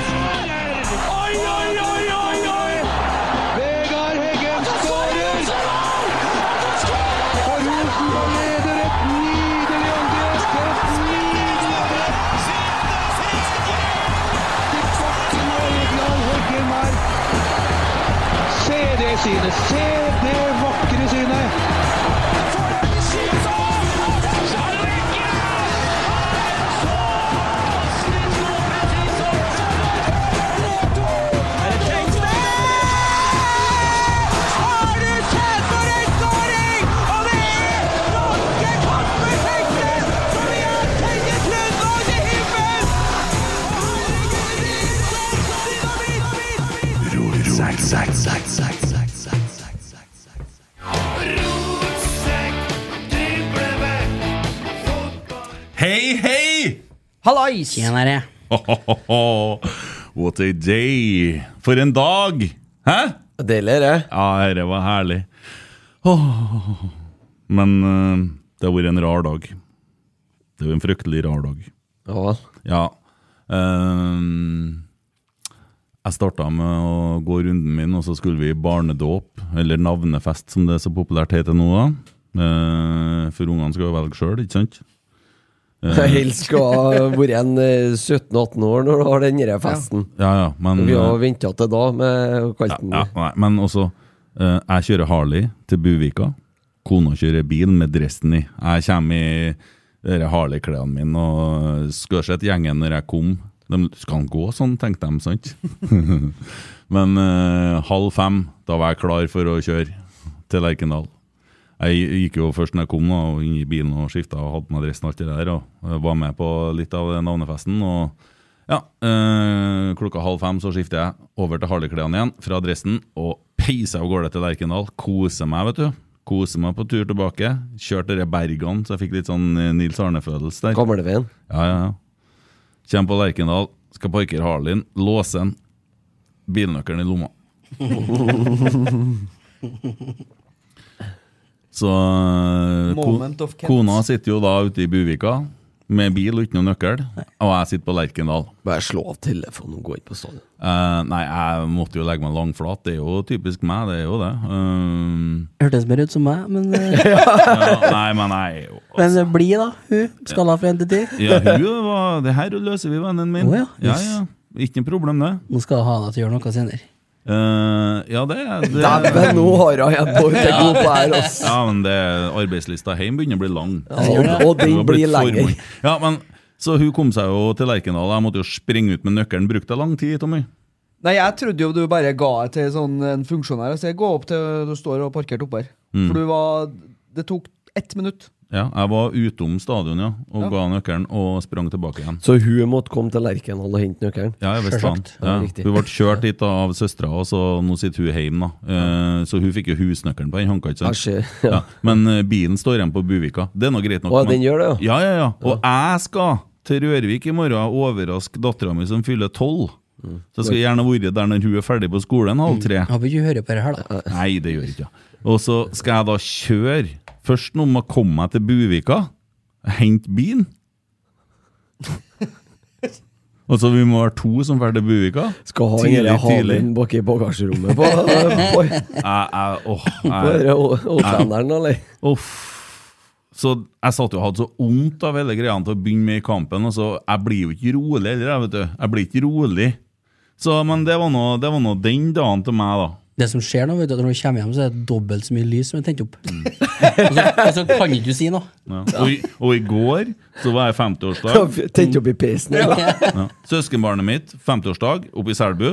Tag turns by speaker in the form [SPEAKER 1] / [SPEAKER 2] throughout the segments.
[SPEAKER 1] Oi, oi, oi, oi, oi!
[SPEAKER 2] Vegard Heggen skårer! Og Rosenborg leder et nydelig angrep! Et nydelig angrep! Til bakken og Egeland Heggen her. Se det synet! Se det vakre synet!
[SPEAKER 3] Hei, hei!
[SPEAKER 4] Hallais!
[SPEAKER 5] Tjenere.
[SPEAKER 3] What a day! For en dag! Hæ?
[SPEAKER 4] Deilig er det.
[SPEAKER 3] Ja, dette var herlig. Åh. Men eh, det har vært en rar dag. Det var en fryktelig rar dag.
[SPEAKER 4] Ja vel.
[SPEAKER 3] Ja. Ehm, jeg starta med å gå runden min, og så skulle vi i barnedåp, eller navnefest som det er så populært heter nå. da. Eh, for ungene skal jo velge sjøl, ikke sant?
[SPEAKER 4] Jeg helst skulle ha vært en eh, 17-18 år når du har den her festen.
[SPEAKER 3] Ja, ja, men...
[SPEAKER 4] Vi
[SPEAKER 3] eh,
[SPEAKER 4] har venta til da med å kalle den
[SPEAKER 3] Ja, nei, men også eh, Jeg kjører Harley til Buvika. Kona kjører bil med dressen i. Jeg kommer i dere Harley-klærne mine og Skørseth-gjengen når jeg kom. De skal han gå sånn, tenkte de, sant? men eh, halv fem, da var jeg klar for å kjøre til Lerkendal. Jeg gikk jo først når jeg kom da, og inn i bilen og skifta og hadde på meg dressen og alt det der. Og eh, var med på litt av navnefesten. og ja, øh, klokka halv fem så skifter jeg over til Harley-klærne igjen fra dressen og peiser av gårde til Lerkendal. Koser meg, vet du. Koser meg på tur tilbake. Kjørte de bergene, så jeg fikk litt sånn eh, Nils Arne-følelse der.
[SPEAKER 4] Gamleveien.
[SPEAKER 3] Ja, ja, ja. Kjem på Lerkendal, skal parkere Harleyen, låse den, bilnøkkelen i lomma. Så eh, ko-
[SPEAKER 6] Moment of Kent.
[SPEAKER 3] kona sitter jo da ute i Buvika med bil og uten noen nøkkel, og jeg sitter på Lerkendal.
[SPEAKER 4] Bare slå av telefonen og gå inn på stadion.
[SPEAKER 3] Eh, nei, jeg måtte jo legge meg langflat. Det er jo typisk meg, det er jo det. Um,
[SPEAKER 5] Hørtes mer ut som meg, men, eh,
[SPEAKER 3] ja, nei, men jeg er jo
[SPEAKER 5] men eh, bli da. Hun skalla fra 1 til 10.
[SPEAKER 3] ja, hun var, Det her løser vi, vennen min.
[SPEAKER 5] Å ja,
[SPEAKER 3] ja,
[SPEAKER 5] yes.
[SPEAKER 3] ja. Ikke noe problem, det.
[SPEAKER 5] Nå skal jeg ha deg til å gjøre noe senere.
[SPEAKER 3] Eh, ja, det, det
[SPEAKER 4] Dæven, nå har jeg en boy til god på her, ass!
[SPEAKER 3] Ja, men det, arbeidslista hjemme begynner å bli lang.
[SPEAKER 4] Og, og
[SPEAKER 3] Hun
[SPEAKER 4] den
[SPEAKER 3] har blitt
[SPEAKER 4] blir
[SPEAKER 3] for
[SPEAKER 4] lenger.
[SPEAKER 3] mange. Ja, men så hun kom seg jo til Lerkendal. Jeg måtte jo springe ut med nøkkelen. Brukte jeg lang tid, Tommy?
[SPEAKER 6] Nei, jeg trodde jo du bare ga det til sånn, en funksjonær. Så jeg går opp til du står og parkert oppe her. For du var Det tok ett minutt.
[SPEAKER 3] Ja, Jeg var utom stadion ja, og
[SPEAKER 6] Ja.
[SPEAKER 3] ga nøkkelen og sprang tilbake igjen.
[SPEAKER 4] Så hun måtte komme til Lerkendal og hente nøkkelen?
[SPEAKER 3] Ja, jeg visste faen.
[SPEAKER 5] Sjølsagt.
[SPEAKER 3] Ja.
[SPEAKER 4] Ja, riktig.
[SPEAKER 3] Hun ble kjørt dit av søstera, og så nå sitter hun hjemme. Da. Eh, så hun fikk jo husnøkkelen på den håndka. ikke sant?
[SPEAKER 4] Kanskje,
[SPEAKER 3] Ja. Men eh, bilen står igjen på Buvika. Det er nå greit nok.
[SPEAKER 4] Å,
[SPEAKER 3] men-
[SPEAKER 4] den gjør det,
[SPEAKER 3] ja? Ja, ja, Og jeg skal til Rørvik i morgen og overraske dattera mi som fyller tolv.
[SPEAKER 4] Mm.
[SPEAKER 3] Så jeg skal gjerne være der når hun er ferdig på skolen halv tre.
[SPEAKER 5] Jeg Håper ikke hun Mm. hører på det her, da.
[SPEAKER 3] Nei, det gjør jeg ikke. Og så skal jeg da kjøre. Først nå må jeg komme meg til Buvika, hente bilen. Og så vi må være to som drar til Buvika.
[SPEAKER 4] Skal ha
[SPEAKER 3] Tidlig,
[SPEAKER 4] hele
[SPEAKER 3] tidlig.
[SPEAKER 4] halen bak i bagasjerommet på, på, på,
[SPEAKER 3] Jeg, jeg, åh, jeg,
[SPEAKER 4] på hotelleren, eller?
[SPEAKER 3] uff. Så jeg satt jo og hadde så vondt av hele greia til å begynne med i kampen. Og så, jeg blir jo ikke rolig heller, jeg, vet du. Jeg blir ikke rolig. Så, men det var nå- det var nå den dagen til meg, da.
[SPEAKER 5] Det som skjer nå, vet du, at når du kommer hjem, så er det dobbelt så mye lys som er tent opp.
[SPEAKER 4] Mm.
[SPEAKER 5] Og så, og så kan ikke du si noe.
[SPEAKER 3] Ja. Og, i, og i går så var jeg 50-årsdag.
[SPEAKER 4] Tent opp i peisen. eller?
[SPEAKER 3] Ja. Søskenbarnet mitt, 50-årsdag, oppe i Selbu.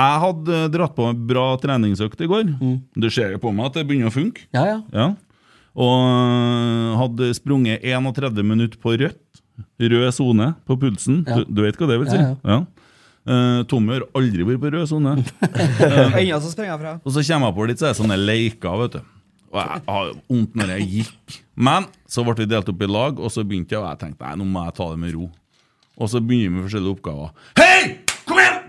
[SPEAKER 3] Jeg hadde eh, dratt på en bra treningsøkt i går. Du ser jo på meg at det begynner å funke.
[SPEAKER 5] Ja, ja.
[SPEAKER 3] Ja. Og øh, hadde sprunget 31 minutter på rødt. Rød sone på pulsen.
[SPEAKER 5] Ja.
[SPEAKER 3] Du, du vet hva det vil si?
[SPEAKER 5] Ja,
[SPEAKER 3] Ja. Eh, Tommy har aldri vært på rød sone.
[SPEAKER 6] Ennå så springer jeg fra.
[SPEAKER 3] Og så kommer jeg på litt så er det sånne leker, vet du. Og jeg har jo vondt når jeg gikk. Men så ble vi delt opp i lag, og så begynte jeg, og jeg tenkte nei, nå må jeg ta det med ro. Og så begynner vi med forskjellige oppgaver. Hei! Kom igjen!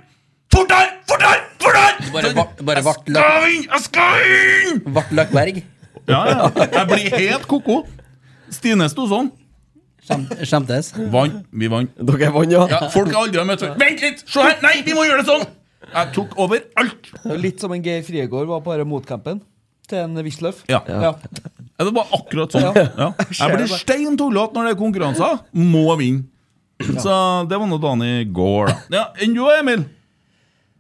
[SPEAKER 3] Fortere! Fortere! Fortere!
[SPEAKER 5] Bare, va- bare vart
[SPEAKER 3] Jeg
[SPEAKER 5] Løk-
[SPEAKER 3] skal inn! Jeg skal inn!
[SPEAKER 5] vart Løkberg.
[SPEAKER 3] Ja, ja. Jeg blir helt koko. Stine sto sånn.
[SPEAKER 5] Skjem- Skjemtes.
[SPEAKER 3] Vant. Vi vant.
[SPEAKER 4] Dere vant, ja?
[SPEAKER 3] Ja, folk har aldri har møtt før. Vent litt! Se her! Nei, vi må gjøre det sånn! Jeg tok over alt.
[SPEAKER 6] Det er jo Litt som en Geir Friegård var på denne motcampen til en Wisløff.
[SPEAKER 3] Ja.
[SPEAKER 6] Ja.
[SPEAKER 3] Ja, Det var akkurat sånn. Ja. Jeg blir stein tullete når det er konkurranser. Må vinne. Så det var nå dagen i går, da. Ja, Enn du, Emil?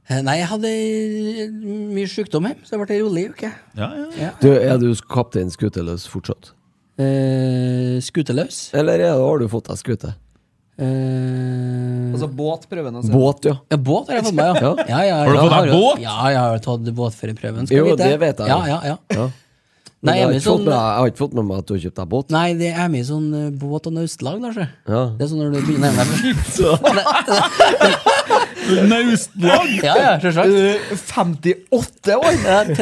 [SPEAKER 5] Eh, Nei, jeg hadde eh, mye sykdom hjemme, så det ble en rolig uke.
[SPEAKER 3] Ja, ja.
[SPEAKER 4] Du, er du kaptein skuteløs fortsatt?
[SPEAKER 5] Eh, skuteløs.
[SPEAKER 4] Eller er det, har du fått deg skute?
[SPEAKER 5] Eh,
[SPEAKER 6] Altså båtprøven. Altså.
[SPEAKER 4] Båt, ja.
[SPEAKER 5] ja, båt har jeg fått meg, ja. ja, ja
[SPEAKER 3] Har du
[SPEAKER 5] ja,
[SPEAKER 3] fått deg
[SPEAKER 5] jo-
[SPEAKER 3] båt?
[SPEAKER 5] Ja, jeg har tatt båtførerprøven. skal
[SPEAKER 4] Jo,
[SPEAKER 5] vite.
[SPEAKER 4] det vet jeg
[SPEAKER 5] Ja,
[SPEAKER 4] jo.
[SPEAKER 5] ja, ja.
[SPEAKER 4] ja.
[SPEAKER 5] Nei,
[SPEAKER 4] Men jeg, har
[SPEAKER 5] Emil,
[SPEAKER 4] ikke fått
[SPEAKER 5] sånn,
[SPEAKER 4] med, jeg har ikke fått med meg at du har kjøpt deg båt.
[SPEAKER 5] nei, det er mye sånn eh, båt- og naustlag, Lars. Det
[SPEAKER 4] Ja.
[SPEAKER 5] er sånn når du begynner å nærme deg
[SPEAKER 3] Naustlag!
[SPEAKER 5] Ja, ja, selvsagt.
[SPEAKER 6] Eh, 58 år!
[SPEAKER 5] Jeg er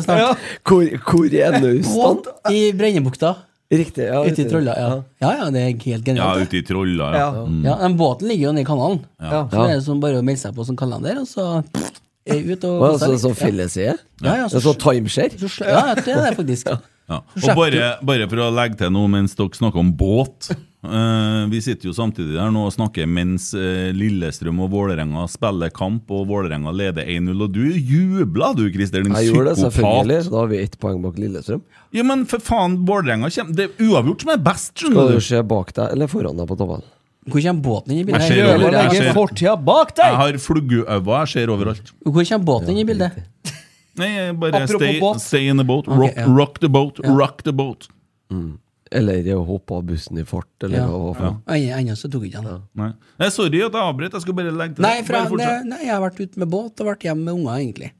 [SPEAKER 6] Ja.
[SPEAKER 5] snart.
[SPEAKER 4] Hvor, hvor er naustene?
[SPEAKER 5] I Brennebukta.
[SPEAKER 4] Riktig. ja,
[SPEAKER 5] Ute i
[SPEAKER 4] riktig.
[SPEAKER 5] Trolla. Ja. ja, ja, det er helt
[SPEAKER 3] Ja,
[SPEAKER 5] genialt.
[SPEAKER 3] ute i Trolla, ja.
[SPEAKER 6] Ja.
[SPEAKER 5] det. Ja, den båten ligger jo nede i kanalen.
[SPEAKER 6] Ja.
[SPEAKER 5] Så det er sånn bare å melde seg på som kalender, og så pff, er jeg ut og
[SPEAKER 4] Hva er
[SPEAKER 5] koser
[SPEAKER 4] det
[SPEAKER 5] litt.
[SPEAKER 4] sånn fellesside?
[SPEAKER 5] Ja, ja,
[SPEAKER 4] Det
[SPEAKER 5] så,
[SPEAKER 4] er sånn timeshare?
[SPEAKER 5] så, ja, det er det faktisk.
[SPEAKER 3] Ja. Og bare, bare for å legge til noe mens dere snakker om båt eh, Vi sitter jo samtidig der nå og snakker mens eh, Lillestrøm og Vålerenga spiller kamp, og Vålerenga leder 1-0. Og du jubla, du, Christer, din
[SPEAKER 4] Jeg gjorde det, selvfølgelig.
[SPEAKER 3] psykopat.
[SPEAKER 4] Så da har vi ett poeng bak Lillestrøm.
[SPEAKER 3] Ja, men for faen, Vålerenga kommer Det er uavgjort som er best,
[SPEAKER 4] Skal
[SPEAKER 3] skjønner
[SPEAKER 4] du
[SPEAKER 3] du.
[SPEAKER 4] se bak deg eller foran deg på toppen?
[SPEAKER 5] Hvor kommer båten inn i bildet?
[SPEAKER 3] Jeg ser over-
[SPEAKER 5] Hvor
[SPEAKER 6] Prøver å
[SPEAKER 5] lurer jeg
[SPEAKER 3] jeg
[SPEAKER 6] legge
[SPEAKER 3] ser-
[SPEAKER 6] fortida bak
[SPEAKER 3] Jeg
[SPEAKER 6] deg!
[SPEAKER 3] har fluggeøyne, jeg ser overalt.
[SPEAKER 5] på. Hvor kommer båten inn i bildet?
[SPEAKER 3] Nei, jeg bare
[SPEAKER 6] Apropos
[SPEAKER 3] stay,
[SPEAKER 6] båt.
[SPEAKER 3] stay in the boat. Rock,
[SPEAKER 5] ja.
[SPEAKER 3] rock the boat, rock the boat.
[SPEAKER 4] Eller hoppe av bussen i fart, eller
[SPEAKER 5] Ja.
[SPEAKER 4] hva det var for noe?
[SPEAKER 5] Ennå ennå så tok jeg ikke den.
[SPEAKER 3] Nei. Nei, sorry at jeg avbrøt. Jeg skulle bare legge til
[SPEAKER 5] Nei, for
[SPEAKER 3] Bare
[SPEAKER 5] jeg, nei,
[SPEAKER 3] fortsett. Mm.
[SPEAKER 5] nei, jeg har vært ute med båt og vært hjemme med unger, egentlig.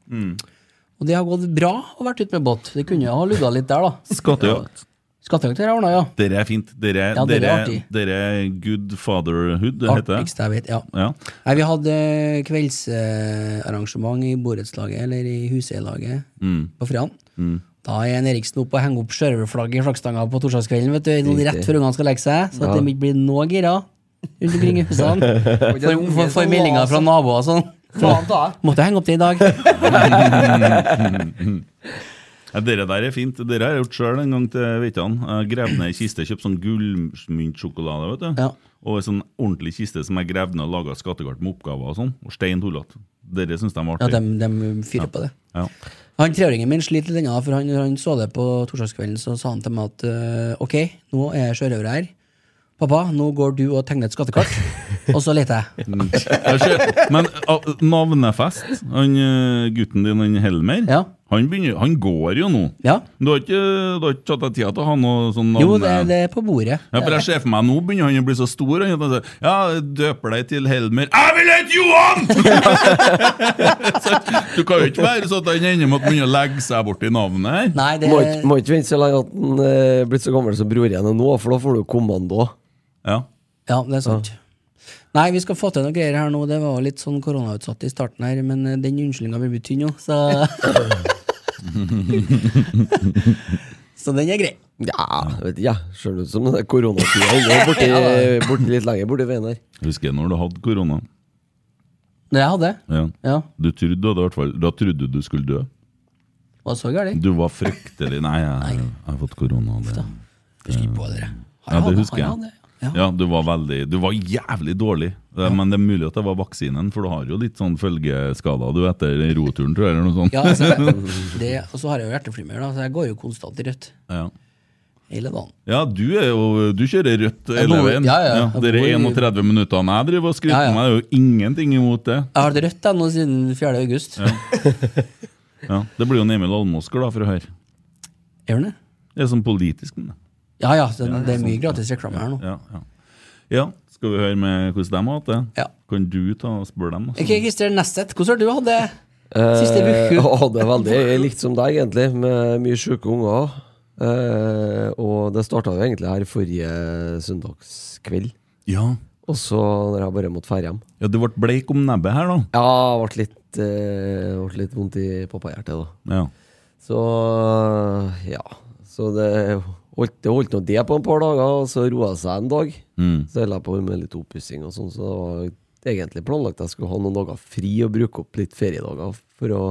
[SPEAKER 5] Og det har gått bra å vært ute med båt. Det kunne jo ha ludda litt der, da.
[SPEAKER 3] Skattejakt.
[SPEAKER 5] Skattejakt har jeg ordna, ja.
[SPEAKER 3] Dere er fint. Dere,
[SPEAKER 5] Ja, dere er
[SPEAKER 3] dere, dere,
[SPEAKER 5] artig.
[SPEAKER 3] er good fatherhood, det heter det.
[SPEAKER 5] Artigste jeg vet, ja.
[SPEAKER 3] Ja.
[SPEAKER 5] Nei, vi hadde eh, kveldsarrangement i borettslaget, eller i huseierlaget,
[SPEAKER 3] Mm.
[SPEAKER 5] på Frian. Da er en Eriksen oppe og henger opp sjørøverflagget i flaggstanga på torsdagskvelden, vet du, noen rett før ungene skal legge seg, så at de ikke blir noe gira rundt omkring i husene. For, for, for meldinger fra naboer og sånn.
[SPEAKER 6] Faen ta jeg.
[SPEAKER 5] Måtte henge opp det i dag.
[SPEAKER 3] Ja, dere der er fint. Dere har jeg gjort sjøl en gang til Veitan. Jeg gravde ned ei kiste, kjøpte sånn gullmyntsjokolade, vet du.
[SPEAKER 5] Ja.
[SPEAKER 3] Og ei sånn ordentlig kiste som jeg gravde ned og laga skattekart med oppgaver og sånn. Og stein tullete. Dere syns de var
[SPEAKER 5] Ja, de,
[SPEAKER 3] artige.
[SPEAKER 5] de fyrer på det.
[SPEAKER 3] Ja.
[SPEAKER 5] Han treåringen min sliter litt ennå, for han, når han så det på torsdagskvelden, så sa han til meg at eh, ok, nå er jeg sjørøver her. Pappa, nå går du og tegner et skattekart, og så leter jeg.
[SPEAKER 3] Mm. Jeg ser- Men ah, navnefest, han eh, gutten din, han Helmer,
[SPEAKER 5] Ja.
[SPEAKER 3] han, begynner, han går jo nå.
[SPEAKER 5] Ja.
[SPEAKER 3] Du har ikke, du har ikke tatt deg tida til å ha noe sånn navn?
[SPEAKER 5] Jo, det, det er på bordet.
[SPEAKER 3] Ja, for jeg ser for meg nå begynner han å bli så stor. Han sier, ja, døper deg til Helmer. Jeg vil hete Johan! så, du kan jo ikke være sånn at han ender med å begynne å legge seg borti navnet her.
[SPEAKER 5] Nei, det
[SPEAKER 4] Må ikke- Må ikke vente så lenge at han eh, er blitt så gammel som bror igjen er nå, for da får du kommando.
[SPEAKER 3] Ja.
[SPEAKER 5] Ja, det er sant. Nei, vi skal få til noen greier her nå. Det var jo litt sånn koronautsatt i starten her, men eh, den unnskyldninga blir blitt tynn nå, så Så den er grei.
[SPEAKER 4] Ja, vet ikke, jeg. Ser ut som den der koronatida ennå, borti, borti litt lenger borti veien her.
[SPEAKER 3] Husker jeg når du hadde korona.
[SPEAKER 5] Det jeg hadde.
[SPEAKER 3] Ja.
[SPEAKER 5] Ja.
[SPEAKER 3] Du trodde, du hadde i hvert fall, da trodde du du skulle dø.
[SPEAKER 5] Var så gærent.
[SPEAKER 3] Du var fryktelig Nei, jeg, jeg har fått korona. Det.
[SPEAKER 5] Husker ikke på det. Har
[SPEAKER 3] Ja, det
[SPEAKER 5] hatt-
[SPEAKER 3] husker
[SPEAKER 5] har hatt
[SPEAKER 3] jeg.
[SPEAKER 5] det? Ja.
[SPEAKER 3] Ja, du var veldig Du var jævlig dårlig. Eh, Men det er mulig at det var vaksinen, for du har jo litt sånn følgeskader du etter roturen, tror jeg, eller noe sånt.
[SPEAKER 5] Ja, altså, det, og så har jeg jo hjerteflimmer, da, så jeg går jo konstant i rødt
[SPEAKER 3] Ja.
[SPEAKER 5] hele dagen.
[SPEAKER 3] Ja, du, er jo, du kjører rødt hele
[SPEAKER 5] bor-
[SPEAKER 3] veien.
[SPEAKER 5] ja, ja, jeg
[SPEAKER 3] det er
[SPEAKER 5] bor i-
[SPEAKER 3] 31 minutter han jeg driver og skryter
[SPEAKER 5] Ja, ja.
[SPEAKER 3] med. Det er jo ingenting imot det.
[SPEAKER 5] Jeg har hatt rødt da, nå siden 4. august.
[SPEAKER 3] Ja, det blir jo en Emil Almåsker da, for å høre.
[SPEAKER 5] Er den det?
[SPEAKER 3] Det er sånn politisk, men det.
[SPEAKER 5] Ja ja, så det er mye gratis reklame her nå.
[SPEAKER 3] sånn. Ja, ja. ja, skal vi høre med hvordan de har hatt det?
[SPEAKER 5] Ja.
[SPEAKER 3] Kan du ta og spørre dem? altså?
[SPEAKER 5] Ok, Christer Nesset, hvordan har du hatt det siste
[SPEAKER 4] Eh,
[SPEAKER 5] uke?
[SPEAKER 4] å, det er veldig jeg er likt som deg, egentlig, med mye sjuke unger. Eh, og det starta jo egentlig her forrige søndagskveld.
[SPEAKER 3] Ja.
[SPEAKER 4] Og så når jeg bare måtte dra hjem.
[SPEAKER 3] ja, du ble bleik om nebbet her, da.
[SPEAKER 4] Ja, det ble litt, eh, ble litt vondt i pappahjertet, da.
[SPEAKER 3] Ja.
[SPEAKER 4] Så ja. Så det holdt, det holdt nå det på et par dager, og så roa det seg en dag. Så holdt jeg på med litt oppussing og sånn, så det var egentlig planlagt at jeg skulle ha noen dager fri og bruke opp litt feriedager for å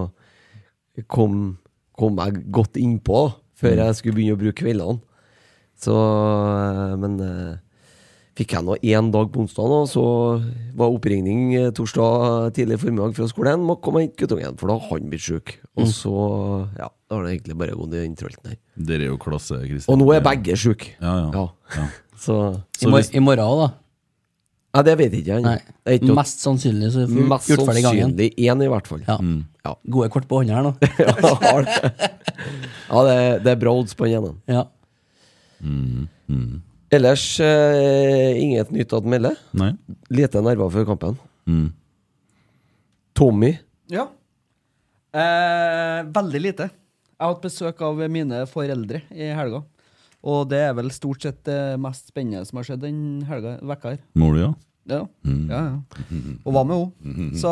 [SPEAKER 4] komme kom meg godt innpå da, før jeg skulle begynne å bruke kveldene. Så eh, Men eh, fikk jeg nå én dag på onsdag, og så var oppringning eh, torsdag tidlig formiddag fra skolen. Må komme og hente guttungen, for da har han blitt sjuk. Og så ja, da har det egentlig bare gått i den trølten her.
[SPEAKER 3] Dere er jo klasse, Kristian.
[SPEAKER 4] Og nå er begge sjuke.
[SPEAKER 3] Ja, ja. Ja.
[SPEAKER 4] Så
[SPEAKER 5] I, mor I morgen òg, da.
[SPEAKER 4] Nei, det vet ikke han.
[SPEAKER 5] Nei.
[SPEAKER 4] Det er Mm. ikke noe-
[SPEAKER 5] Mest sannsynlig så får vi
[SPEAKER 4] mest
[SPEAKER 5] gjort ferdig gangen.
[SPEAKER 4] sannsynlig én, i hvert fall.
[SPEAKER 5] Ja.
[SPEAKER 3] Mm.
[SPEAKER 4] Ja.
[SPEAKER 5] Gode kort på hånda her nå.
[SPEAKER 4] Ja, har det. ja det, det er bra odds på den ene.
[SPEAKER 5] Ja.
[SPEAKER 4] Ellers eh, inget nytt å melde.
[SPEAKER 3] Nei?
[SPEAKER 4] Lite nerver før kampen.
[SPEAKER 3] Mm.
[SPEAKER 4] Tommy
[SPEAKER 6] Ja. Eh, veldig lite. Jeg har hatt besøk av mine foreldre i helga. Og det er vel stort sett det mest spennende som har skjedd den helga vekka her.
[SPEAKER 3] Må du, ja?
[SPEAKER 6] Ja, ja, ja. Og hva med henne? Så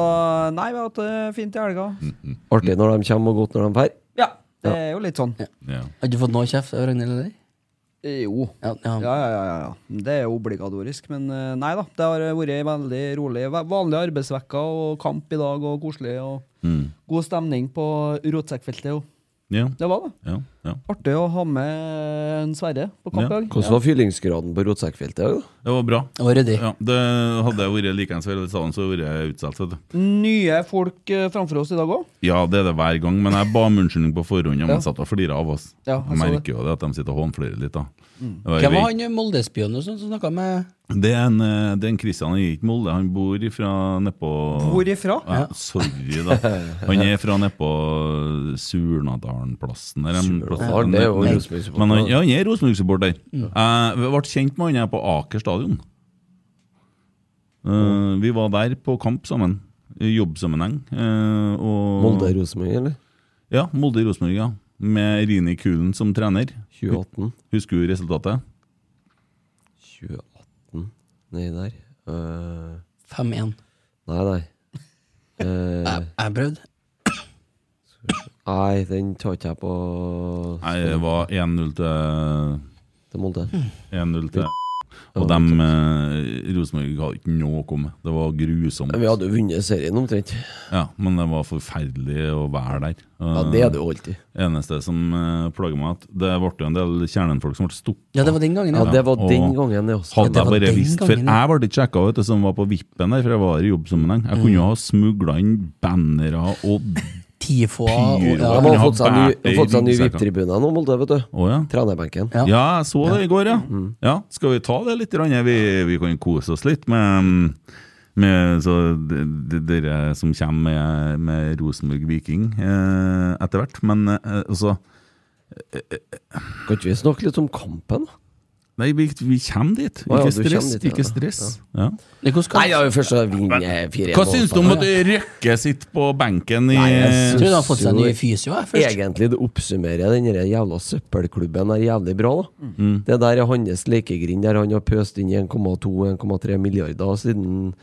[SPEAKER 6] nei, vi har hatt det fint i helga.
[SPEAKER 4] Artig når de kommer, og godt når de drar.
[SPEAKER 6] Ja, det er jo litt sånn.
[SPEAKER 3] ja.
[SPEAKER 5] Har du fått noe kjeft av Ragnhild, eller?
[SPEAKER 6] Eh, Jo.
[SPEAKER 5] Ja, ja.
[SPEAKER 6] Ja, ja, ja, ja, ja. Det er jo obligatorisk. Men eh, nei da, det har vært en veldig rolig. va- Vanlige arbeidsvekker og kamp i dag og koselig. Og
[SPEAKER 3] Mm.
[SPEAKER 6] god stemning på rotsekkfeltet. jo.
[SPEAKER 3] Ja,
[SPEAKER 6] Det var det.
[SPEAKER 3] ja, ja.
[SPEAKER 6] Artig å ha med en Sverre på kamp i
[SPEAKER 3] Ja,
[SPEAKER 6] dag.
[SPEAKER 4] Hvordan var fyllingsgraden på rotsekkfeltet? i dag, da?
[SPEAKER 3] Det var bra.
[SPEAKER 5] Det var ryddig.
[SPEAKER 3] Ja, det hadde jeg vært likeens for hele salen, så hadde jeg vært utsatt. Vet du.
[SPEAKER 6] Nye folk eh, framfor oss i dag òg.
[SPEAKER 3] Ja, det er det hver gang, men jeg ba om unnskyldning på forhånd. Og
[SPEAKER 6] Ja.
[SPEAKER 3] man satt og flira av oss.
[SPEAKER 6] Ja, jeg
[SPEAKER 3] jeg
[SPEAKER 6] så
[SPEAKER 3] merker jo det at de sitter og hånflirer litt. da Og jeg
[SPEAKER 5] Hvem var
[SPEAKER 3] vet-
[SPEAKER 5] han Molde-spionen og sånn som snakka med
[SPEAKER 3] Det er en, eh, det er en Kristian i ikke Molde. Han bor ifra nedpå
[SPEAKER 6] Hvor ifra?
[SPEAKER 3] ja, Sorry, da. Han er fra nedpå Surnadalen-plassen. der, en plass-
[SPEAKER 4] Surnadalen, det er jo
[SPEAKER 3] Men-
[SPEAKER 4] Rosenborg-supporter.
[SPEAKER 3] Men han, ja, han er Rosenborg-supporter. Jeg ble kjent med han her på Aker stadion. Eh, vi var der på kamp sammen. I jobbsammenheng. eh, og-
[SPEAKER 4] Molde-Rosenborg, eller?
[SPEAKER 3] Ja, Molde-Rosenborg, ja. Med Rini Kulen som trener.
[SPEAKER 4] 2018?
[SPEAKER 3] Husker du resultatet?
[SPEAKER 4] 2018 Nei, der. Eh,
[SPEAKER 5] 5-1?
[SPEAKER 4] nei, nei. Eh,
[SPEAKER 5] Jeg jeg prøvde.
[SPEAKER 4] nei, den tar ikke jeg på
[SPEAKER 3] Nei, det var 1-0 til
[SPEAKER 4] til Molde.
[SPEAKER 3] 1-0 til
[SPEAKER 4] Ja,
[SPEAKER 3] Og dem eh, Rosenborg hadde ikke noe å komme med. Det var grusomt.
[SPEAKER 4] Vi hadde jo vunnet serien omtrent.
[SPEAKER 3] Ja, men det var forferdelig å være der.
[SPEAKER 4] Ja,
[SPEAKER 3] Eh,
[SPEAKER 4] Det er det jo alltid.
[SPEAKER 3] eneste som eh, plager meg, at det ble jo en del kjernenfolk som ble stukket.
[SPEAKER 5] Ja, det var den gangen,
[SPEAKER 4] Ja,
[SPEAKER 5] ja.
[SPEAKER 4] Det var
[SPEAKER 3] og-
[SPEAKER 4] den gangen, det også.
[SPEAKER 3] Hadde
[SPEAKER 5] det
[SPEAKER 3] jeg
[SPEAKER 5] var
[SPEAKER 3] bare
[SPEAKER 5] den
[SPEAKER 3] visst For
[SPEAKER 5] gangen,
[SPEAKER 3] jeg
[SPEAKER 5] ja.
[SPEAKER 3] ble ikke sjekka ut, det som var på vippen der, for jeg var i jobbsammenheng. Jeg
[SPEAKER 5] Mm.
[SPEAKER 3] kunne jo ha smugla inn bannere og
[SPEAKER 5] Tifoa og
[SPEAKER 3] Pyro.
[SPEAKER 5] ja.
[SPEAKER 4] De har fått seg en ny,
[SPEAKER 3] Bært det i
[SPEAKER 4] fått seg en ny
[SPEAKER 3] ryggsekken.
[SPEAKER 4] VIP-tribune nå, Molde, vet du.
[SPEAKER 3] Å ja.
[SPEAKER 4] Trenerbenken.
[SPEAKER 5] Ja.
[SPEAKER 3] Ja, jeg så det i går, ja.
[SPEAKER 4] Mm.
[SPEAKER 3] ja. Skal vi ta det litt? grann? Vi, vi kan kose oss litt med, med så de, de, dere som kommer med, med Rosenborg Viking eh, etter hvert. Men eh, altså
[SPEAKER 4] Kan ikke vi snakke litt om kampen? da?
[SPEAKER 3] Nei, vi, vi kommer dit.
[SPEAKER 4] Å ja,
[SPEAKER 3] Ikke
[SPEAKER 4] du kommer
[SPEAKER 3] stress.
[SPEAKER 4] dit, ja.
[SPEAKER 3] Ikke stress. Ja.
[SPEAKER 5] Nei, hvordan
[SPEAKER 4] Nei,
[SPEAKER 5] skal
[SPEAKER 4] ja, vi først har vunnet 4-1.
[SPEAKER 3] Hva syns du om at Røkke sitter på benken i
[SPEAKER 5] Jeg tror han har fått seg en ny fysio, jeg, først.
[SPEAKER 4] Egentlig det oppsummerer den der jævla søppelklubben er jævlig bra. da Det der er hans lekegrind der han har pøst inn 1,2-1,3 milliarder siden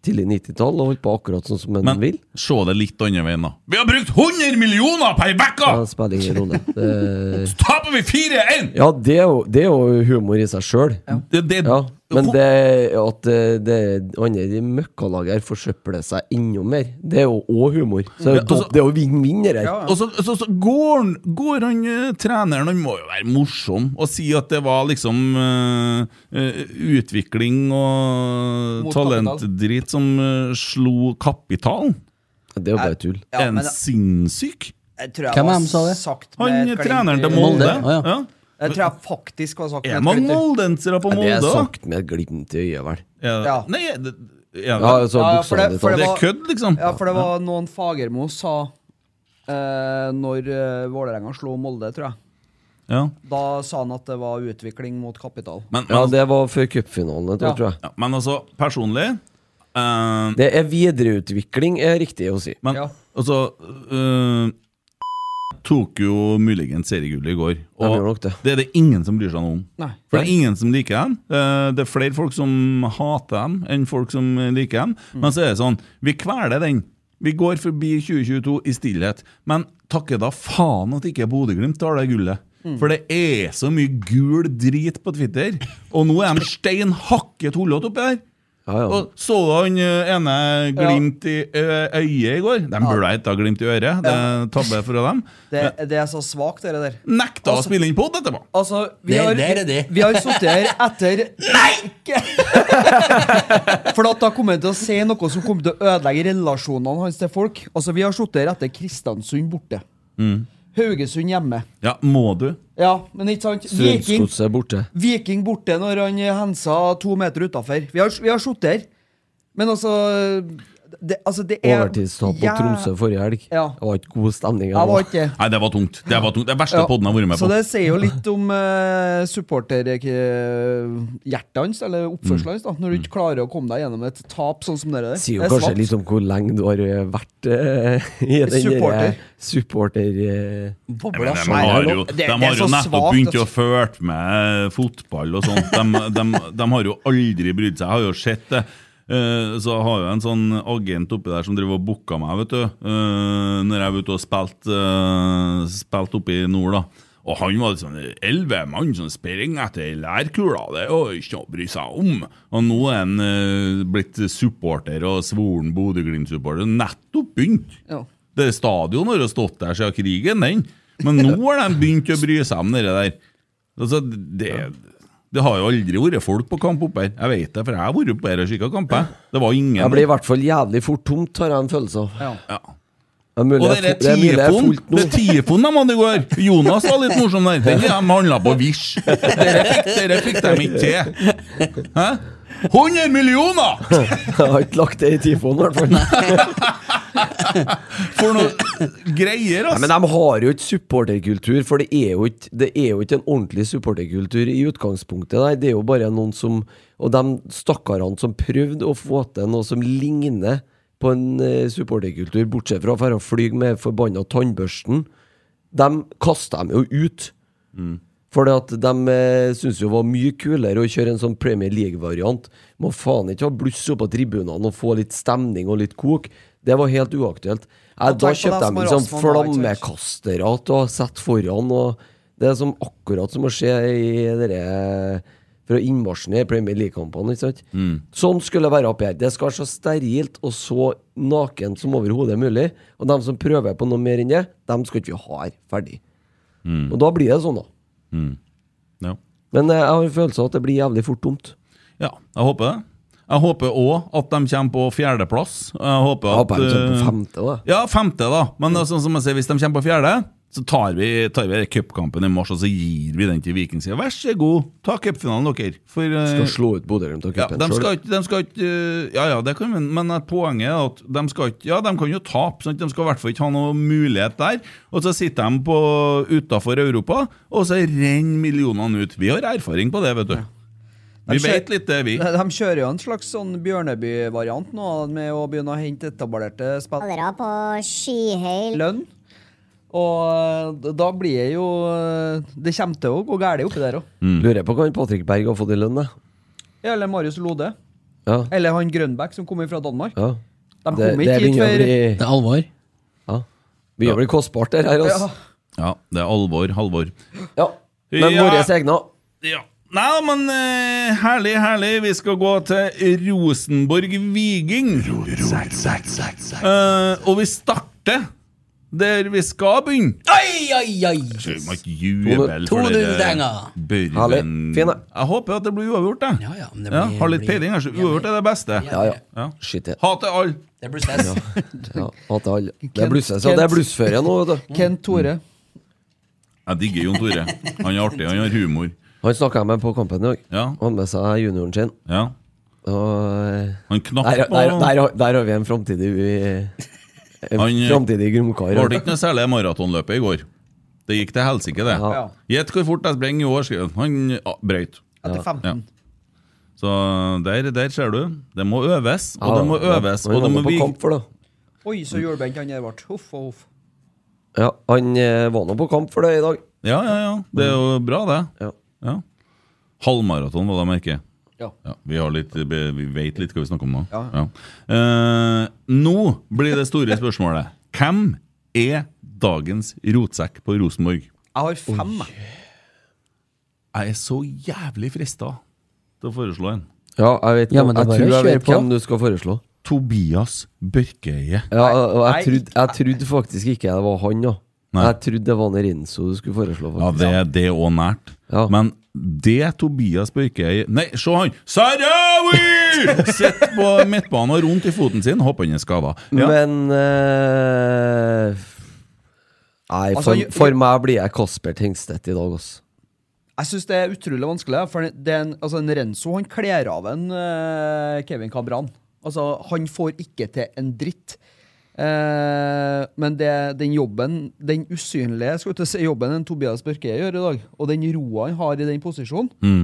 [SPEAKER 4] tidlig 90-tall og holdt på akkurat sånn som han
[SPEAKER 3] Men
[SPEAKER 4] vil.
[SPEAKER 3] se det litt andre veien, da. Vi har brukt 100 millioner per uke!
[SPEAKER 4] Det spiller ingen rolle. Det,
[SPEAKER 3] Så taper vi 4-1!
[SPEAKER 4] ja, det er, jo, det er jo humor i seg sjøl.
[SPEAKER 3] Det, det,
[SPEAKER 4] Ja, men det at eh, det andre de møkkalaget her forsøpler seg enda mer, det er jo òg humor. Så
[SPEAKER 3] Ja,
[SPEAKER 4] det er jo
[SPEAKER 3] altså-
[SPEAKER 4] dob- det er jo vinn-vinn, det her.
[SPEAKER 3] Og så, så, så går, han, går han eh, treneren Han må jo være morsom og si at det var liksom eh, eh, utvikling og
[SPEAKER 6] Mot
[SPEAKER 3] talentdrit som eh, slo kapitalen.
[SPEAKER 4] Det er jo bare tull.
[SPEAKER 6] Ja,
[SPEAKER 3] en
[SPEAKER 6] men
[SPEAKER 3] sinnssyk!
[SPEAKER 6] jeg tror jeg
[SPEAKER 5] Hvem er
[SPEAKER 6] var
[SPEAKER 5] han sa det?
[SPEAKER 6] sagt med
[SPEAKER 3] Han
[SPEAKER 6] et
[SPEAKER 3] er
[SPEAKER 6] glimt
[SPEAKER 3] treneren
[SPEAKER 6] i-
[SPEAKER 3] til Molde.
[SPEAKER 5] Molde, å ja.
[SPEAKER 3] Ja.
[SPEAKER 6] Jeg tror jeg faktisk var sagt
[SPEAKER 3] Er
[SPEAKER 6] et
[SPEAKER 3] mange
[SPEAKER 6] glimt i-
[SPEAKER 3] moldensere på
[SPEAKER 4] Ja, Det
[SPEAKER 3] Molde?
[SPEAKER 4] er
[SPEAKER 3] da?
[SPEAKER 4] sagt med et glimt i øyet, vel.
[SPEAKER 3] Er-
[SPEAKER 6] Ja.
[SPEAKER 3] Nei, det, ja,
[SPEAKER 4] Ja, altså
[SPEAKER 6] Ja, for
[SPEAKER 4] buksene
[SPEAKER 6] det-
[SPEAKER 4] ditt
[SPEAKER 6] for
[SPEAKER 4] da.
[SPEAKER 3] det er
[SPEAKER 6] var-
[SPEAKER 3] kødd, liksom.
[SPEAKER 6] Ja, for det var noen Fagermo sa eh, når eh, Vålerenga slo Molde, tror jeg.
[SPEAKER 3] Ja.
[SPEAKER 6] Da sa han at det var utvikling mot kapital.
[SPEAKER 3] Men, men,
[SPEAKER 4] Ja, det var før cupfinalen, jeg tror,
[SPEAKER 6] Ja.
[SPEAKER 4] tror jeg.
[SPEAKER 3] ja, men altså, personlig eh,
[SPEAKER 4] Det er videreutvikling, er riktig å si.
[SPEAKER 3] Men
[SPEAKER 6] Ja.
[SPEAKER 3] altså øh, Tok jo muligens seriegullet i går.
[SPEAKER 4] De gjorde nok det.
[SPEAKER 3] det er det ingen som bryr seg noe om.
[SPEAKER 6] Nei.
[SPEAKER 3] For det er ingen som liker dem. Eh, Det er flere folk som hater dem, enn folk som liker dem. Men så er det sånn, vi kveler den. Vi går forbi 2022 i stillhet. Men takke da faen at ikke Bodø-Glimt tar det gullet. For det er så mye gul drit på Twitter, og nå er de stein hakket hullete oppi der.
[SPEAKER 4] Ja, ja.
[SPEAKER 3] Og så du han ø, ene glimt i ø, øyet i går? De burde ikke ha glimt i øret. Det er tabbe for dem.
[SPEAKER 6] Det, det er så svakt, det der.
[SPEAKER 3] Nekta å spille inn pod etterpå!
[SPEAKER 6] Altså, vi
[SPEAKER 5] Det-
[SPEAKER 6] har,
[SPEAKER 5] der er det.
[SPEAKER 6] vi har sittet her etter Nei! For at da kommer han til å si noe som kommer til å ødelegge relasjonene hans til folk. Altså, Vi har sittet her etter Kristiansund borte. Haugesund hjemme.
[SPEAKER 3] Ja, må du?
[SPEAKER 6] Ja, men ikke sant? Viking,
[SPEAKER 4] Strømsgodset er borte.
[SPEAKER 6] Viking borte når han hensa to meter utafor. Vi har, vi har sittet her. Men altså det, altså, det er
[SPEAKER 4] Overtidstap på
[SPEAKER 6] Ja.
[SPEAKER 4] Tromsø forrige helg.
[SPEAKER 6] Ja.
[SPEAKER 4] Det var ikke god stemning.
[SPEAKER 6] Jeg var
[SPEAKER 4] altså.
[SPEAKER 6] ikke det.
[SPEAKER 3] Nei, det var tungt. Det var tungt. Det er verste
[SPEAKER 6] Ja.
[SPEAKER 3] podden jeg har vært med
[SPEAKER 6] Så
[SPEAKER 3] på.
[SPEAKER 6] det sier jo litt om uh, supporterhjertet hans, eller oppførselen hans, da, når du ikke klarer å komme deg gjennom et tap sånn som dere der.
[SPEAKER 4] Sier
[SPEAKER 6] Det
[SPEAKER 4] jo
[SPEAKER 6] er
[SPEAKER 4] kanskje
[SPEAKER 6] svakt.
[SPEAKER 4] litt om hvor lenge du har eh, vært eh, i den
[SPEAKER 6] Supporter.
[SPEAKER 4] der supporter eh,
[SPEAKER 3] Men
[SPEAKER 5] Bobla
[SPEAKER 3] de
[SPEAKER 5] svær.
[SPEAKER 3] har jo,
[SPEAKER 6] det-
[SPEAKER 3] de
[SPEAKER 6] det er
[SPEAKER 3] har jo
[SPEAKER 6] så
[SPEAKER 3] nettopp
[SPEAKER 6] svakt,
[SPEAKER 3] begynt å
[SPEAKER 6] altså.
[SPEAKER 3] følge med fotball og sånt. De, de, de har jo aldri brydd seg. Jeg har jo sett det. Eh, Så jeg har jo en sånn agent oppi der som driver og booka meg, vet du. eh, Når jeg var ute og spilte eh, spilte oppe i nord, da. Og han var sånn elleve mann som springer etter ei lærkule. Det er jo ikke å bry seg om. Og nå er han eh, blitt supporter og svoren Bodø-Glimt-supporter. Nettopp begynt.
[SPEAKER 6] Ja.
[SPEAKER 3] Det stadion har jo stått der siden krigen, den. Men nå har de begynt å bry seg om det der. Altså, det, det har jo aldri vært folk på kamp oppe her. Jeg vet det, for jeg har vært oppe her og kikka kamp. jeg. Det var ingen
[SPEAKER 4] Jeg blir i hvert fall jævlig fort tomt, har jeg en følelse av.
[SPEAKER 6] Ja.
[SPEAKER 3] ja.
[SPEAKER 4] Det er mulig
[SPEAKER 3] Og
[SPEAKER 4] jeg
[SPEAKER 3] det der
[SPEAKER 4] fo- det er mulig jeg er
[SPEAKER 3] TIFON,
[SPEAKER 4] fullt nå.
[SPEAKER 3] det TIFON de hadde i går Jonas var litt morsom der. Den har de handla på Vish. Dere fikk, dere fikk dem ikke til. Hæ? 100 millioner!
[SPEAKER 4] Jeg har ikke lagt det i tifoen, i hvert fall.
[SPEAKER 3] For noe greier,
[SPEAKER 4] Nei, men
[SPEAKER 3] altså.
[SPEAKER 4] de har jo ikke supporterkultur, for det er jo ikke, det er jo ikke en ordentlig supporterkultur i utgangspunktet. Nei, det er jo bare noen som Og de stakkarene som prøvde å få til noe som ligner på en eh, supporterkultur, bortsett fra å dra og fly med forbanna tannbørsten, dem kasta dem jo ut. Fordi at de eh, syntes jo det var mye kulere å kjøre en sånn Premier League-variant. Må faen ikke ha bluss opp på tribunene og få litt stemning og litt kok. Det var helt uaktuelt. Jeg,
[SPEAKER 6] Og tenk
[SPEAKER 4] da
[SPEAKER 6] på
[SPEAKER 4] kjøpte
[SPEAKER 6] dem som
[SPEAKER 4] de
[SPEAKER 6] har
[SPEAKER 4] liksom
[SPEAKER 6] astma nå, ikke sant?
[SPEAKER 4] flammekastere til å sette foran. og Det er som akkurat som å se i dere fra innmarsjen i Premier League-kampene. ikke sant? Sånn skulle det være oppi her. Det skal være så sterilt og så nakent som overhodet mulig. Og de som prøver på noe mer enn det, dem skal ikke vi ha her. Ferdig. Og da blir det sånn, da.
[SPEAKER 3] Ja.
[SPEAKER 4] Men eh, jeg har en følelse av at det blir jævlig fort tomt.
[SPEAKER 3] Ja, jeg håper det. Jeg håper òg at de kommer på fjerdeplass. Jeg håper
[SPEAKER 4] Jeg
[SPEAKER 3] at
[SPEAKER 4] håper de kommer på
[SPEAKER 3] eh,
[SPEAKER 4] femte, da.
[SPEAKER 3] Ja, femte, da. Men det er sånn som jeg sier, hvis de kommer på fjerde, så tar vi, tar vi cupkampen i mars og så gir vi den til Viking. Sier, Vær så god, ta cupfinalen, dere. For, eh,
[SPEAKER 4] Skal slå ut Bodø-Glimt og
[SPEAKER 3] ja,
[SPEAKER 4] cupen
[SPEAKER 3] de
[SPEAKER 4] selv.
[SPEAKER 3] skal ikke, de skal ikke eh, Ja ja, det kan vi, men at poenget er at de skal ikke Ja, de kan jo tape, sant? de skal i hvert fall ikke ha noen mulighet der. Og så sitter de utafor Europa, og så renner millionene ut. Vi har erfaring på det, vet du.
[SPEAKER 6] De
[SPEAKER 3] Vi
[SPEAKER 6] skjer-
[SPEAKER 3] vet litt det, vi.
[SPEAKER 6] De de kjører jo en slags sånn Bjørneby-variant nå, med å begynne å hente etablerte spillere
[SPEAKER 7] Aldra på skyhøy
[SPEAKER 6] i lønn. Og eh, da blir det jo eh, Det kommer til å gå galt oppi der òg.
[SPEAKER 3] Mm.
[SPEAKER 4] Lurer på hva han Patrick Berg har fått i lønn, jeg.
[SPEAKER 6] Eller Marius Lode.
[SPEAKER 4] Ja.
[SPEAKER 6] Eller han Grønbæk som kommer fra Danmark.
[SPEAKER 4] ja.
[SPEAKER 6] De
[SPEAKER 4] Det,
[SPEAKER 6] kom
[SPEAKER 4] det
[SPEAKER 6] ikke hit
[SPEAKER 4] begynner å
[SPEAKER 6] før
[SPEAKER 4] bli
[SPEAKER 5] Det er alvor.
[SPEAKER 4] ja. Begynner å bli kostbart, det her, altså.
[SPEAKER 6] Ja.
[SPEAKER 3] Ja, det er alvor, Halvor.
[SPEAKER 4] Ja. Men
[SPEAKER 3] Ja.
[SPEAKER 4] våre egne
[SPEAKER 3] Ja. Nei, men eh, herlig, herlig. Vi skal gå til Rosenborg Viging. Eh, og vi starter der vi skal begynne.
[SPEAKER 5] Oi, oi, oi!
[SPEAKER 3] Vi må ikke jubel for
[SPEAKER 5] To
[SPEAKER 3] det
[SPEAKER 5] nulldenger.
[SPEAKER 3] børven.
[SPEAKER 4] Herlig. Fin, da.
[SPEAKER 3] Jeg håper at det blir uavgjort, jeg.
[SPEAKER 5] Ja, ja, men det
[SPEAKER 3] ja,
[SPEAKER 5] blir-
[SPEAKER 3] har litt
[SPEAKER 5] blir-
[SPEAKER 3] peiling, kanskje. Uavgjort er det beste.
[SPEAKER 4] Ja, ja.
[SPEAKER 3] Ja.
[SPEAKER 4] Shit, ja.
[SPEAKER 3] Ha til alle.
[SPEAKER 5] Det blir stress.
[SPEAKER 4] ja. At det all- Det
[SPEAKER 6] Kent-
[SPEAKER 4] er blusses, ja. Det er blussføre nå, vet du.
[SPEAKER 6] Kent Tore.
[SPEAKER 3] Jeg digger Jon Tore. Han er artig, han har humor.
[SPEAKER 4] Han snakka jeg med på kampen i dag.
[SPEAKER 3] Ja.
[SPEAKER 4] Han med seg junioren sin.
[SPEAKER 3] Ja.
[SPEAKER 4] Og eh,
[SPEAKER 3] Han knapp
[SPEAKER 4] der, der,
[SPEAKER 3] på
[SPEAKER 4] der, har- der har vi en framtidig En
[SPEAKER 3] Han, eh,
[SPEAKER 4] framtidig gromkar.
[SPEAKER 3] Det ble ikke noe særlig maratonløpet i går. Det gikk til helsike, det.
[SPEAKER 4] Ja.
[SPEAKER 6] Ja.
[SPEAKER 3] Gjett hvor fort jeg sprenger i år, skrev han. Han ja, brøyt.
[SPEAKER 6] Etter 15.
[SPEAKER 3] Ja. Så der, der ser du. Det må øves, og
[SPEAKER 4] Ja,
[SPEAKER 3] det må
[SPEAKER 4] ja.
[SPEAKER 3] øves.
[SPEAKER 4] Han
[SPEAKER 3] Og det
[SPEAKER 4] var
[SPEAKER 3] må
[SPEAKER 4] på
[SPEAKER 3] vi...
[SPEAKER 4] kamp for det.
[SPEAKER 6] Oi, så hjulbeint han der ble. Huff og huff.
[SPEAKER 4] Ja, han eh, var nå på kamp for det i dag.
[SPEAKER 3] Ja, ja, ja. Det er jo bra, det.
[SPEAKER 4] Ja.
[SPEAKER 3] Ja. Halvmaraton var det merket.
[SPEAKER 6] Ja.
[SPEAKER 3] Ja, vi, har litt, vi vet litt hva vi snakker om nå.
[SPEAKER 6] Ja.
[SPEAKER 3] Eh, nå blir det store spørsmålet. Hvem er dagens rotsekk på Rosenborg?
[SPEAKER 6] Jeg har fem. jeg.
[SPEAKER 3] Jeg er så jævlig frista til å foreslå en.
[SPEAKER 4] Ja, jeg vet
[SPEAKER 5] Ja,
[SPEAKER 4] hvem-
[SPEAKER 5] men
[SPEAKER 4] Jeg
[SPEAKER 5] det er bare
[SPEAKER 4] tror
[SPEAKER 5] å
[SPEAKER 4] jeg vet
[SPEAKER 5] kjøre på.
[SPEAKER 4] hvem du skal foreslå.
[SPEAKER 3] Tobias Børkeøye.
[SPEAKER 4] Ja, og jeg
[SPEAKER 6] Nei.
[SPEAKER 4] trodde, jeg trodde faktisk ikke det var han, da.
[SPEAKER 3] Nei.
[SPEAKER 4] Jeg trodde det var en Renzo du skulle foreslå.
[SPEAKER 3] Ja,
[SPEAKER 4] faktisk.
[SPEAKER 3] det, det er òg nært.
[SPEAKER 4] Ja.
[SPEAKER 3] Men det Tobias Børkeøye Nei, se han! Sarawi! Sitter på midtbanen og rundt i foten sin. Håper han er skada. Ja.
[SPEAKER 4] Men eh, Nei, for,
[SPEAKER 6] Altså,
[SPEAKER 4] for meg blir jeg Kasper Tengstedt i dag, ass.
[SPEAKER 6] Jeg syns det er utrolig vanskelig. For det er en, altså en Renzo han kler av en eh, Kevin Cabran. Altså, han får ikke til en dritt. Eh, men det, den jobben, den usynlige skal til å si, jobben en Tobias Børke gjør i dag, og den roa han har i den posisjonen,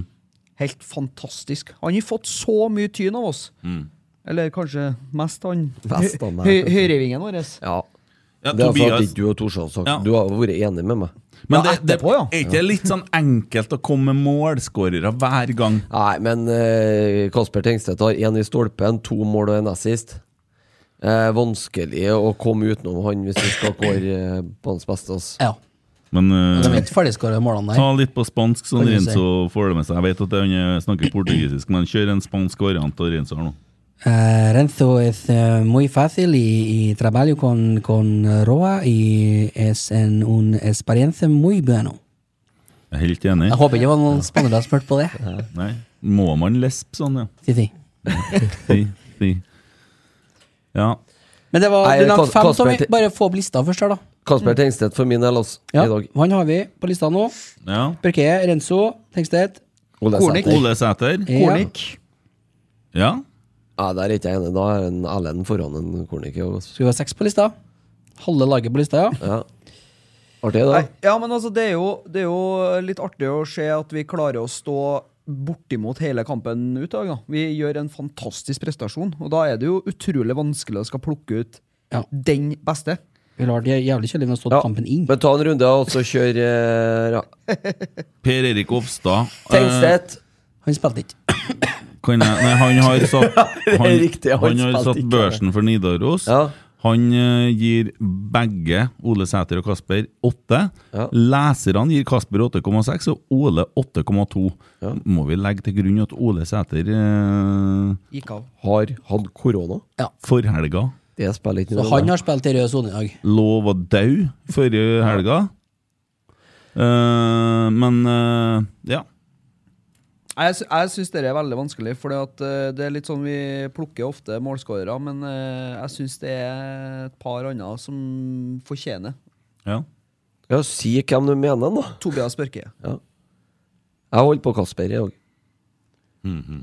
[SPEAKER 6] helt fantastisk. Han har fått så mye tyn av oss. Eller kanskje mest han
[SPEAKER 4] Mest han, ja,
[SPEAKER 6] høy-
[SPEAKER 4] kanskje.
[SPEAKER 6] høyrevingen vår.
[SPEAKER 4] Ja.
[SPEAKER 3] Ja,
[SPEAKER 4] Det er for at
[SPEAKER 3] Tobias.
[SPEAKER 4] ikke du og Torsson sagt
[SPEAKER 3] Ja.
[SPEAKER 4] Du har vært enig med meg.
[SPEAKER 3] Men
[SPEAKER 6] Ja,
[SPEAKER 3] det, det,
[SPEAKER 6] etterpå, ja.
[SPEAKER 3] er ikke det litt sånn enkelt å komme med målskårere hver gang?
[SPEAKER 4] Nei, men eh, Kasper Tengstedt har én i stolpen, to mål og en assist. Eh, vanskelig å komme utenom han hvis du skal kåre eh, banens beste. ass.
[SPEAKER 5] Ja.
[SPEAKER 3] Men eh,
[SPEAKER 5] De er ikke ferdigskåra målene
[SPEAKER 3] ta
[SPEAKER 5] der.
[SPEAKER 3] litt på spansk, sånn
[SPEAKER 5] Kan du si.
[SPEAKER 3] Renzo får det med seg. Jeg vet at han eh, snakker portugisisk, men kjør en spansk variant av Renzo her nå.
[SPEAKER 5] Eh, Renzo es eh, muy fácil y, y trabajo con, con Roa y es en un experiencia muy bueno.
[SPEAKER 3] Jeg er helt enig.
[SPEAKER 5] Jeg håper ikke det var noen spandere som hørte på det.
[SPEAKER 3] Nei. Må man lespe sånn, ja?
[SPEAKER 5] Si, si.
[SPEAKER 3] Si, si. Ja.
[SPEAKER 5] Men det var
[SPEAKER 4] Nei,
[SPEAKER 5] du nevnte
[SPEAKER 4] Kas-
[SPEAKER 5] fem,
[SPEAKER 4] Kasper
[SPEAKER 5] så vi
[SPEAKER 4] til-
[SPEAKER 5] bare få opp lista først her, da.
[SPEAKER 4] Kasper Tengstedt for min del, ass,
[SPEAKER 5] Mm. Ja,
[SPEAKER 4] i dag.
[SPEAKER 5] han har vi på lista nå.
[SPEAKER 3] ja.
[SPEAKER 5] Børke, Renzo, Tengstedt.
[SPEAKER 4] Ole
[SPEAKER 6] Kornik.
[SPEAKER 4] Sæter.
[SPEAKER 3] Ole Sæter.
[SPEAKER 5] Ja.
[SPEAKER 3] Ja.
[SPEAKER 4] Ja, der er ikke jeg enig. Da er en Erlend foran en Kornik. i dag, ass.
[SPEAKER 5] Så vi har seks på lista. Halve laget på lista, ja.
[SPEAKER 4] Ja. Artig, da.
[SPEAKER 6] Nei, ja, men altså, det er, jo, det er jo litt artig å se at vi klarer å stå bortimot hele kampen ut. i dag, Da. Vi gjør en fantastisk prestasjon, og da er det jo utrolig vanskelig å skal plukke ut
[SPEAKER 5] Ja.
[SPEAKER 6] den beste.
[SPEAKER 5] Vi har vært jævlig kjedelig når vi har stått
[SPEAKER 4] Ja,
[SPEAKER 5] kampen inn.
[SPEAKER 4] Men ta en runde og så kjør eh, ja.
[SPEAKER 3] Per Erik Ofstad. Eh,
[SPEAKER 4] Tengstedt.
[SPEAKER 5] Han spilte ikke.
[SPEAKER 3] kan jeg, nei, han har satt, han,
[SPEAKER 4] riktig, han
[SPEAKER 3] han har
[SPEAKER 4] spilte
[SPEAKER 3] satt
[SPEAKER 4] ikke.
[SPEAKER 3] børsen for Nidaros.
[SPEAKER 4] Ja.
[SPEAKER 3] Han eh, gir begge, Ole Sæter og Kasper, 8.
[SPEAKER 4] Ja.
[SPEAKER 3] Leserne gir Kasper 8,6 og Ole 8,2. Må vi legge til grunn at Ole Sæter eh,
[SPEAKER 6] Gikk av.
[SPEAKER 4] Har hatt korona.
[SPEAKER 3] for helga
[SPEAKER 4] Det spiller ikke
[SPEAKER 5] Så
[SPEAKER 4] noe
[SPEAKER 5] han har spilt i rød sone i dag.
[SPEAKER 3] lå og var død forrige helga? Eh, men eh, ja.
[SPEAKER 6] Jeg, sy- jeg syns det er veldig vanskelig, for det er litt sånn vi plukker ofte målskårere, men eh, jeg syns det er et par andre som fortjener.
[SPEAKER 3] ja.
[SPEAKER 4] Ja, Si hvem du mener, da.
[SPEAKER 6] Tobias Børke.
[SPEAKER 4] Jeg holder på Kasper i dag.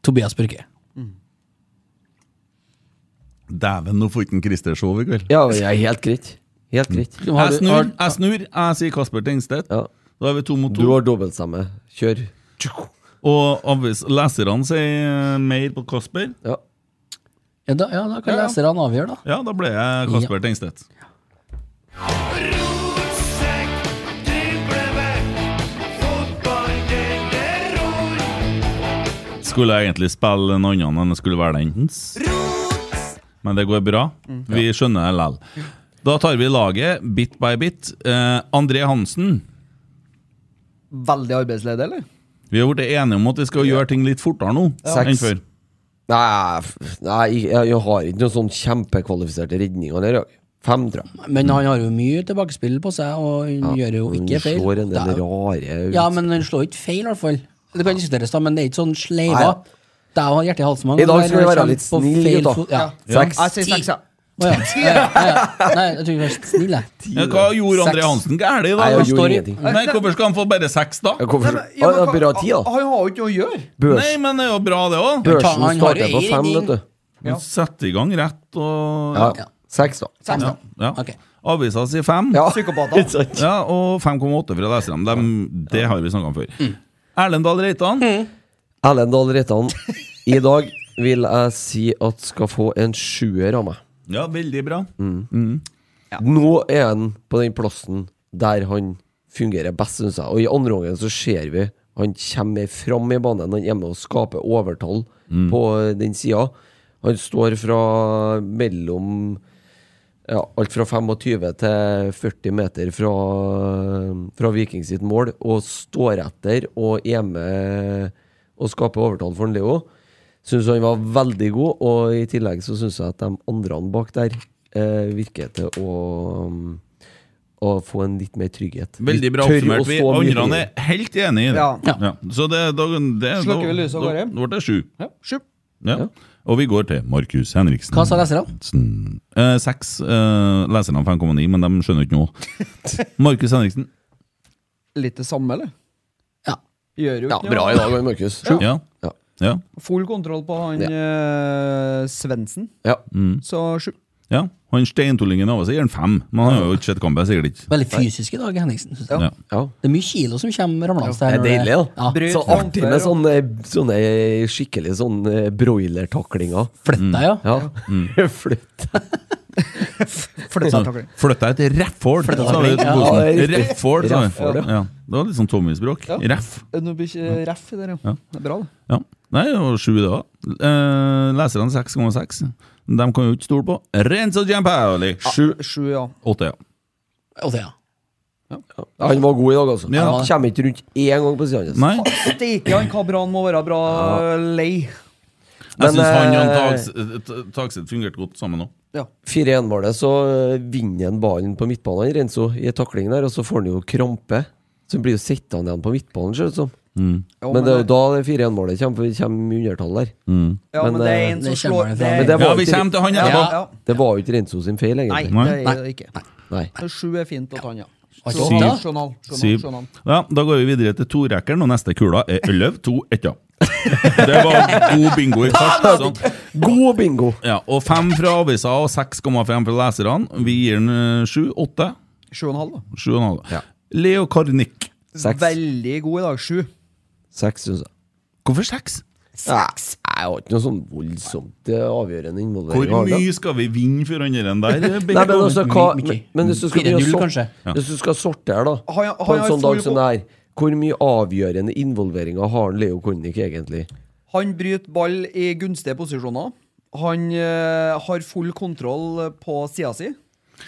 [SPEAKER 5] Tobias Børke.
[SPEAKER 3] Dæven, nå får ikke en Christer sove i kveld.
[SPEAKER 4] Ja, jeg er helt greit. Helt greit.
[SPEAKER 5] Har
[SPEAKER 3] Jeg
[SPEAKER 5] du-
[SPEAKER 3] snur,
[SPEAKER 5] har-
[SPEAKER 3] jeg snur. Jeg sier Kasper Tengstedt.
[SPEAKER 4] Ja.
[SPEAKER 3] Da er vi to mot
[SPEAKER 4] Du
[SPEAKER 3] to.
[SPEAKER 4] har dobbeltstemme. Kjør.
[SPEAKER 3] Og avvis- leserne sier eh, mer på Kasper.
[SPEAKER 4] Ja.
[SPEAKER 5] Ja, da, ja, da kan
[SPEAKER 3] Ja, ja.
[SPEAKER 5] leserne avgjøre, da.
[SPEAKER 3] Ja, da ble jeg Kasper Tengstedt.
[SPEAKER 1] Rotsekk, driblevekk, fotball, det er rot.
[SPEAKER 3] Skulle jeg egentlig spille en annen enn det skulle være den. Men det går bra.
[SPEAKER 4] Mm.
[SPEAKER 3] Vi skjønner det likevel. Da tar vi laget bit by bit. Eh, André Hansen.
[SPEAKER 6] Veldig arbeidsledig, eller?
[SPEAKER 3] Vi har blitt enige om at vi skal gjøre ting litt fortere nå enn
[SPEAKER 4] Seks.
[SPEAKER 3] før.
[SPEAKER 4] Nei, f- nei jeg, jeg har ikke noen sånn kjempekvalifiserte redninger der, jeg. Fem, tror jeg.
[SPEAKER 5] Men han har jo mye tilbakespill på seg, og han gjør jo ikke feil.
[SPEAKER 4] Hun slår en
[SPEAKER 5] Det er
[SPEAKER 4] del
[SPEAKER 5] jo-
[SPEAKER 4] rare ut.
[SPEAKER 5] Ja, men han slår ikke feil, i hvert fall. Det kan diskuteres, da, men det er ikke sånn sleiva.
[SPEAKER 4] Nei.
[SPEAKER 5] Det er jo hjertet i halsen.
[SPEAKER 4] I dag skal vi være litt
[SPEAKER 5] snille
[SPEAKER 4] snille, gutta.
[SPEAKER 5] Ja.
[SPEAKER 4] Seks.
[SPEAKER 6] Jeg sier seks, ja.
[SPEAKER 5] Å, ja. Ja, ja, ja. Nei, jeg tror jeg var snill, jeg.
[SPEAKER 3] Ja, hva gjorde André
[SPEAKER 5] Seks.
[SPEAKER 3] Hansen galt i
[SPEAKER 4] Nei,
[SPEAKER 3] dag?
[SPEAKER 4] jeg gjorde
[SPEAKER 5] Står i-
[SPEAKER 4] ingenting.
[SPEAKER 3] da? Nei, hvorfor skal han få bare seks, da?
[SPEAKER 4] Ja, Hvorfor?
[SPEAKER 6] Nei, men-
[SPEAKER 4] Ja, det
[SPEAKER 6] hva-
[SPEAKER 4] er bra tid, da.
[SPEAKER 6] Han har jo ikke noe å gjøre!
[SPEAKER 4] Børs,
[SPEAKER 3] Nei, men det er jo bra, det òg.
[SPEAKER 5] tar-
[SPEAKER 4] børsen
[SPEAKER 5] han har
[SPEAKER 4] starter på
[SPEAKER 5] jo
[SPEAKER 4] fem,
[SPEAKER 5] ingenting.
[SPEAKER 4] vet du.
[SPEAKER 3] Sette i gang rett og
[SPEAKER 4] Ja.
[SPEAKER 5] Ja.
[SPEAKER 4] Seks, da.
[SPEAKER 5] Seks, da.
[SPEAKER 3] ja.
[SPEAKER 5] Ok.
[SPEAKER 3] Avisa sier fem.
[SPEAKER 4] Ja.
[SPEAKER 6] Psykopater.
[SPEAKER 4] Ikke sant?
[SPEAKER 3] Ja, og 5,8 fra leserne. Dem- det har vi snakka om før.
[SPEAKER 4] Mm.
[SPEAKER 3] Erlend Dahl Reitan.
[SPEAKER 4] Erlend Dahl Reitan, i dag vil jeg si at skal få en sjuer av meg.
[SPEAKER 3] Ja, veldig bra.
[SPEAKER 4] Mm. Nå er han på den plassen der han fungerer best, syns jeg. Og i andre omgang så ser vi han kommer mer fram i banen. Han er med og skaper overtall på den sida. Han står fra mellom ja, alt fra 25 til 40 meter fra, fra Viking sitt mål, og står etter og er med og skaper overtall for en Leo. Syns han var veldig god, og i tillegg så syns jeg at de andre bak der eh, virker til å um, å få en litt mer trygghet. Vi
[SPEAKER 3] Veldig bra
[SPEAKER 4] tør å
[SPEAKER 3] oppsummert. Vi
[SPEAKER 4] stå mye
[SPEAKER 3] andre
[SPEAKER 4] høyere.
[SPEAKER 3] er helt enig i det.
[SPEAKER 6] Ja.
[SPEAKER 5] Ja.
[SPEAKER 3] Så det, da, det,
[SPEAKER 6] Slukker
[SPEAKER 3] da-
[SPEAKER 6] vi lyset og
[SPEAKER 3] da-
[SPEAKER 6] går hjem?
[SPEAKER 3] Da ble det sju.
[SPEAKER 6] Ja, sju.
[SPEAKER 3] Ja. Og vi går til Markus Henriksen.
[SPEAKER 5] Hva sa leserne?
[SPEAKER 3] Henriksen. Eh, seks. Eh, leserne 5,9, men de skjønner ikke noe. Markus Henriksen.
[SPEAKER 6] Litt det samme, eller?
[SPEAKER 5] Ja.
[SPEAKER 6] Gjør jo
[SPEAKER 4] Ja,
[SPEAKER 6] ikke noe.
[SPEAKER 4] bra i dag, Markus. Ja.
[SPEAKER 3] Ja.
[SPEAKER 4] Ja.
[SPEAKER 3] Ja.
[SPEAKER 6] Full kontroll på han eh, Svendsen,
[SPEAKER 4] Ja.
[SPEAKER 6] så sju.
[SPEAKER 3] ja. Han Steintullingen over seg gir han fem, men han har jo ikke sett kampen, sikkert ikke.
[SPEAKER 5] Veldig fysisk i dag, Henningsen. synes jeg.
[SPEAKER 3] Ja.
[SPEAKER 4] ja.
[SPEAKER 5] Det er mye kilo som kommer ramlende
[SPEAKER 4] Det
[SPEAKER 5] her.
[SPEAKER 4] er
[SPEAKER 5] når
[SPEAKER 4] deilig, da.
[SPEAKER 5] Ja,
[SPEAKER 6] Bryt
[SPEAKER 4] Så artig
[SPEAKER 6] fronter
[SPEAKER 4] med
[SPEAKER 6] og-
[SPEAKER 4] sånne, sånne skikkelig sånne broilertaklinger.
[SPEAKER 5] Flytt deg, ja.
[SPEAKER 4] Ja. Flytt.
[SPEAKER 6] Flytt
[SPEAKER 3] Sånn,
[SPEAKER 6] seg, takk.
[SPEAKER 3] Flytt deg til Refford, sa Sånn vi til
[SPEAKER 5] Ja,
[SPEAKER 3] Bosen.
[SPEAKER 4] det er riktig.
[SPEAKER 3] Refford, sa vi.
[SPEAKER 4] Refford, ja.
[SPEAKER 3] Ja. Det var litt sånn Tommy-språk.
[SPEAKER 6] Ja.
[SPEAKER 3] Reff.
[SPEAKER 6] Nå blir ikke eh, ref i det, ja. Det er bra, det.
[SPEAKER 3] Ja. Nei, det var sju det òg. Eh, leserne 6,6. De kan jo ikke stole på. Renzo Giampaoli! Sju.
[SPEAKER 6] Sju, ja.
[SPEAKER 3] Åtte, ja.
[SPEAKER 4] Mm.
[SPEAKER 5] Og det, ja.
[SPEAKER 4] Han var god i dag, altså.
[SPEAKER 3] Ja.
[SPEAKER 4] Kommer ikke rundt én gang på sida hans.
[SPEAKER 3] Nei,
[SPEAKER 6] Steike, han Kabran må være bra lei.
[SPEAKER 3] jeg
[SPEAKER 4] Men,
[SPEAKER 3] syns han og
[SPEAKER 4] eh,
[SPEAKER 3] Tags- T- Tagseth fungerte godt sammen òg.
[SPEAKER 6] Ja.
[SPEAKER 4] 4-1-målet, så øh, vinner han ballen på midtbanen, Renzo, i en takling der, og så får han jo krampe. Så blir jo sittende igjen på midtbanen, ser det ut som.
[SPEAKER 3] Mm.
[SPEAKER 6] Ja,
[SPEAKER 4] Men det er jo da det 4-1-målet kommer, for vi kommer i undertall der.
[SPEAKER 3] Mm.
[SPEAKER 6] ja, men
[SPEAKER 4] men,
[SPEAKER 6] det er
[SPEAKER 4] eh,
[SPEAKER 6] en som
[SPEAKER 5] det kommer
[SPEAKER 6] slår
[SPEAKER 5] det fra.
[SPEAKER 6] det er-
[SPEAKER 4] Men det
[SPEAKER 3] Ja, Sånn,
[SPEAKER 4] var,
[SPEAKER 3] vi
[SPEAKER 4] jo
[SPEAKER 3] kommer
[SPEAKER 4] ikke,
[SPEAKER 3] til han
[SPEAKER 6] ja,
[SPEAKER 3] etterpå!
[SPEAKER 6] ja.
[SPEAKER 4] det var jo ikke Renzo sin feil,
[SPEAKER 6] Nei,
[SPEAKER 4] egentlig.
[SPEAKER 3] Nei.
[SPEAKER 6] det er det ikke.
[SPEAKER 4] Nei.
[SPEAKER 6] Så sju er fint å ta han, ja.
[SPEAKER 5] Var ikke
[SPEAKER 6] Journal,
[SPEAKER 5] åtte, da?
[SPEAKER 6] journal, journal,
[SPEAKER 3] Syv.
[SPEAKER 6] journal.
[SPEAKER 3] sånn, Ja, da går vi videre til torekkeren, og neste kula er elleve, to, ett, ja. Det var god bingo i kart. sånn.
[SPEAKER 4] God bingo!
[SPEAKER 3] Ja, og fem fra avisa og 6,5 fra leserne. Vi gir den eh, sju, åtte,
[SPEAKER 6] Sju og en halv, da.
[SPEAKER 3] sju og en halv. Leo Karnik.
[SPEAKER 4] Seks.
[SPEAKER 6] Veldig god i dag. Sju.
[SPEAKER 4] Seks, syns jeg.
[SPEAKER 3] Hvorfor seks?
[SPEAKER 4] Seks? Jeg har ikke noe sånn voldsomt eh, avgjørende involvering.
[SPEAKER 3] Hvor
[SPEAKER 4] har jeg, da.
[SPEAKER 3] mye skal vi vinne for han der? eh, Nei,
[SPEAKER 4] Nei, men altså, hva,
[SPEAKER 5] Mye, mye.
[SPEAKER 4] men, men hvis du skal,
[SPEAKER 5] 4-0
[SPEAKER 4] begynne å
[SPEAKER 5] kanskje?
[SPEAKER 4] sort, hvis du skal sortere, da,
[SPEAKER 6] Har jeg-
[SPEAKER 4] på
[SPEAKER 6] har
[SPEAKER 4] en
[SPEAKER 6] jeg
[SPEAKER 4] sånn dag
[SPEAKER 6] full
[SPEAKER 4] som
[SPEAKER 6] på-
[SPEAKER 4] det her, hvor mye avgjørende involveringer har han Leo Kornik egentlig?
[SPEAKER 6] Han bryter ball i gunstige posisjoner. Han eh, har full kontroll på sida si.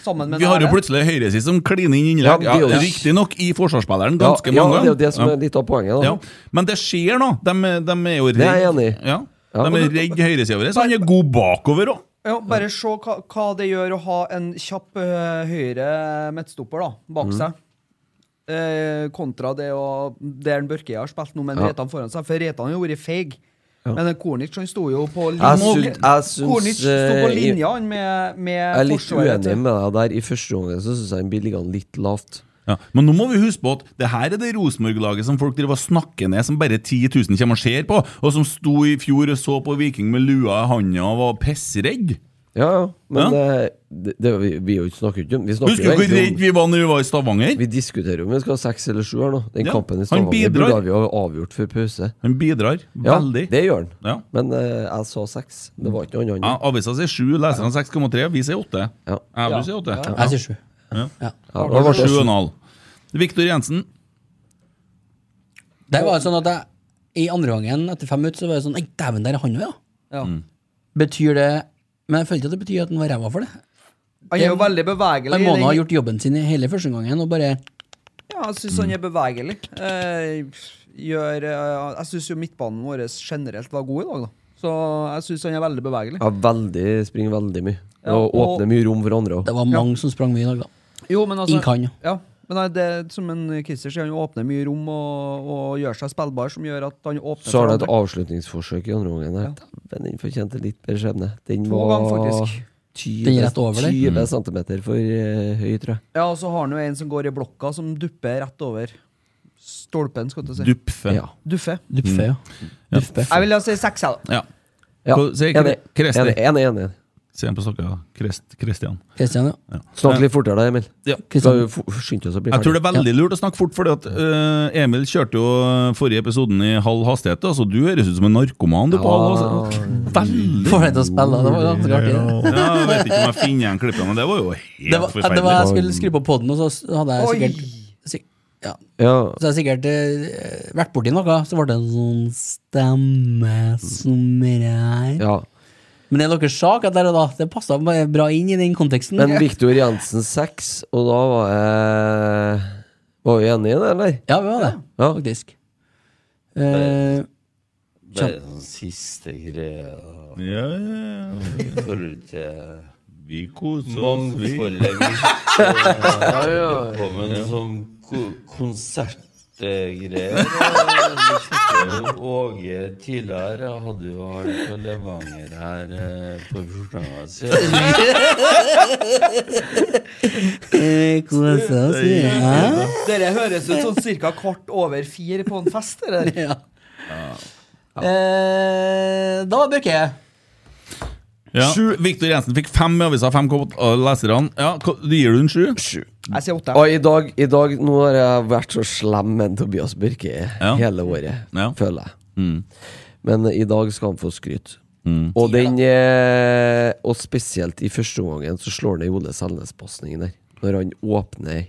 [SPEAKER 6] Sammen med
[SPEAKER 3] Vi har jo
[SPEAKER 6] Nære.
[SPEAKER 3] plutselig høyreside som kliner inn innlegg. Ja,
[SPEAKER 4] Ja, det er jo-
[SPEAKER 3] Riktignok i forsvarsspilleren,
[SPEAKER 4] Ja,
[SPEAKER 3] ganske
[SPEAKER 4] ja,
[SPEAKER 3] mange
[SPEAKER 4] det er jo det
[SPEAKER 3] ganger.
[SPEAKER 4] som er litt av poenget. da
[SPEAKER 3] Ja. Men det skjer nå. De, de er jo
[SPEAKER 4] Det er jeg
[SPEAKER 3] redde.
[SPEAKER 4] enig i.
[SPEAKER 3] Ja.
[SPEAKER 4] Ja.
[SPEAKER 3] De er redde høyresida vår, så han er god bakover òg.
[SPEAKER 6] Ja, bare se hva, hva det gjør å ha en kjapp eh, høyre midtstopper da,
[SPEAKER 4] Mm.
[SPEAKER 6] bak seg. Eh, kontra det å Det en Børke har spilt nå, men
[SPEAKER 4] Ja.
[SPEAKER 6] Reitan foran seg. For Reitan har jo vært feig. Men Kornic han sto jo på
[SPEAKER 4] Jeg
[SPEAKER 6] linja.
[SPEAKER 4] syns- jeg syns,
[SPEAKER 6] Kornic sto på
[SPEAKER 4] eh,
[SPEAKER 6] linja han med, med
[SPEAKER 4] Jeg er litt
[SPEAKER 6] forsvaret til-
[SPEAKER 4] uenig med deg der. I første omgang så syns jeg han blir liggende litt lavt.
[SPEAKER 3] Ja. Men nå må vi huske på at det her er det Rosenborg-laget som folk driver og snakker ned, som bare 10 000 kommer og ser på, og som sto i fjor og så på Viking med lua i handa og var pissredd.
[SPEAKER 4] Ja, ja, men
[SPEAKER 3] Ja.
[SPEAKER 4] eh, Det, det, vi, vi jo ikke snakker ikke om Vi snakker
[SPEAKER 3] Husker
[SPEAKER 4] jo
[SPEAKER 3] du hvor redd
[SPEAKER 4] egentlig om
[SPEAKER 3] vi var når vi var i Stavanger?
[SPEAKER 4] Vi diskuterer om vi skal ha seks eller sju her nå. Den
[SPEAKER 3] Ja,
[SPEAKER 4] kampen i
[SPEAKER 3] han
[SPEAKER 4] Stavanger
[SPEAKER 3] bidrar.
[SPEAKER 4] burde vi ha avgjort før pause.
[SPEAKER 3] Han bidrar
[SPEAKER 4] Ja,
[SPEAKER 3] veldig.
[SPEAKER 4] det gjør han.
[SPEAKER 3] Ja.
[SPEAKER 4] Men eh, jeg sa seks. Det var ikke noe
[SPEAKER 3] Ja,
[SPEAKER 4] annet.
[SPEAKER 3] Avisa sier 7, leserne 6,3, vi sier 8.
[SPEAKER 4] Ja.
[SPEAKER 3] Jeg vil si 8.
[SPEAKER 5] Jeg sier sju.
[SPEAKER 4] Ja, da ble det sju.
[SPEAKER 3] 7,5. Viktor Jensen.
[SPEAKER 5] Det var jo sånn at jeg, I andre gangen, etter fem minutter, så var jeg sånn Nei, dæven, der er han òg, ja.
[SPEAKER 6] Ja.
[SPEAKER 4] Mm.
[SPEAKER 5] Betyr det Men jeg følte ikke at det betyr at han var ræva for det.
[SPEAKER 6] Han er jo veldig bevegelig.
[SPEAKER 5] Han må nå ha
[SPEAKER 6] i den-
[SPEAKER 5] gjort jobben sin i hele første gangen og bare
[SPEAKER 6] Ja, jeg syns han er
[SPEAKER 4] Mm.
[SPEAKER 6] bevegelig. Eh, gjør, eh, jeg syns jo midtbanen vår generelt var god i dag, da. Så jeg syns han er veldig bevegelig.
[SPEAKER 4] Ja, veldig, springer veldig mye.
[SPEAKER 6] Ja,
[SPEAKER 4] og
[SPEAKER 6] og-
[SPEAKER 4] åpner mye rom for andre òg.
[SPEAKER 5] Det var mange som sprang mye i dag, da.
[SPEAKER 6] Jo, men altså
[SPEAKER 5] Ingen kan, ja.
[SPEAKER 6] ja. Men nei, det er som en Christer sier, han åpner mye rom og, og gjør seg spillbar, som gjør at han åpner
[SPEAKER 4] Så
[SPEAKER 6] for
[SPEAKER 4] har det
[SPEAKER 6] andre.
[SPEAKER 4] et avslutningsforsøk i andre omgang. der. Men den fortjente litt bedre skjebne. Den
[SPEAKER 6] To
[SPEAKER 4] var
[SPEAKER 6] ganger, faktisk.
[SPEAKER 4] 20,
[SPEAKER 5] Den er rett over der.
[SPEAKER 4] 20 centimeter for eh, høy, tror jeg.
[SPEAKER 6] Ja, og så har han jo en som går i blokka, som dupper rett over stolpen, skal du si.
[SPEAKER 3] Dupfe.
[SPEAKER 4] Ja.
[SPEAKER 6] Duffe.
[SPEAKER 4] Mm.
[SPEAKER 5] Duffe, ja. Duffe.
[SPEAKER 6] Jeg vil da si seks, jeg, da.
[SPEAKER 3] Ja.
[SPEAKER 4] Ja,
[SPEAKER 3] Hva sier
[SPEAKER 4] enig.
[SPEAKER 3] Kre- Kresti?
[SPEAKER 4] Enig, enig, enig.
[SPEAKER 3] Se igjen på snakka. Krist, Kristian.
[SPEAKER 5] Kristian, ja.
[SPEAKER 4] Snakk litt fortere, da, Emil.
[SPEAKER 3] Ja.
[SPEAKER 4] Vi skal
[SPEAKER 5] Kristian.
[SPEAKER 4] jo fo- skynde oss å bli
[SPEAKER 3] Jeg tror
[SPEAKER 4] ferdig.
[SPEAKER 3] det er veldig lurt å snakke fort, fordi at øh, Emil kjørte jo øh, forrige episoden i halv hastighet. Altså, du høres ut som en narkoman. Du, på halv hastighet. Veldig!
[SPEAKER 5] Får deg til å spille, det var ganske artig. det.
[SPEAKER 3] Ja, jeg vet ikke om jeg finner igjen klippene, men det var jo helt
[SPEAKER 5] Det var,
[SPEAKER 3] forferdelig.
[SPEAKER 5] det var Jeg skulle skru på poden, og så s- hadde jeg
[SPEAKER 6] Oi!
[SPEAKER 5] sikkert sik, ja,
[SPEAKER 4] Ja,
[SPEAKER 5] Så hadde jeg sikkert eh, vært borti noe, så ble det en sånn stemme som er her.
[SPEAKER 4] ja.
[SPEAKER 5] Men det er deres sak at der og da, det passa bare bra inn i den konteksten.
[SPEAKER 4] Men Viktor Jensen seks, og da var jeg Var vi enige i det, eller?
[SPEAKER 5] ja, vi var det,
[SPEAKER 4] Ja.
[SPEAKER 5] faktisk. Eh,
[SPEAKER 7] Bare sånn siste greie. da.
[SPEAKER 3] Ja, ja, ja.
[SPEAKER 7] Forhold til
[SPEAKER 3] Vi koser oss, vi.
[SPEAKER 7] Mangfoldleggelse. Velkommen som ko- konsertgreier. da. Vi kjente jo Åge tidligere Jeg hadde jo han på Levanger her eh, for 14 dager siden.
[SPEAKER 5] Eh, Kose oss, vi. Ja.
[SPEAKER 6] Dere høres ut som cirka kvart over fire på en fest. Eller?
[SPEAKER 5] Ja. Eh, da, Børke.
[SPEAKER 3] Ja. Sju. Victor Jensen fikk fem i avisa, fem kom av leserne. Ja, hva- gir du en sju?
[SPEAKER 4] Sju.
[SPEAKER 6] Jeg sier åtte.
[SPEAKER 4] Og i dag, i dag, nå har jeg vært så slem med en Tobias Børke
[SPEAKER 3] Ja.
[SPEAKER 4] hele året,
[SPEAKER 3] Ja. Mm.
[SPEAKER 4] føler jeg. Men i dag skal han få skryt. Og, den, eh, og spesielt i første omgangen så slår han i Ole Selnes-pasningen der. Når han åpner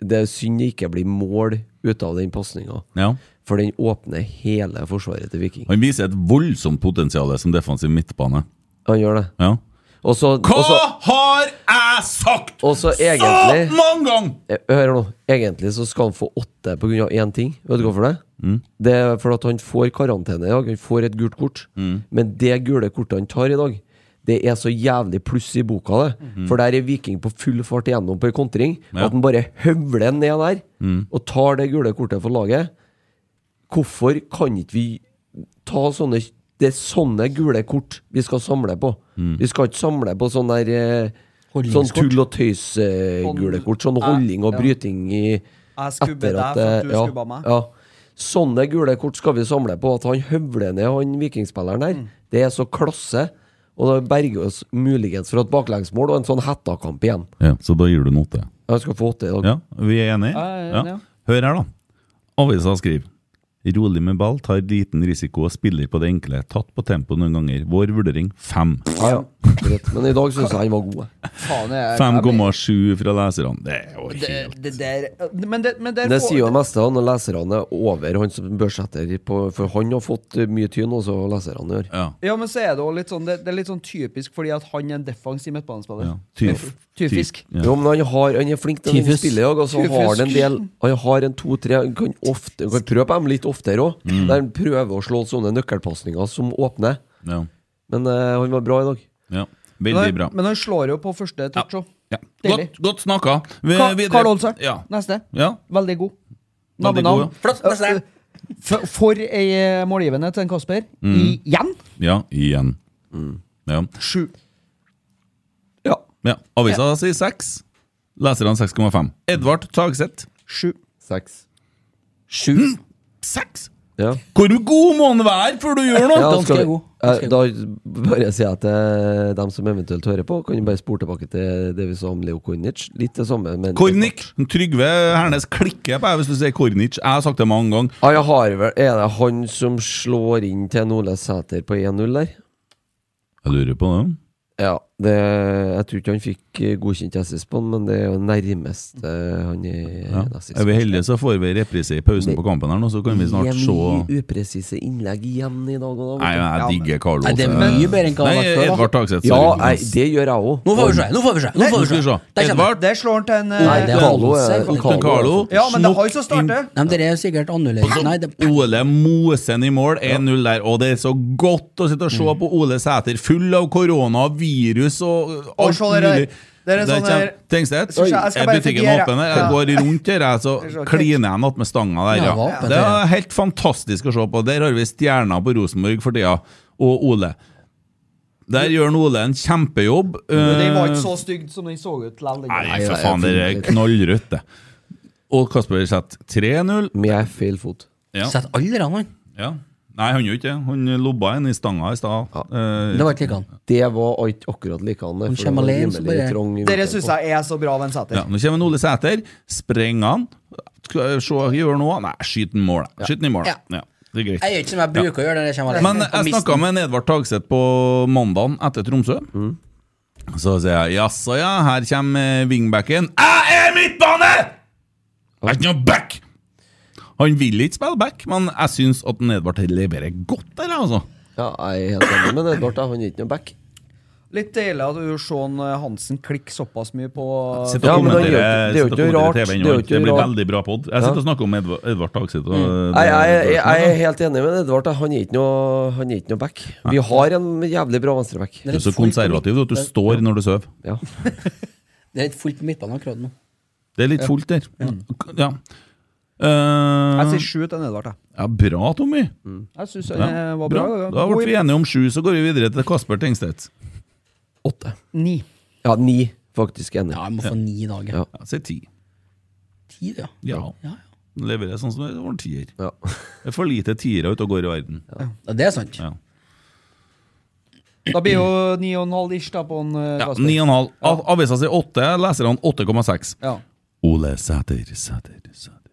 [SPEAKER 4] Det er synd det ikke blir mål ut av den pasninga,
[SPEAKER 3] Ja.
[SPEAKER 4] for den åpner hele forsvaret til Viking.
[SPEAKER 3] Han viser et voldsomt potensial som defensiv midtbane.
[SPEAKER 4] Han gjør det.
[SPEAKER 3] Ja.
[SPEAKER 4] Og så og
[SPEAKER 3] Hva
[SPEAKER 4] så-
[SPEAKER 3] har jeg sagt?!
[SPEAKER 4] og så egentlig
[SPEAKER 3] Så mange ganger!
[SPEAKER 4] Eh, Hør nå, egentlig så skal han få åtte på grunn av én ting. Vet du hvorfor det? Det er fordi at han får karantene i dag. Han får et gult kort. Men det gule kortet han tar i dag, det er så jævlig pluss i boka, det. For der er Viking på full fart igjennom på en kontring.
[SPEAKER 3] Ja.
[SPEAKER 4] At han bare høvler ned der og tar det gule kortet for laget. Hvorfor kan ikke vi ta sånne Det er sånne gule kort vi skal samle på. Vi skal ikke samle på sånn der eh, Sånn
[SPEAKER 5] Holdningskort.
[SPEAKER 4] tull og tøys-gule kort. Sånn holdning og
[SPEAKER 6] Ja.
[SPEAKER 4] bryting i eh,
[SPEAKER 6] Jeg skubber deg for at du
[SPEAKER 4] ja,
[SPEAKER 6] skubba meg.
[SPEAKER 4] ja. Sånne gule kort skal vi samle på. At han høvler ned han vikingspilleren der,
[SPEAKER 6] Mm.
[SPEAKER 4] det er så klasse. Og det berger oss muligens for et baklengsmål og en sånn hetta-kamp igjen.
[SPEAKER 3] Ja, så da gir du en åtte.
[SPEAKER 4] Jeg skal få åtte i dag.
[SPEAKER 3] Ja, vi er enige?
[SPEAKER 6] Ja, jeg er enig, ja.
[SPEAKER 3] Hør her, da. Avisa skriver Rolig med ball, tar liten risiko og spiller på det enkle. Tatt på tempo noen ganger. Vår vurdering fem.
[SPEAKER 4] Ja, ja. Greit. Men i dag syns jeg han var god.
[SPEAKER 6] Faen, jeg-
[SPEAKER 3] 5,7 fra leserne. Det er jo
[SPEAKER 6] Det,
[SPEAKER 3] helt
[SPEAKER 6] det der Men det, men der
[SPEAKER 4] Det
[SPEAKER 6] får-
[SPEAKER 4] sier jo det meste han og leserne er over han som børsetter, på, for han har fått eh, mye tyn, også leserne i år.
[SPEAKER 3] Ja.
[SPEAKER 6] Ja, men så er det, også litt sånn, det, det er litt sånn typisk fordi at han er en defensiv midtbanespiller.
[SPEAKER 3] ja. Tyf.
[SPEAKER 6] Tyfisk.
[SPEAKER 3] Ja.
[SPEAKER 4] Jo, men han, har, han er flink til å
[SPEAKER 5] Tyfus.
[SPEAKER 4] spille i dag. og så har han en del Han har en to-tre Han kan, ofte, han kan prøve på dem litt oftere òg.
[SPEAKER 5] Mm.
[SPEAKER 4] Der han prøver å slå sånne nøkkelpasninger som åpner.
[SPEAKER 3] Ja.
[SPEAKER 4] Men eh, han var bra i dag.
[SPEAKER 3] ja.
[SPEAKER 6] Men
[SPEAKER 3] Veldig
[SPEAKER 6] han,
[SPEAKER 3] bra.
[SPEAKER 6] men han slår jo på første touch òg.
[SPEAKER 3] Ja.
[SPEAKER 6] Deilig.
[SPEAKER 3] Godt, godt snakka. Vi- videre.
[SPEAKER 6] Karl Olsen,
[SPEAKER 3] Ja.
[SPEAKER 6] neste.
[SPEAKER 3] ja.
[SPEAKER 6] Veldig god.
[SPEAKER 3] Veldig god, ja.
[SPEAKER 6] Nabbenavn. For, for ei eh, målgivende til en Kasper.
[SPEAKER 3] Mm.
[SPEAKER 6] Igjen!
[SPEAKER 3] Ja, igjen. Ja.
[SPEAKER 6] Sju.
[SPEAKER 4] Ja.
[SPEAKER 3] ja. Avisa sier seks. Leserne 6,5. Edvard Tagseth
[SPEAKER 6] Sju.
[SPEAKER 4] Seks.
[SPEAKER 3] Hm?
[SPEAKER 5] Sju.
[SPEAKER 3] seks!
[SPEAKER 4] Ja.
[SPEAKER 3] Hvor god må han være før du gjør noe?!
[SPEAKER 4] Ja,
[SPEAKER 5] Ganske
[SPEAKER 4] skal vi-
[SPEAKER 5] god. Ganske
[SPEAKER 4] eh, da bare sier jeg til dem som eventuelt hører på, kan jo bare spore tilbake til det vi sa om Leo Kornic. Litt det samme, men
[SPEAKER 3] Kornic! Trygve Hernes klikker på deg hvis du sier Kornic. Jeg har sagt det mange ganger.
[SPEAKER 4] Ja, jeg har vel, er det han som slår inn til en Ole Sæter på 1-0 der?
[SPEAKER 3] Jeg lurer på det.
[SPEAKER 4] Ja, det, jeg tror ikke han fikk eh, godkjent assist på han, men det er jo nærmest eh, han er
[SPEAKER 3] Ja.
[SPEAKER 4] en assist.
[SPEAKER 3] Er vi heldige, så får vi reprise i pausen på kampen her nå, så kan vi snart
[SPEAKER 4] Det
[SPEAKER 3] se
[SPEAKER 4] er mye upresise innlegg igjen i dag. Og da,
[SPEAKER 3] Nei,
[SPEAKER 4] vet du.
[SPEAKER 3] jeg digger Carl
[SPEAKER 5] Nei, det er
[SPEAKER 3] Åse.
[SPEAKER 5] mye bedre enn hva det
[SPEAKER 3] Nei,
[SPEAKER 5] har vært før, da.
[SPEAKER 3] Edvard Tagseth.
[SPEAKER 4] ja,
[SPEAKER 3] sorry.
[SPEAKER 4] nei, det gjør jeg òg.
[SPEAKER 5] Nå får vi se! Nå får vi se! Nå får
[SPEAKER 3] Nå
[SPEAKER 5] vi
[SPEAKER 3] skal vi
[SPEAKER 5] se.
[SPEAKER 3] se.
[SPEAKER 5] Der kommer
[SPEAKER 3] Edvard.
[SPEAKER 6] Der slår han til en eh,
[SPEAKER 5] Nei, det er
[SPEAKER 4] Carlo er-
[SPEAKER 5] Hansen.
[SPEAKER 4] Carlo.
[SPEAKER 3] Carlo.
[SPEAKER 6] Ja, men det er han
[SPEAKER 3] Snokk
[SPEAKER 6] som starter!
[SPEAKER 5] Nei, men dere er jo sikkert
[SPEAKER 3] Sånn.
[SPEAKER 5] annerledes. Nei, det
[SPEAKER 3] Ole Mosen i mål, 1-0 der. Og det er så godt å sitte og
[SPEAKER 6] Mm.
[SPEAKER 3] se på Ole Sæter, full av korona og virus og
[SPEAKER 6] Og
[SPEAKER 3] alt
[SPEAKER 6] se det der.
[SPEAKER 3] mulig.
[SPEAKER 6] Det er en sånn
[SPEAKER 3] kjem-
[SPEAKER 6] der-
[SPEAKER 3] Tengstedt,
[SPEAKER 6] Skal vi se, jeg skal
[SPEAKER 3] er
[SPEAKER 6] bare
[SPEAKER 3] butikken
[SPEAKER 6] forbi her,
[SPEAKER 3] åpen her? Jeg
[SPEAKER 6] ja.
[SPEAKER 3] går rundt her, jeg, så
[SPEAKER 6] Skal vi se,
[SPEAKER 3] kliner jeg natt med stanga der. Ja.
[SPEAKER 5] Ja, det var åpent,
[SPEAKER 3] Det
[SPEAKER 5] ja.
[SPEAKER 3] er helt fantastisk å se på. Der har vi stjerna på Rosenborg for tida, og Ole. Der gjør han Ole E en kjempejobb.
[SPEAKER 6] Den var
[SPEAKER 3] Eh,
[SPEAKER 6] ikke så stygg som den så ut likevel. den gangen.
[SPEAKER 3] Nei, for faen, det er knallrødt, det. Og Kasper setter 3-0.
[SPEAKER 4] Med feil fot.
[SPEAKER 3] Ja.
[SPEAKER 5] setter alle rann, han.
[SPEAKER 3] Ja. Nei, han gjorde ikke det. Han lobba en i stanga i stad. Eh,
[SPEAKER 5] Det var ikke like han.
[SPEAKER 4] Det var ikke akkurat likende.
[SPEAKER 5] Han kommer alene, så bare-
[SPEAKER 6] Dere syns jeg er så bra, Vennsæter.
[SPEAKER 3] ja, nå kommer Ole Sæter. Sprenger han? Skal jeg se hva jeg gjør nå? Nei, skyt den i mål. Skyt den i mål.
[SPEAKER 5] Ja.
[SPEAKER 3] Ja, det er greit.
[SPEAKER 5] Jeg gjør ikke som jeg bruker å gjøre. når jeg kommer
[SPEAKER 3] Men eh, jeg snakka med en Edvard Tagseth på mandagen etter Tromsø. Så sier jeg jaså, ja, her kommer eh, wingbacken. Jeg er midtbane! Jeg er ikke noe back! Han vil ikke spille back, men jeg syns at en Edvard leverer godt der, altså.
[SPEAKER 4] Ja, jeg er helt enig med Edvard. jeg. Han er ikke noe back.
[SPEAKER 6] Litt deilig at du Sean Hansen klikker såpass mye på eh,
[SPEAKER 3] Sitt og
[SPEAKER 4] Ja, men
[SPEAKER 3] kommentere
[SPEAKER 4] det er jo- det er jo
[SPEAKER 3] sitt og
[SPEAKER 4] ikke
[SPEAKER 3] kommentere
[SPEAKER 4] rart,
[SPEAKER 3] TV
[SPEAKER 4] det er jo
[SPEAKER 3] innhold.
[SPEAKER 4] ikke
[SPEAKER 3] Det blir
[SPEAKER 4] rart.
[SPEAKER 3] veldig bra pod. Jeg sitter og snakker om Edvard, Edvard Tagset. og-
[SPEAKER 4] Nei, jeg, jeg, jeg er helt enig med Edvard. Han er ikke noe, han er ikke noe back. Vi har en jævlig bra venstreback.
[SPEAKER 3] Du er så konservativ du, at du står når du sover.
[SPEAKER 4] Ja.
[SPEAKER 5] Det er litt fullt på midtbanen akkurat nå.
[SPEAKER 3] Det er litt fullt der. Ja. Eh,
[SPEAKER 6] Jeg sier sju til en Edvard, jeg.
[SPEAKER 3] ja, bra, Tommy.
[SPEAKER 6] Mm. Jeg syns
[SPEAKER 3] Ja,
[SPEAKER 6] han eh, var bra.
[SPEAKER 3] Da ble vi enige om sju, så går vi videre til Kasper Tengstedt.
[SPEAKER 4] Åtte.
[SPEAKER 6] Ni.
[SPEAKER 4] Ja, ni, faktisk. Enig.
[SPEAKER 5] Ja, jeg må få ni i dag.
[SPEAKER 4] Ja.
[SPEAKER 3] Ja, Si ti.
[SPEAKER 5] Ti, ja.
[SPEAKER 3] Ja.
[SPEAKER 5] Ja,
[SPEAKER 3] Leverer sånn som det var en tier.
[SPEAKER 4] Ja.
[SPEAKER 3] Det er for lite tiere ute og går i verden.
[SPEAKER 5] ja. Det er sant.
[SPEAKER 3] Ja.
[SPEAKER 6] Da blir jo ni og en halv ish da på en eh,
[SPEAKER 3] Ja,
[SPEAKER 6] Kasper.
[SPEAKER 3] ni og en halv. Av- Avisa sier åtte, leserne 8,6.
[SPEAKER 6] Ja.
[SPEAKER 3] Ole Sæter, Sæter, Sæter.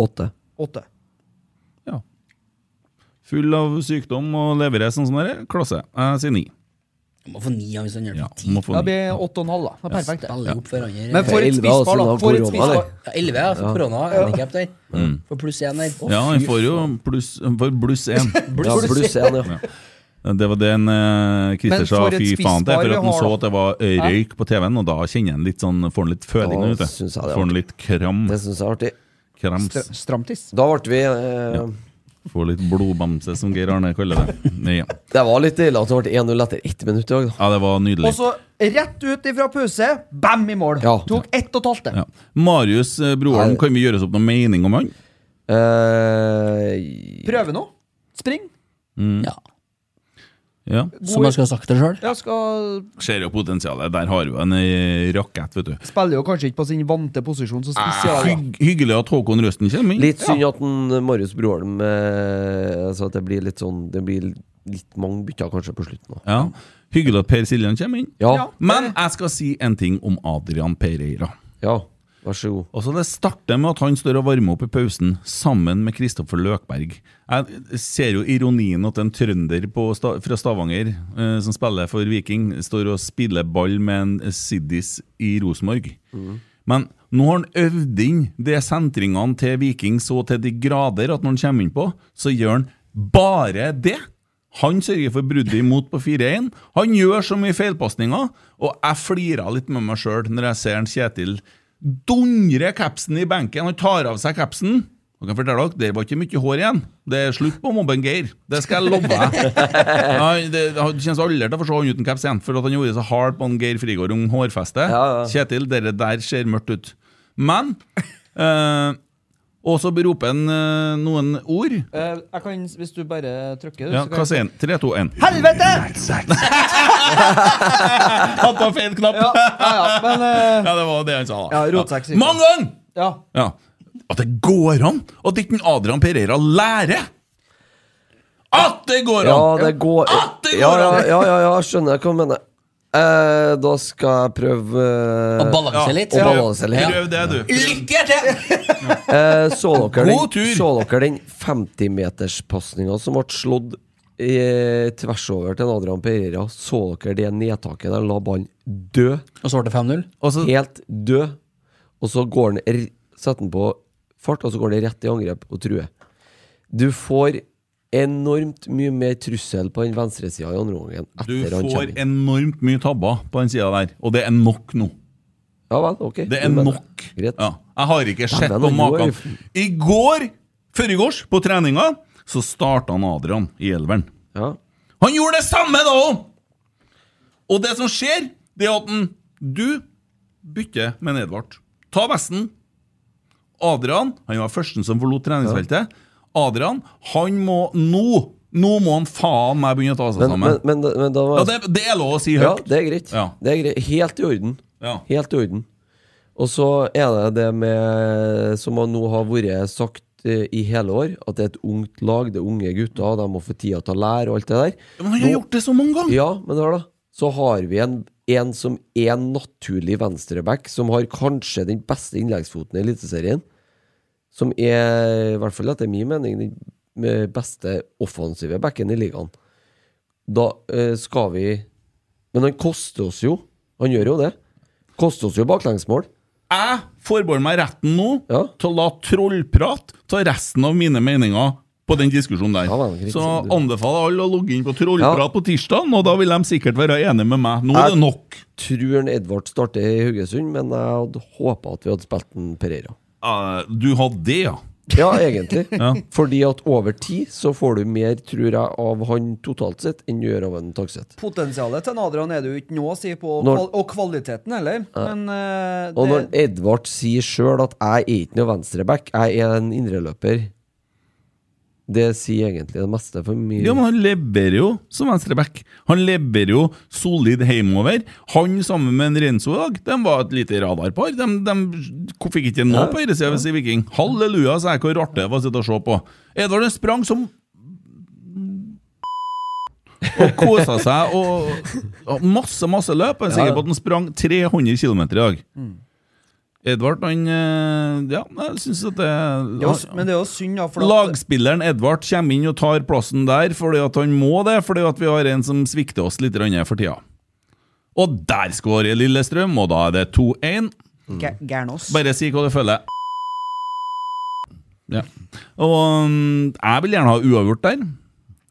[SPEAKER 4] Åtte.
[SPEAKER 6] Åtte.
[SPEAKER 3] Ja. Full av sykdom og leverer sånn som det er. Klasse. Jeg sier ni.
[SPEAKER 5] Jeg må få ni av hvis han gjør det
[SPEAKER 3] Ja,
[SPEAKER 5] på ti.
[SPEAKER 3] må få
[SPEAKER 6] Da
[SPEAKER 3] ni.
[SPEAKER 6] blir jeg åtte og en halv, da. Det er perfekt. det.
[SPEAKER 5] Spiller opp for andre.
[SPEAKER 6] Men for et
[SPEAKER 4] Elleve,
[SPEAKER 6] spisspar,
[SPEAKER 4] altså,
[SPEAKER 6] da.
[SPEAKER 4] da
[SPEAKER 6] For et
[SPEAKER 4] korona, det.
[SPEAKER 6] spisspar.
[SPEAKER 5] Ja, 11, ja. For korona. Handicap der. For pluss én der.
[SPEAKER 3] Mm. Ja, han får jo pluss, han får bluss én.
[SPEAKER 4] Ja, pluss én, ja.
[SPEAKER 3] Det var det en eh, Christer
[SPEAKER 6] Men
[SPEAKER 3] sa,
[SPEAKER 6] for et
[SPEAKER 3] fy faen til,
[SPEAKER 6] spisspar
[SPEAKER 3] for
[SPEAKER 6] vi
[SPEAKER 3] at han
[SPEAKER 6] har,
[SPEAKER 3] så
[SPEAKER 6] da.
[SPEAKER 3] at det var røyk på TV-en, og da kjenner han litt sånn, får han litt føling
[SPEAKER 4] Da
[SPEAKER 3] vet du.
[SPEAKER 4] synes jeg det er
[SPEAKER 3] Får han litt kram,
[SPEAKER 4] Det syns jeg er artig.
[SPEAKER 3] krams,
[SPEAKER 6] Stra- Stramtiss.
[SPEAKER 4] Da ble vi eh,
[SPEAKER 3] får litt blodbamse, som Geir Arne kaller det. Ja,
[SPEAKER 4] Det var litt ille at det ble 1-0 etter ett minutt i dag, da.
[SPEAKER 3] ja det var nydelig.
[SPEAKER 6] Og så rett ut ifra pause, bam i mål!
[SPEAKER 4] Ja.
[SPEAKER 6] Tok ett og et halvt, det.
[SPEAKER 3] Ja. Marius eh, Broholm,
[SPEAKER 4] Nei.
[SPEAKER 3] kan vi gjøre oss opp noen mening om han?
[SPEAKER 4] Eh,
[SPEAKER 6] Prøve nå. Spring.
[SPEAKER 5] Ja.
[SPEAKER 3] Ja.
[SPEAKER 5] Som jeg skal ha sagt det sjøl.
[SPEAKER 6] Jeg skal
[SPEAKER 3] Ser jo potensialet, der har vi jo en eh, rakett, vet du.
[SPEAKER 6] Spiller jo kanskje ikke på sin vante posisjon som spesial. da.
[SPEAKER 3] Ah, Hygg, hyggelig at Håkon Røsten kommer inn.
[SPEAKER 4] litt synd at den, eh, Marius Broholm eh, Altså at det blir litt sånn Det blir litt mange bytter kanskje på slutten. Da.
[SPEAKER 3] Ja. Hyggelig at Per Siljan kommer inn.
[SPEAKER 4] Ja,
[SPEAKER 6] Ja.
[SPEAKER 3] Men jeg skal si en ting om Adrian Pereira.
[SPEAKER 4] ja. Vær så god.
[SPEAKER 3] Og så Det starter med at han står og varmer opp i pausen sammen med Kristoffer Løkberg. Jeg ser jo ironien at en trønder på sta fra Stavanger eh, som spiller for Viking, står og spiller ball med en siddis i Rosenborg. Men nå har han øvd inn de sentringene til Viking så til de grader at når han kommer innpå, så gjør han bare det! Han sørger for bruddet imot på 4-1. Han gjør så mye feilpasninger, og jeg flira litt med meg sjøl når jeg ser en Kjetil dundre capsen i benken. Han tar av seg capsen. Jeg kan fortelle dere, Det var ikke mye hår igjen. Det er slutt på mobben Geir. Det skal jeg love deg. Nei, det, det kjennes aldri til å få se han uten caps igjen, for at han gjorde så hardt på han Geir Frigård om hårfestet.
[SPEAKER 4] Ja, ja.
[SPEAKER 3] Kjetil, det der ser mørkt ut. Men eh, Og så roper han eh, noen ord.
[SPEAKER 6] Eh, Jeg kan, hvis du bare trykker
[SPEAKER 3] Ja,
[SPEAKER 6] så kan
[SPEAKER 3] hva
[SPEAKER 6] jeg-
[SPEAKER 3] sier han? 3, 2, 1.
[SPEAKER 6] Helvete!
[SPEAKER 3] Han tar feil knapp!
[SPEAKER 6] Ja, ja, ja, men eh,
[SPEAKER 3] Ja, det var det han sa. da.
[SPEAKER 6] Ja, rotsekk, sikkert.
[SPEAKER 3] Mange ganger!
[SPEAKER 6] ja.
[SPEAKER 3] Ja. At det går an! At ikke en Adrian Pereira lærer! At det går
[SPEAKER 4] Ja,
[SPEAKER 3] an!
[SPEAKER 4] det går
[SPEAKER 3] Ah, det går
[SPEAKER 4] Ja, ja,
[SPEAKER 3] an!
[SPEAKER 4] ja, ja, ja skjønner jeg hva du mener. Eh, da skal jeg prøve eh,
[SPEAKER 5] Og balanse litt.
[SPEAKER 4] og
[SPEAKER 5] Ja.
[SPEAKER 4] balanse litt.
[SPEAKER 3] Prøv det, du.
[SPEAKER 5] Lykke til!
[SPEAKER 4] Eh, så dere
[SPEAKER 3] God tur!
[SPEAKER 4] den, så dere den 50-meterspasninga som ble slått eh, tvers over til Adrian Pereira? Så dere det nedtaket der han la ballen dø?
[SPEAKER 5] Og så ble det 5-0.
[SPEAKER 3] Og så-
[SPEAKER 4] Helt dø. Og så går han, r- setter han på fart, og så går han rett i angrep og truer. Du får enormt mye mer trussel på den venstresida i andre omgang
[SPEAKER 3] Du
[SPEAKER 4] etter han
[SPEAKER 3] får
[SPEAKER 4] kommer inn.
[SPEAKER 3] enormt mye tabber på den sida der, og det er nok nå.
[SPEAKER 4] Ja vel, ok.
[SPEAKER 3] Det
[SPEAKER 4] Du
[SPEAKER 3] er
[SPEAKER 4] mener
[SPEAKER 3] nok.
[SPEAKER 4] Greit.
[SPEAKER 3] Ja. Jeg har ikke sett
[SPEAKER 4] den
[SPEAKER 3] på
[SPEAKER 4] er
[SPEAKER 3] maken.
[SPEAKER 4] god.
[SPEAKER 3] I går, førregårs, på treninga, så starta han Adrian i elveren.
[SPEAKER 4] Ja.
[SPEAKER 3] Han gjorde det samme da òg! Og det som skjer, det er at han, du bytter med en Edvard. Ta vesten. Adrian han var førsten som forlot treningsfeltet. Adrian, han må nå Nå må han faen meg begynne å ta seg
[SPEAKER 4] Men, men,
[SPEAKER 3] sammen.
[SPEAKER 4] men, da- men da var
[SPEAKER 3] ja, det, det er lov å si
[SPEAKER 4] Ja,
[SPEAKER 3] høyt.
[SPEAKER 4] det er greit.
[SPEAKER 3] Ja.
[SPEAKER 4] Det er greit. Helt i orden.
[SPEAKER 3] Ja.
[SPEAKER 4] Helt i orden. Og så er det det med, som han nå har vært sagt eh, i hele år, at det er et ungt lag, det er unge gutter, de må få tida til å lære og alt det der.
[SPEAKER 3] Men han har gjort det så mange ganger!
[SPEAKER 4] Ja, men hør da. Så har vi en, en som er en naturlig venstreback, som har kanskje den beste innleggsfoten i Eliteserien. Som er, i hvert fall etter min mening, den beste offensive backen i ligaen. Da eh, skal vi Men han koster oss jo. Han gjør jo det. Koster oss jo baklengsmål.
[SPEAKER 3] Jeg forbeholder meg retten nå
[SPEAKER 4] Ja.
[SPEAKER 3] til å la trollprat ta resten av mine meninger på den diskusjonen der.
[SPEAKER 4] Ja, men, kritisk.
[SPEAKER 3] så anbefaler alle å logge inn på Trollprat på tirsdag, og da vil de sikkert være enige med meg. Nå er det nok.
[SPEAKER 4] Tror en Edvard starter i Haugesund, men jeg hadde håpa at vi hadde spilt en Pereira.
[SPEAKER 3] Eh, du hadde det, ja.
[SPEAKER 4] Ja, egentlig. Fordi at over tid så får du mer, tror jeg, av han totalt sett enn du gjør av en Takseth.
[SPEAKER 6] Potensialet til en Adrian er det jo ikke nå å si på,
[SPEAKER 4] Når-
[SPEAKER 6] kval- og kvaliteten heller, men eh,
[SPEAKER 4] Og når
[SPEAKER 6] det,
[SPEAKER 4] Edvard sier sjøl at 'jeg er ikke noe venstreback, jeg er en indreløper', det sier egentlig det meste for mye.
[SPEAKER 3] Ja, men han leverer jo som venstreback. Han leverer jo solid hjemover. Han sammen med en Renzo i dag, de var et lite radarpar. De, de fikk ikke nå på herresida ved Sea Viking. Halleluja, sa jeg hvor rart det var å sitte og se på. Edvard han sprang som og kosa seg og, og masse, masse løp. Jeg er sikker på at han sprang 300 km i dag. Edvard, han eh, Ja, jeg syns at det
[SPEAKER 6] det er jo, men det er jo synd, da. For at-
[SPEAKER 3] Lagspilleren Edvard kommer inn og tar plassen der fordi at han må det, fordi at vi har en som svikter oss litt grann for tida. Og der skårer Lillestrøm, og da er det 2-1.
[SPEAKER 6] Gæ- Gærnås.
[SPEAKER 3] Mm. Bare si hva du føler. Ja. Og mm, jeg vil gjerne ha uavgjort der.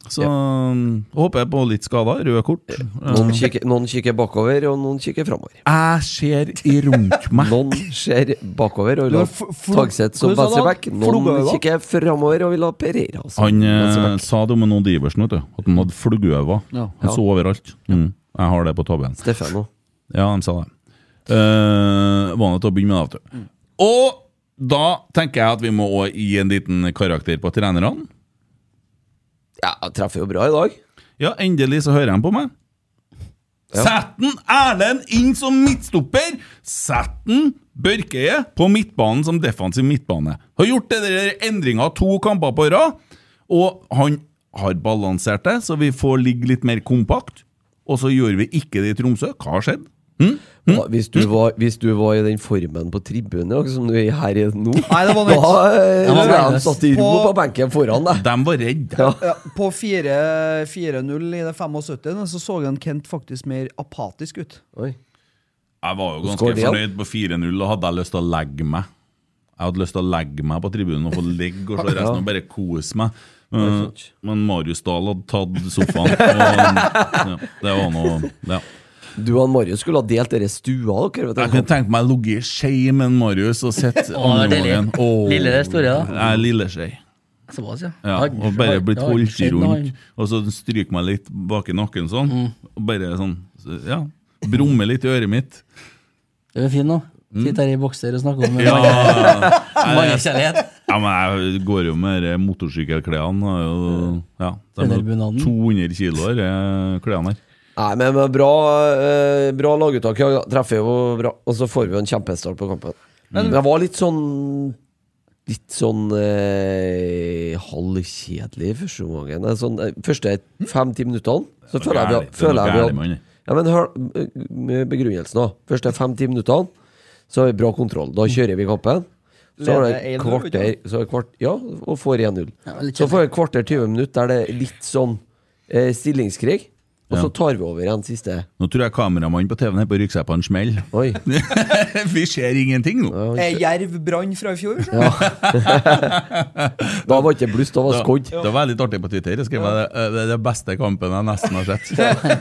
[SPEAKER 3] Så mm, håper jeg på litt skader, røde kort.
[SPEAKER 4] Noen kikker, noen kikker bakover, og noen kikker framover.
[SPEAKER 3] Jeg ser i rundt meg
[SPEAKER 4] Noen ser bakover og vil
[SPEAKER 6] Du
[SPEAKER 4] ha
[SPEAKER 6] har fl- fl-
[SPEAKER 4] Tagseth som
[SPEAKER 6] Hva sa du?
[SPEAKER 4] venstreback. Noen
[SPEAKER 6] Flogøyva?
[SPEAKER 4] kikker framover og vil ha Pereira som
[SPEAKER 3] Han eh,
[SPEAKER 4] venstreback.
[SPEAKER 3] sa det om en Odd Iversen, vet du. At han hadde flugøver.
[SPEAKER 6] Ja.
[SPEAKER 3] Han så overalt. Mm. Jeg har det på tabellen.
[SPEAKER 4] Stefano.
[SPEAKER 3] Ja, de sa det. Uh, var nødt til å begynne med det, vet du. Og da tenker jeg at vi må også gi en liten karakter på trenerne.
[SPEAKER 4] Ja, han treffer jo bra i dag.
[SPEAKER 3] Ja, endelig så hører han på meg. Sett den Erlend inn som midtstopper! Sett den Børkeie på midtbanen som defensiv midtbane. Har gjort det der endringa to kamper på rad, og han har balansert det, så vi får ligge litt mer kompakt. Og så gjør vi ikke det i Tromsø. Hva har skjedd?
[SPEAKER 6] Mm.
[SPEAKER 4] Ja, Hvis, du var, hvis du var i den formen på tribunen i dag, som du er her i nå,
[SPEAKER 6] Nei, det var
[SPEAKER 4] da
[SPEAKER 6] nytt.
[SPEAKER 4] eh,
[SPEAKER 5] var
[SPEAKER 4] tror jeg han
[SPEAKER 5] nervøs.
[SPEAKER 4] satt i ro
[SPEAKER 6] På-
[SPEAKER 4] på benken foran deg.
[SPEAKER 3] De var redde.
[SPEAKER 6] Ja, på 4 4-0 i det 75 så så han Kent faktisk mer apatisk ut.
[SPEAKER 4] Oi.
[SPEAKER 3] Jeg var jo ganske
[SPEAKER 4] skår det, ja.
[SPEAKER 3] fornøyd på 4-0, og hadde jeg lyst til å legge meg. Jeg hadde lyst til å legge meg på tribunen og få ligge og se resten og bare kose meg. Men,
[SPEAKER 4] sant.
[SPEAKER 3] men Marius Dahl hadde tatt sofaen. Og, ja, det var noe ja.
[SPEAKER 4] Du og han Marius skulle ha delt dere stua
[SPEAKER 3] Jeg
[SPEAKER 4] dere, vet du.
[SPEAKER 3] kunne tenke meg å ligge i skje med en Marius og sitte
[SPEAKER 5] Å,
[SPEAKER 3] andre
[SPEAKER 5] det er
[SPEAKER 3] gangen.
[SPEAKER 5] deilig. Lille det store, da.
[SPEAKER 3] Jeg er lille skje.
[SPEAKER 5] Såpass, ja.
[SPEAKER 3] Ja,
[SPEAKER 5] Har-
[SPEAKER 3] og bare
[SPEAKER 5] har-
[SPEAKER 3] blitt
[SPEAKER 5] det har ikke
[SPEAKER 3] holdt i
[SPEAKER 5] skjedd noe
[SPEAKER 3] rundt. Og så stryker meg litt bak i nakken sånn.
[SPEAKER 5] Mm.
[SPEAKER 3] Og bare sånn, så, ja. Brummer litt i øret mitt.
[SPEAKER 5] Det er jo fint nå. Sitter her i bokser og snakker om
[SPEAKER 3] Mm. Ja,
[SPEAKER 5] mannekjærlighet.
[SPEAKER 3] Ja, men jeg går jo med de motorsykkelklærne. og- Ja, de er
[SPEAKER 5] Trenerbunaden.
[SPEAKER 3] 200 kilo, de klærne her.
[SPEAKER 4] Nei, men men bra, eh, bra laguttak. Ja, treffer jo bra. Og så får vi jo en kjempestart på kampen. Men det var litt sånn Litt sånn eh, halvkjedelig i første omgang. Det er Sånn, eh, første fem-ti minuttene, så
[SPEAKER 3] noe
[SPEAKER 4] føler jeg
[SPEAKER 3] gærlig.
[SPEAKER 4] vi har-
[SPEAKER 3] Det er noe
[SPEAKER 4] føler jeg vi
[SPEAKER 3] gærlig med han,
[SPEAKER 4] har
[SPEAKER 3] det.
[SPEAKER 4] Ja, men hør eh, med begrunnelsen, da. Første fem-ti minuttene, så har vi bra kontroll. Da kjører vi kampen. Så har
[SPEAKER 6] Leder
[SPEAKER 4] det
[SPEAKER 6] 1-0,
[SPEAKER 4] et kvarter
[SPEAKER 6] ikke
[SPEAKER 4] så har det kvart, Ja, og får 1-0.
[SPEAKER 5] Ja, litt
[SPEAKER 4] så får vi et kvarter 20 minutter der det er litt sånn eh, stillingskrig, og så tar vi over igjen siste.
[SPEAKER 3] Nå tror jeg kameramannen på TV-en her på rykker seg på en smell.
[SPEAKER 4] Oi.
[SPEAKER 3] Vi ser ingenting nå.
[SPEAKER 6] Er Eh, Jerv brann fra i fjor? Ja.
[SPEAKER 4] Da var ikke bluss, da var
[SPEAKER 3] Ja,
[SPEAKER 4] skodd.
[SPEAKER 3] Det var litt artig på Twitter. Jeg skrev at det det er den beste kampen jeg nesten har sett.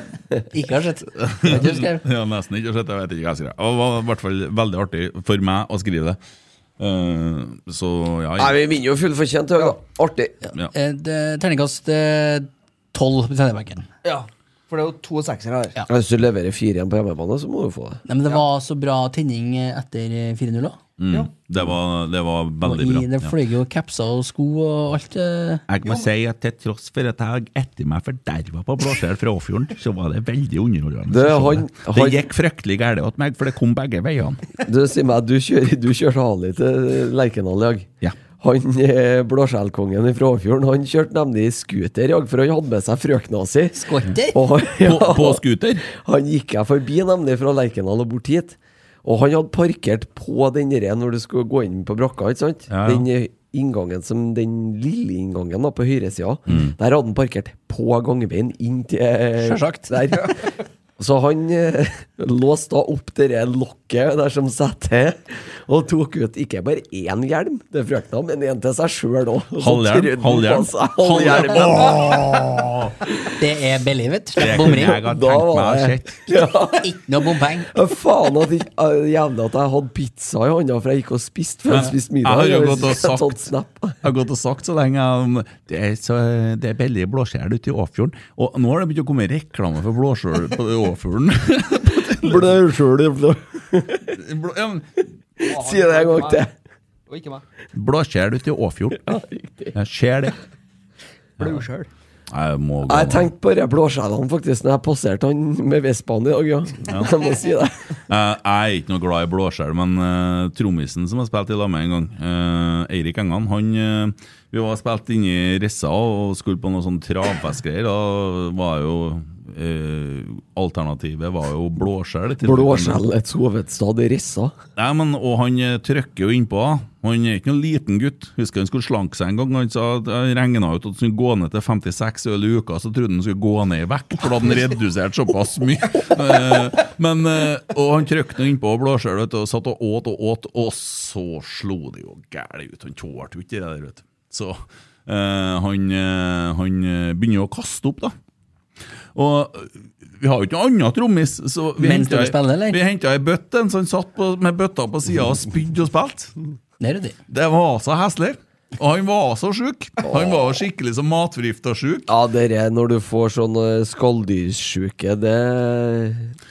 [SPEAKER 5] Ikke har sett. Jeg tror jeg skrev.
[SPEAKER 3] Ja, nesten ikke har sett, jeg vet ikke hva jeg skrev. Og Det var i hvert fall veldig artig for meg å skrive det. Eh, Så ja,
[SPEAKER 4] Nei,
[SPEAKER 3] jeg-
[SPEAKER 4] vi vinner jo fullt fortjent. Ja. Artig.
[SPEAKER 5] Eh, det- Terningkast eh, 12 på Trønderbenken.
[SPEAKER 6] For det er jo to seksere her.
[SPEAKER 4] Hvis du leverer fire igjen på hjemmebane, så må du få det.
[SPEAKER 5] Nei, men det var så bra tenning eh, etter eh, 4-0 da.
[SPEAKER 3] mm, det, var, det var
[SPEAKER 5] Og
[SPEAKER 3] veldig
[SPEAKER 5] i-
[SPEAKER 3] bra.
[SPEAKER 5] Det
[SPEAKER 3] Ja.
[SPEAKER 5] fløy jo capser og sko og alt. eh.
[SPEAKER 3] Jeg må si at til tross for at jeg etter meg forderva på blåskjell fra Åfjorden, så var det veldig underholdende.
[SPEAKER 4] Det,
[SPEAKER 3] å se det.
[SPEAKER 4] han- han-
[SPEAKER 3] det gikk fryktelig galt åt meg, for det kom begge veiene.
[SPEAKER 4] Du sier meg, du kjører, du kjørte Hali til Lerkendal i dag.
[SPEAKER 3] Ja.
[SPEAKER 4] Han eh, blåskjellkongen fra Åfjorden, han kjørte nemlig scooter i dag, for han hadde med seg frøkna si.
[SPEAKER 5] Skorter!
[SPEAKER 4] Og han,
[SPEAKER 3] På, på
[SPEAKER 4] ja,
[SPEAKER 3] scooter.
[SPEAKER 4] han gikk jeg forbi, nemlig, fra Lerkendal og bort hit. Og han hadde parkert på den der når du skulle gå inn på brakka, ikke sant?
[SPEAKER 3] Ja, ja.
[SPEAKER 4] Den eh, inngangen som den lille inngangen da, på
[SPEAKER 3] Mm.
[SPEAKER 4] høyresida. Der hadde han parkert på gangveien inn til eh,
[SPEAKER 5] Sjølsagt.
[SPEAKER 4] Der. Så han eh, låste da opp det der lokket der som satt til, og tok ut ikke bare én hjelm til frøkna, men en til seg sjøl òg.
[SPEAKER 3] Halvhjelm, halvhjelm,
[SPEAKER 4] altså.
[SPEAKER 3] halvhjelm.
[SPEAKER 5] Det er believet.
[SPEAKER 3] Det
[SPEAKER 5] Slipp
[SPEAKER 3] kunne
[SPEAKER 5] bomring.
[SPEAKER 3] jeg ha tenkt meg å sett.
[SPEAKER 5] Ikke noe bompenger.
[SPEAKER 4] Faen at jeg, jævlig at jeg hadde pizza i hånda, for jeg gikk og spiste før jeg
[SPEAKER 3] Men
[SPEAKER 4] spiste
[SPEAKER 3] jeg
[SPEAKER 4] middag.
[SPEAKER 3] har jo
[SPEAKER 4] Jeg
[SPEAKER 3] gått og
[SPEAKER 4] tatt
[SPEAKER 3] sagt-
[SPEAKER 4] snap.
[SPEAKER 3] Jeg har gått og sagt så lenge om det er, så, det er billig blåskjell ute i Åfjorden. Og nå har det begynt å komme reklame for blåskjell på Åfjorden. Blå- ja, men
[SPEAKER 4] Si det en gang til.
[SPEAKER 6] Og ikke meg.
[SPEAKER 3] Blåskjell ute i Åfjorden. Jeg ser det.
[SPEAKER 6] Blåskjell.
[SPEAKER 3] Jeg må gå
[SPEAKER 4] Jeg
[SPEAKER 3] nå.
[SPEAKER 4] tenkte bare blåskjellene faktisk Når jeg passerte han med Vespaen i dag, ja. Jeg må si det.
[SPEAKER 3] Eh, jeg er ikke noe glad i blåskjell, men uh, trommisen som jeg spilte i lag med en gang, eh, Eirik Engan, han eh, Vi var spilt inne i Rissa og skulle på noe sånn travfestgreier. Da var jo eh, Alternativet var jo blåskjell. til-
[SPEAKER 4] Blåskjellets hovedstad i Rissa.
[SPEAKER 3] Nei, men, og han eh, trykker jo innpå. da. Han er ikke noen liten gutt. Husker han skulle slanke seg en gang. Han sa at han regna ut at han skulle gå ned til 56 øl i uka, så trodde han skulle gå ned i vekt, for da hadde han redusert såpass mye. Eh, Men, eh, og han trykte nå innpå blåskjell vet du, og satt og åt og åt, og så slo det jo gæli ut. Han tålte jo ikke det der, vet du. Så eh, han, eh, han eh, begynner jo å kaste opp, da. Og vi har jo ikke noe annet trommis. så vi
[SPEAKER 5] Mens
[SPEAKER 3] hentet
[SPEAKER 5] dere
[SPEAKER 3] ei-
[SPEAKER 5] spiller, eller?
[SPEAKER 3] Vi henta ei bøtte, en sånn satt på, med bøtta på sida og spydde og spilte.
[SPEAKER 5] Det er ryddig.
[SPEAKER 3] Det var så heslig. Og han var så sjuk. Han var skikkelig som matforgifta sjuk.
[SPEAKER 4] Ja, det er når du får sånn eh, skalldyrsjuke, det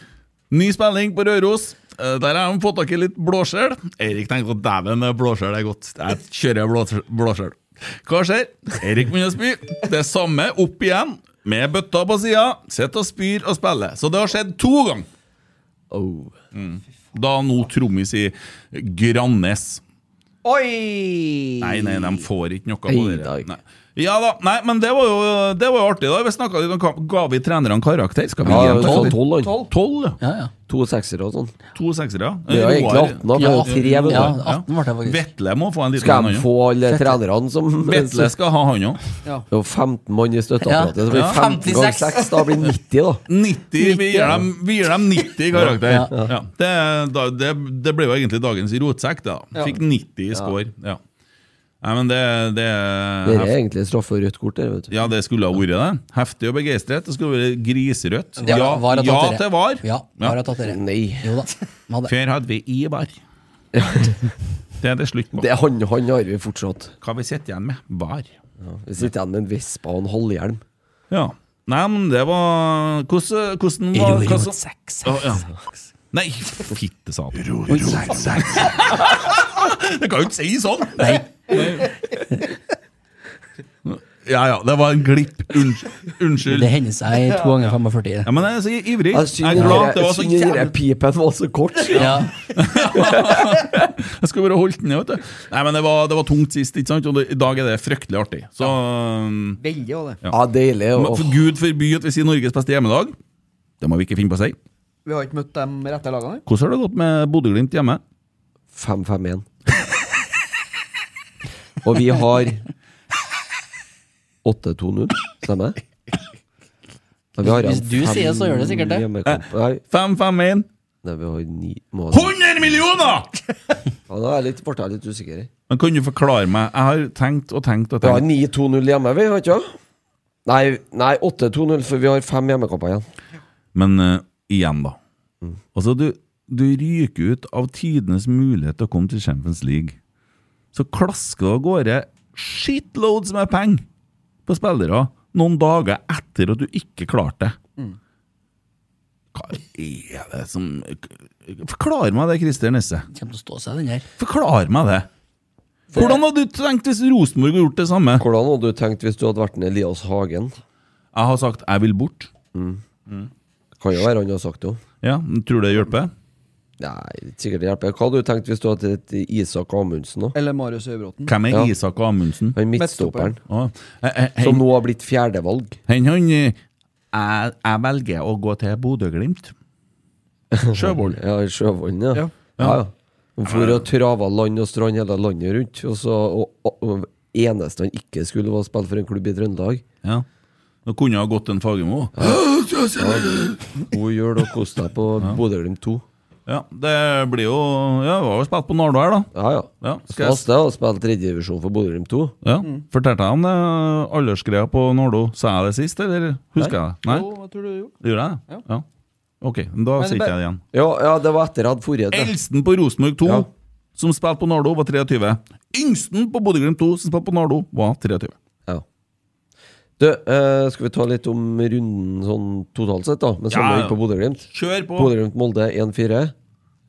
[SPEAKER 3] Ny spilling på Røros. Eh, Der har de fått tak i litt blåskjell. Eirik tenkte at dæven, det blåskjell er godt. Der kjører jeg blåskjell- blåskjell. Hva skjer? Eirik begynner å spy. Det samme, opp igjen. Med bøtta på sida. Sitter og spyr og spiller. Så det har skjedd to ganger. Mm.
[SPEAKER 4] oh.
[SPEAKER 3] Da nå trommis i Grannes.
[SPEAKER 6] Oi!
[SPEAKER 3] Nei, nei, de får ikke noe på
[SPEAKER 4] Nei,
[SPEAKER 3] det.
[SPEAKER 4] da.
[SPEAKER 3] Nei. Ja da, nei, men det var jo, det var jo artig. da Vi snakket litt om kamp. Ga vi trenerne karakter? Skal vi
[SPEAKER 4] Ja,
[SPEAKER 3] gi dem
[SPEAKER 4] sånn
[SPEAKER 3] tolv?
[SPEAKER 4] tolv, han.
[SPEAKER 6] Tolv.
[SPEAKER 3] Tolv, ja.
[SPEAKER 5] Ja, ja.
[SPEAKER 4] To seksere og sånn.
[SPEAKER 3] To seksere, ja.
[SPEAKER 4] Det er jo egentlig 18, da.
[SPEAKER 5] Ja,
[SPEAKER 4] men det er jo tre,
[SPEAKER 5] ja,
[SPEAKER 4] vet du.
[SPEAKER 5] 18 ble det faktisk.
[SPEAKER 3] Vetle må få en liten
[SPEAKER 4] Skal
[SPEAKER 3] en,
[SPEAKER 4] de
[SPEAKER 3] han,
[SPEAKER 4] få alle trenerne som
[SPEAKER 3] ja. Vetle skal ha han òg.
[SPEAKER 4] Det er jo 15 mann i støtteapparatet.
[SPEAKER 5] Ja.
[SPEAKER 4] Så blir
[SPEAKER 3] Ja.
[SPEAKER 4] 15 ganger
[SPEAKER 5] 56.
[SPEAKER 4] 6, da blir 90, da.
[SPEAKER 3] 90, vi gir dem, vi gir dem 90 i karakter.
[SPEAKER 5] Ja,
[SPEAKER 3] Ja, Det, da, det, det ble jo egentlig dagens rotsekk, da. Fikk 90 i score. Ja. Nei, men det, det er
[SPEAKER 4] Det er egentlig straffe og rødt kort der, vet du.
[SPEAKER 3] Ja, det skulle ha vært det. Heftig og begeistret. Det skulle vært grisrødt.
[SPEAKER 5] Ja,
[SPEAKER 3] Ja,
[SPEAKER 5] var det
[SPEAKER 3] ja
[SPEAKER 5] tatt dere?
[SPEAKER 3] til var.
[SPEAKER 5] Ja, har jeg tatt dere.
[SPEAKER 4] Nei.
[SPEAKER 5] Jo da. vi hadde-
[SPEAKER 3] Før hadde vi Ivar. Det er det slutt på.
[SPEAKER 4] Det er han, han har vi fortsatt.
[SPEAKER 3] Hva vi sitter igjen med? Var.
[SPEAKER 4] Vi sitter igjen med en vespa og en halvhjelm.
[SPEAKER 3] Ja. Nei, men det var Hvordan, hvordan var hva som- Å, ja. Nei, fitte satan. Det kan jo ikke si sånn!
[SPEAKER 5] Nei,
[SPEAKER 3] Ja ja, det var en glipp. Unnskyld. Unnskyld.
[SPEAKER 5] det hender seg to ganger 45.
[SPEAKER 3] Ja, men jeg er så ivrig.
[SPEAKER 4] Jeg
[SPEAKER 3] Jeg er
[SPEAKER 4] syns
[SPEAKER 3] glad. Det var så
[SPEAKER 4] den der
[SPEAKER 3] jævlig
[SPEAKER 4] pipen var så kort.
[SPEAKER 5] Ja.
[SPEAKER 3] Jeg skulle bare holdt den ned, vet du. Nei, men det var, det var tungt sist, ikke sant? Og det, i dag er det fryktelig artig. Så um,
[SPEAKER 6] Veldig òg, det.
[SPEAKER 4] Ja, deilig.
[SPEAKER 3] men
[SPEAKER 4] Og
[SPEAKER 3] for Gud forby at vi sier Norges beste hjemmedag. Det må vi ikke finne på å si.
[SPEAKER 6] Vi har ikke møtt de rette lagene.
[SPEAKER 3] Hvordan har det gått med Bodø-Glimt hjemme?
[SPEAKER 4] 5-5-1. Og vi har 8-2-0, stemmer det? Ja, vi har
[SPEAKER 5] Hvis
[SPEAKER 4] en
[SPEAKER 5] du
[SPEAKER 4] fem
[SPEAKER 5] sier det, så gjør det sikkert det.
[SPEAKER 4] hjemmekamp- Nei,
[SPEAKER 3] 5-5-1.
[SPEAKER 4] nei, vi har ni må-
[SPEAKER 3] 100 millioner!
[SPEAKER 4] Ja, da er jeg litt, ble jeg litt usikker. her.
[SPEAKER 3] Men kan du forklare meg? Jeg har tenkt og tenkt og
[SPEAKER 4] Vi har
[SPEAKER 3] tenkt.
[SPEAKER 4] 9-2-0 hjemme, vi, har ikke det? Nei, nei 8-2-0, for vi har fem hjemmekamper igjen.
[SPEAKER 3] Men eh, igjen, da. Altså, du, du ryker ut av tidenes mulighet til å komme til Champions League. Så klasker det av gårde shitloads med penger på spillere noen dager etter at du ikke klarte det. Hva er det som Forklar meg det, Christer Nesse.
[SPEAKER 5] Kommer til å stå seg, den her.
[SPEAKER 3] Forklar meg det. Hvordan hadde du tenkt hvis Rosenborg hadde gjort det samme?
[SPEAKER 4] Hvordan hadde du tenkt hvis du hadde vært en Elias Hagen?
[SPEAKER 3] Jeg har sagt 'jeg vil bort'.
[SPEAKER 4] Kan jo være han har sagt det òg.
[SPEAKER 3] Ja, Tror du det hjelper?
[SPEAKER 4] Nei, sikkert det hjelper. Hva hadde du tenkt hvis du hadde hett Isak Amundsen, da?
[SPEAKER 6] Eller Marius Øybråten.
[SPEAKER 3] Hvem er
[SPEAKER 4] Ja.
[SPEAKER 3] Isak og Amundsen?
[SPEAKER 4] Han midtstopperen.
[SPEAKER 3] Å, eh, eh,
[SPEAKER 4] Som
[SPEAKER 3] hen-
[SPEAKER 4] nå har blitt fjerdevalg.
[SPEAKER 3] hen- han, eh, jeg, jeg velger å gå til Bodø-Glimt. Sjøvold.
[SPEAKER 4] Ja, i Sjøvollen, ja.
[SPEAKER 6] Ja.
[SPEAKER 4] ja. ja, Han for og trava land og strand hele landet rundt. Og så og, og, og eneste han ikke skulle, var å spille for en klubb i Trøndelag.
[SPEAKER 3] Ja. Det kunne ha gått en Fagermo.
[SPEAKER 4] God jul og kos deg på Bodø-Glimt 2.
[SPEAKER 3] Ja, det blir jo Ja, vi har jo spilt på Nardo her, da.
[SPEAKER 4] Ja, ja.
[SPEAKER 3] Ja, skal jeg,
[SPEAKER 4] Fast jeg har spilt tredjedivisjon for Bodø-Glimt 2.
[SPEAKER 3] ja. Fortalte jeg om det aldersgreia på Nardo? Sa jeg det sist, eller husker jeg det? Nei?
[SPEAKER 6] Jo, jeg tror du gjorde.
[SPEAKER 3] Gjorde jeg det? Ja. Ok, da
[SPEAKER 6] Men
[SPEAKER 3] sier
[SPEAKER 6] det
[SPEAKER 3] ikke
[SPEAKER 6] ble-
[SPEAKER 3] jeg det igjen.
[SPEAKER 4] Ja, ja, det var etter jeg hadde forrige. det.
[SPEAKER 3] Eldsten på Rosenborg 2,
[SPEAKER 4] Ja.
[SPEAKER 3] som spilte på Nardo, var 23. Yngsten på Bodø-Glimt 2, som spilte på Nardo, var 23.
[SPEAKER 4] Ja. Du, eh, skal vi ta litt om runden sånn totalt sett, da? Men så
[SPEAKER 3] Ja,
[SPEAKER 4] må vi
[SPEAKER 3] ja.
[SPEAKER 4] på Bodø-Glimt.
[SPEAKER 3] Kjør på!
[SPEAKER 4] Bodø-Glimt-Molde 1-4.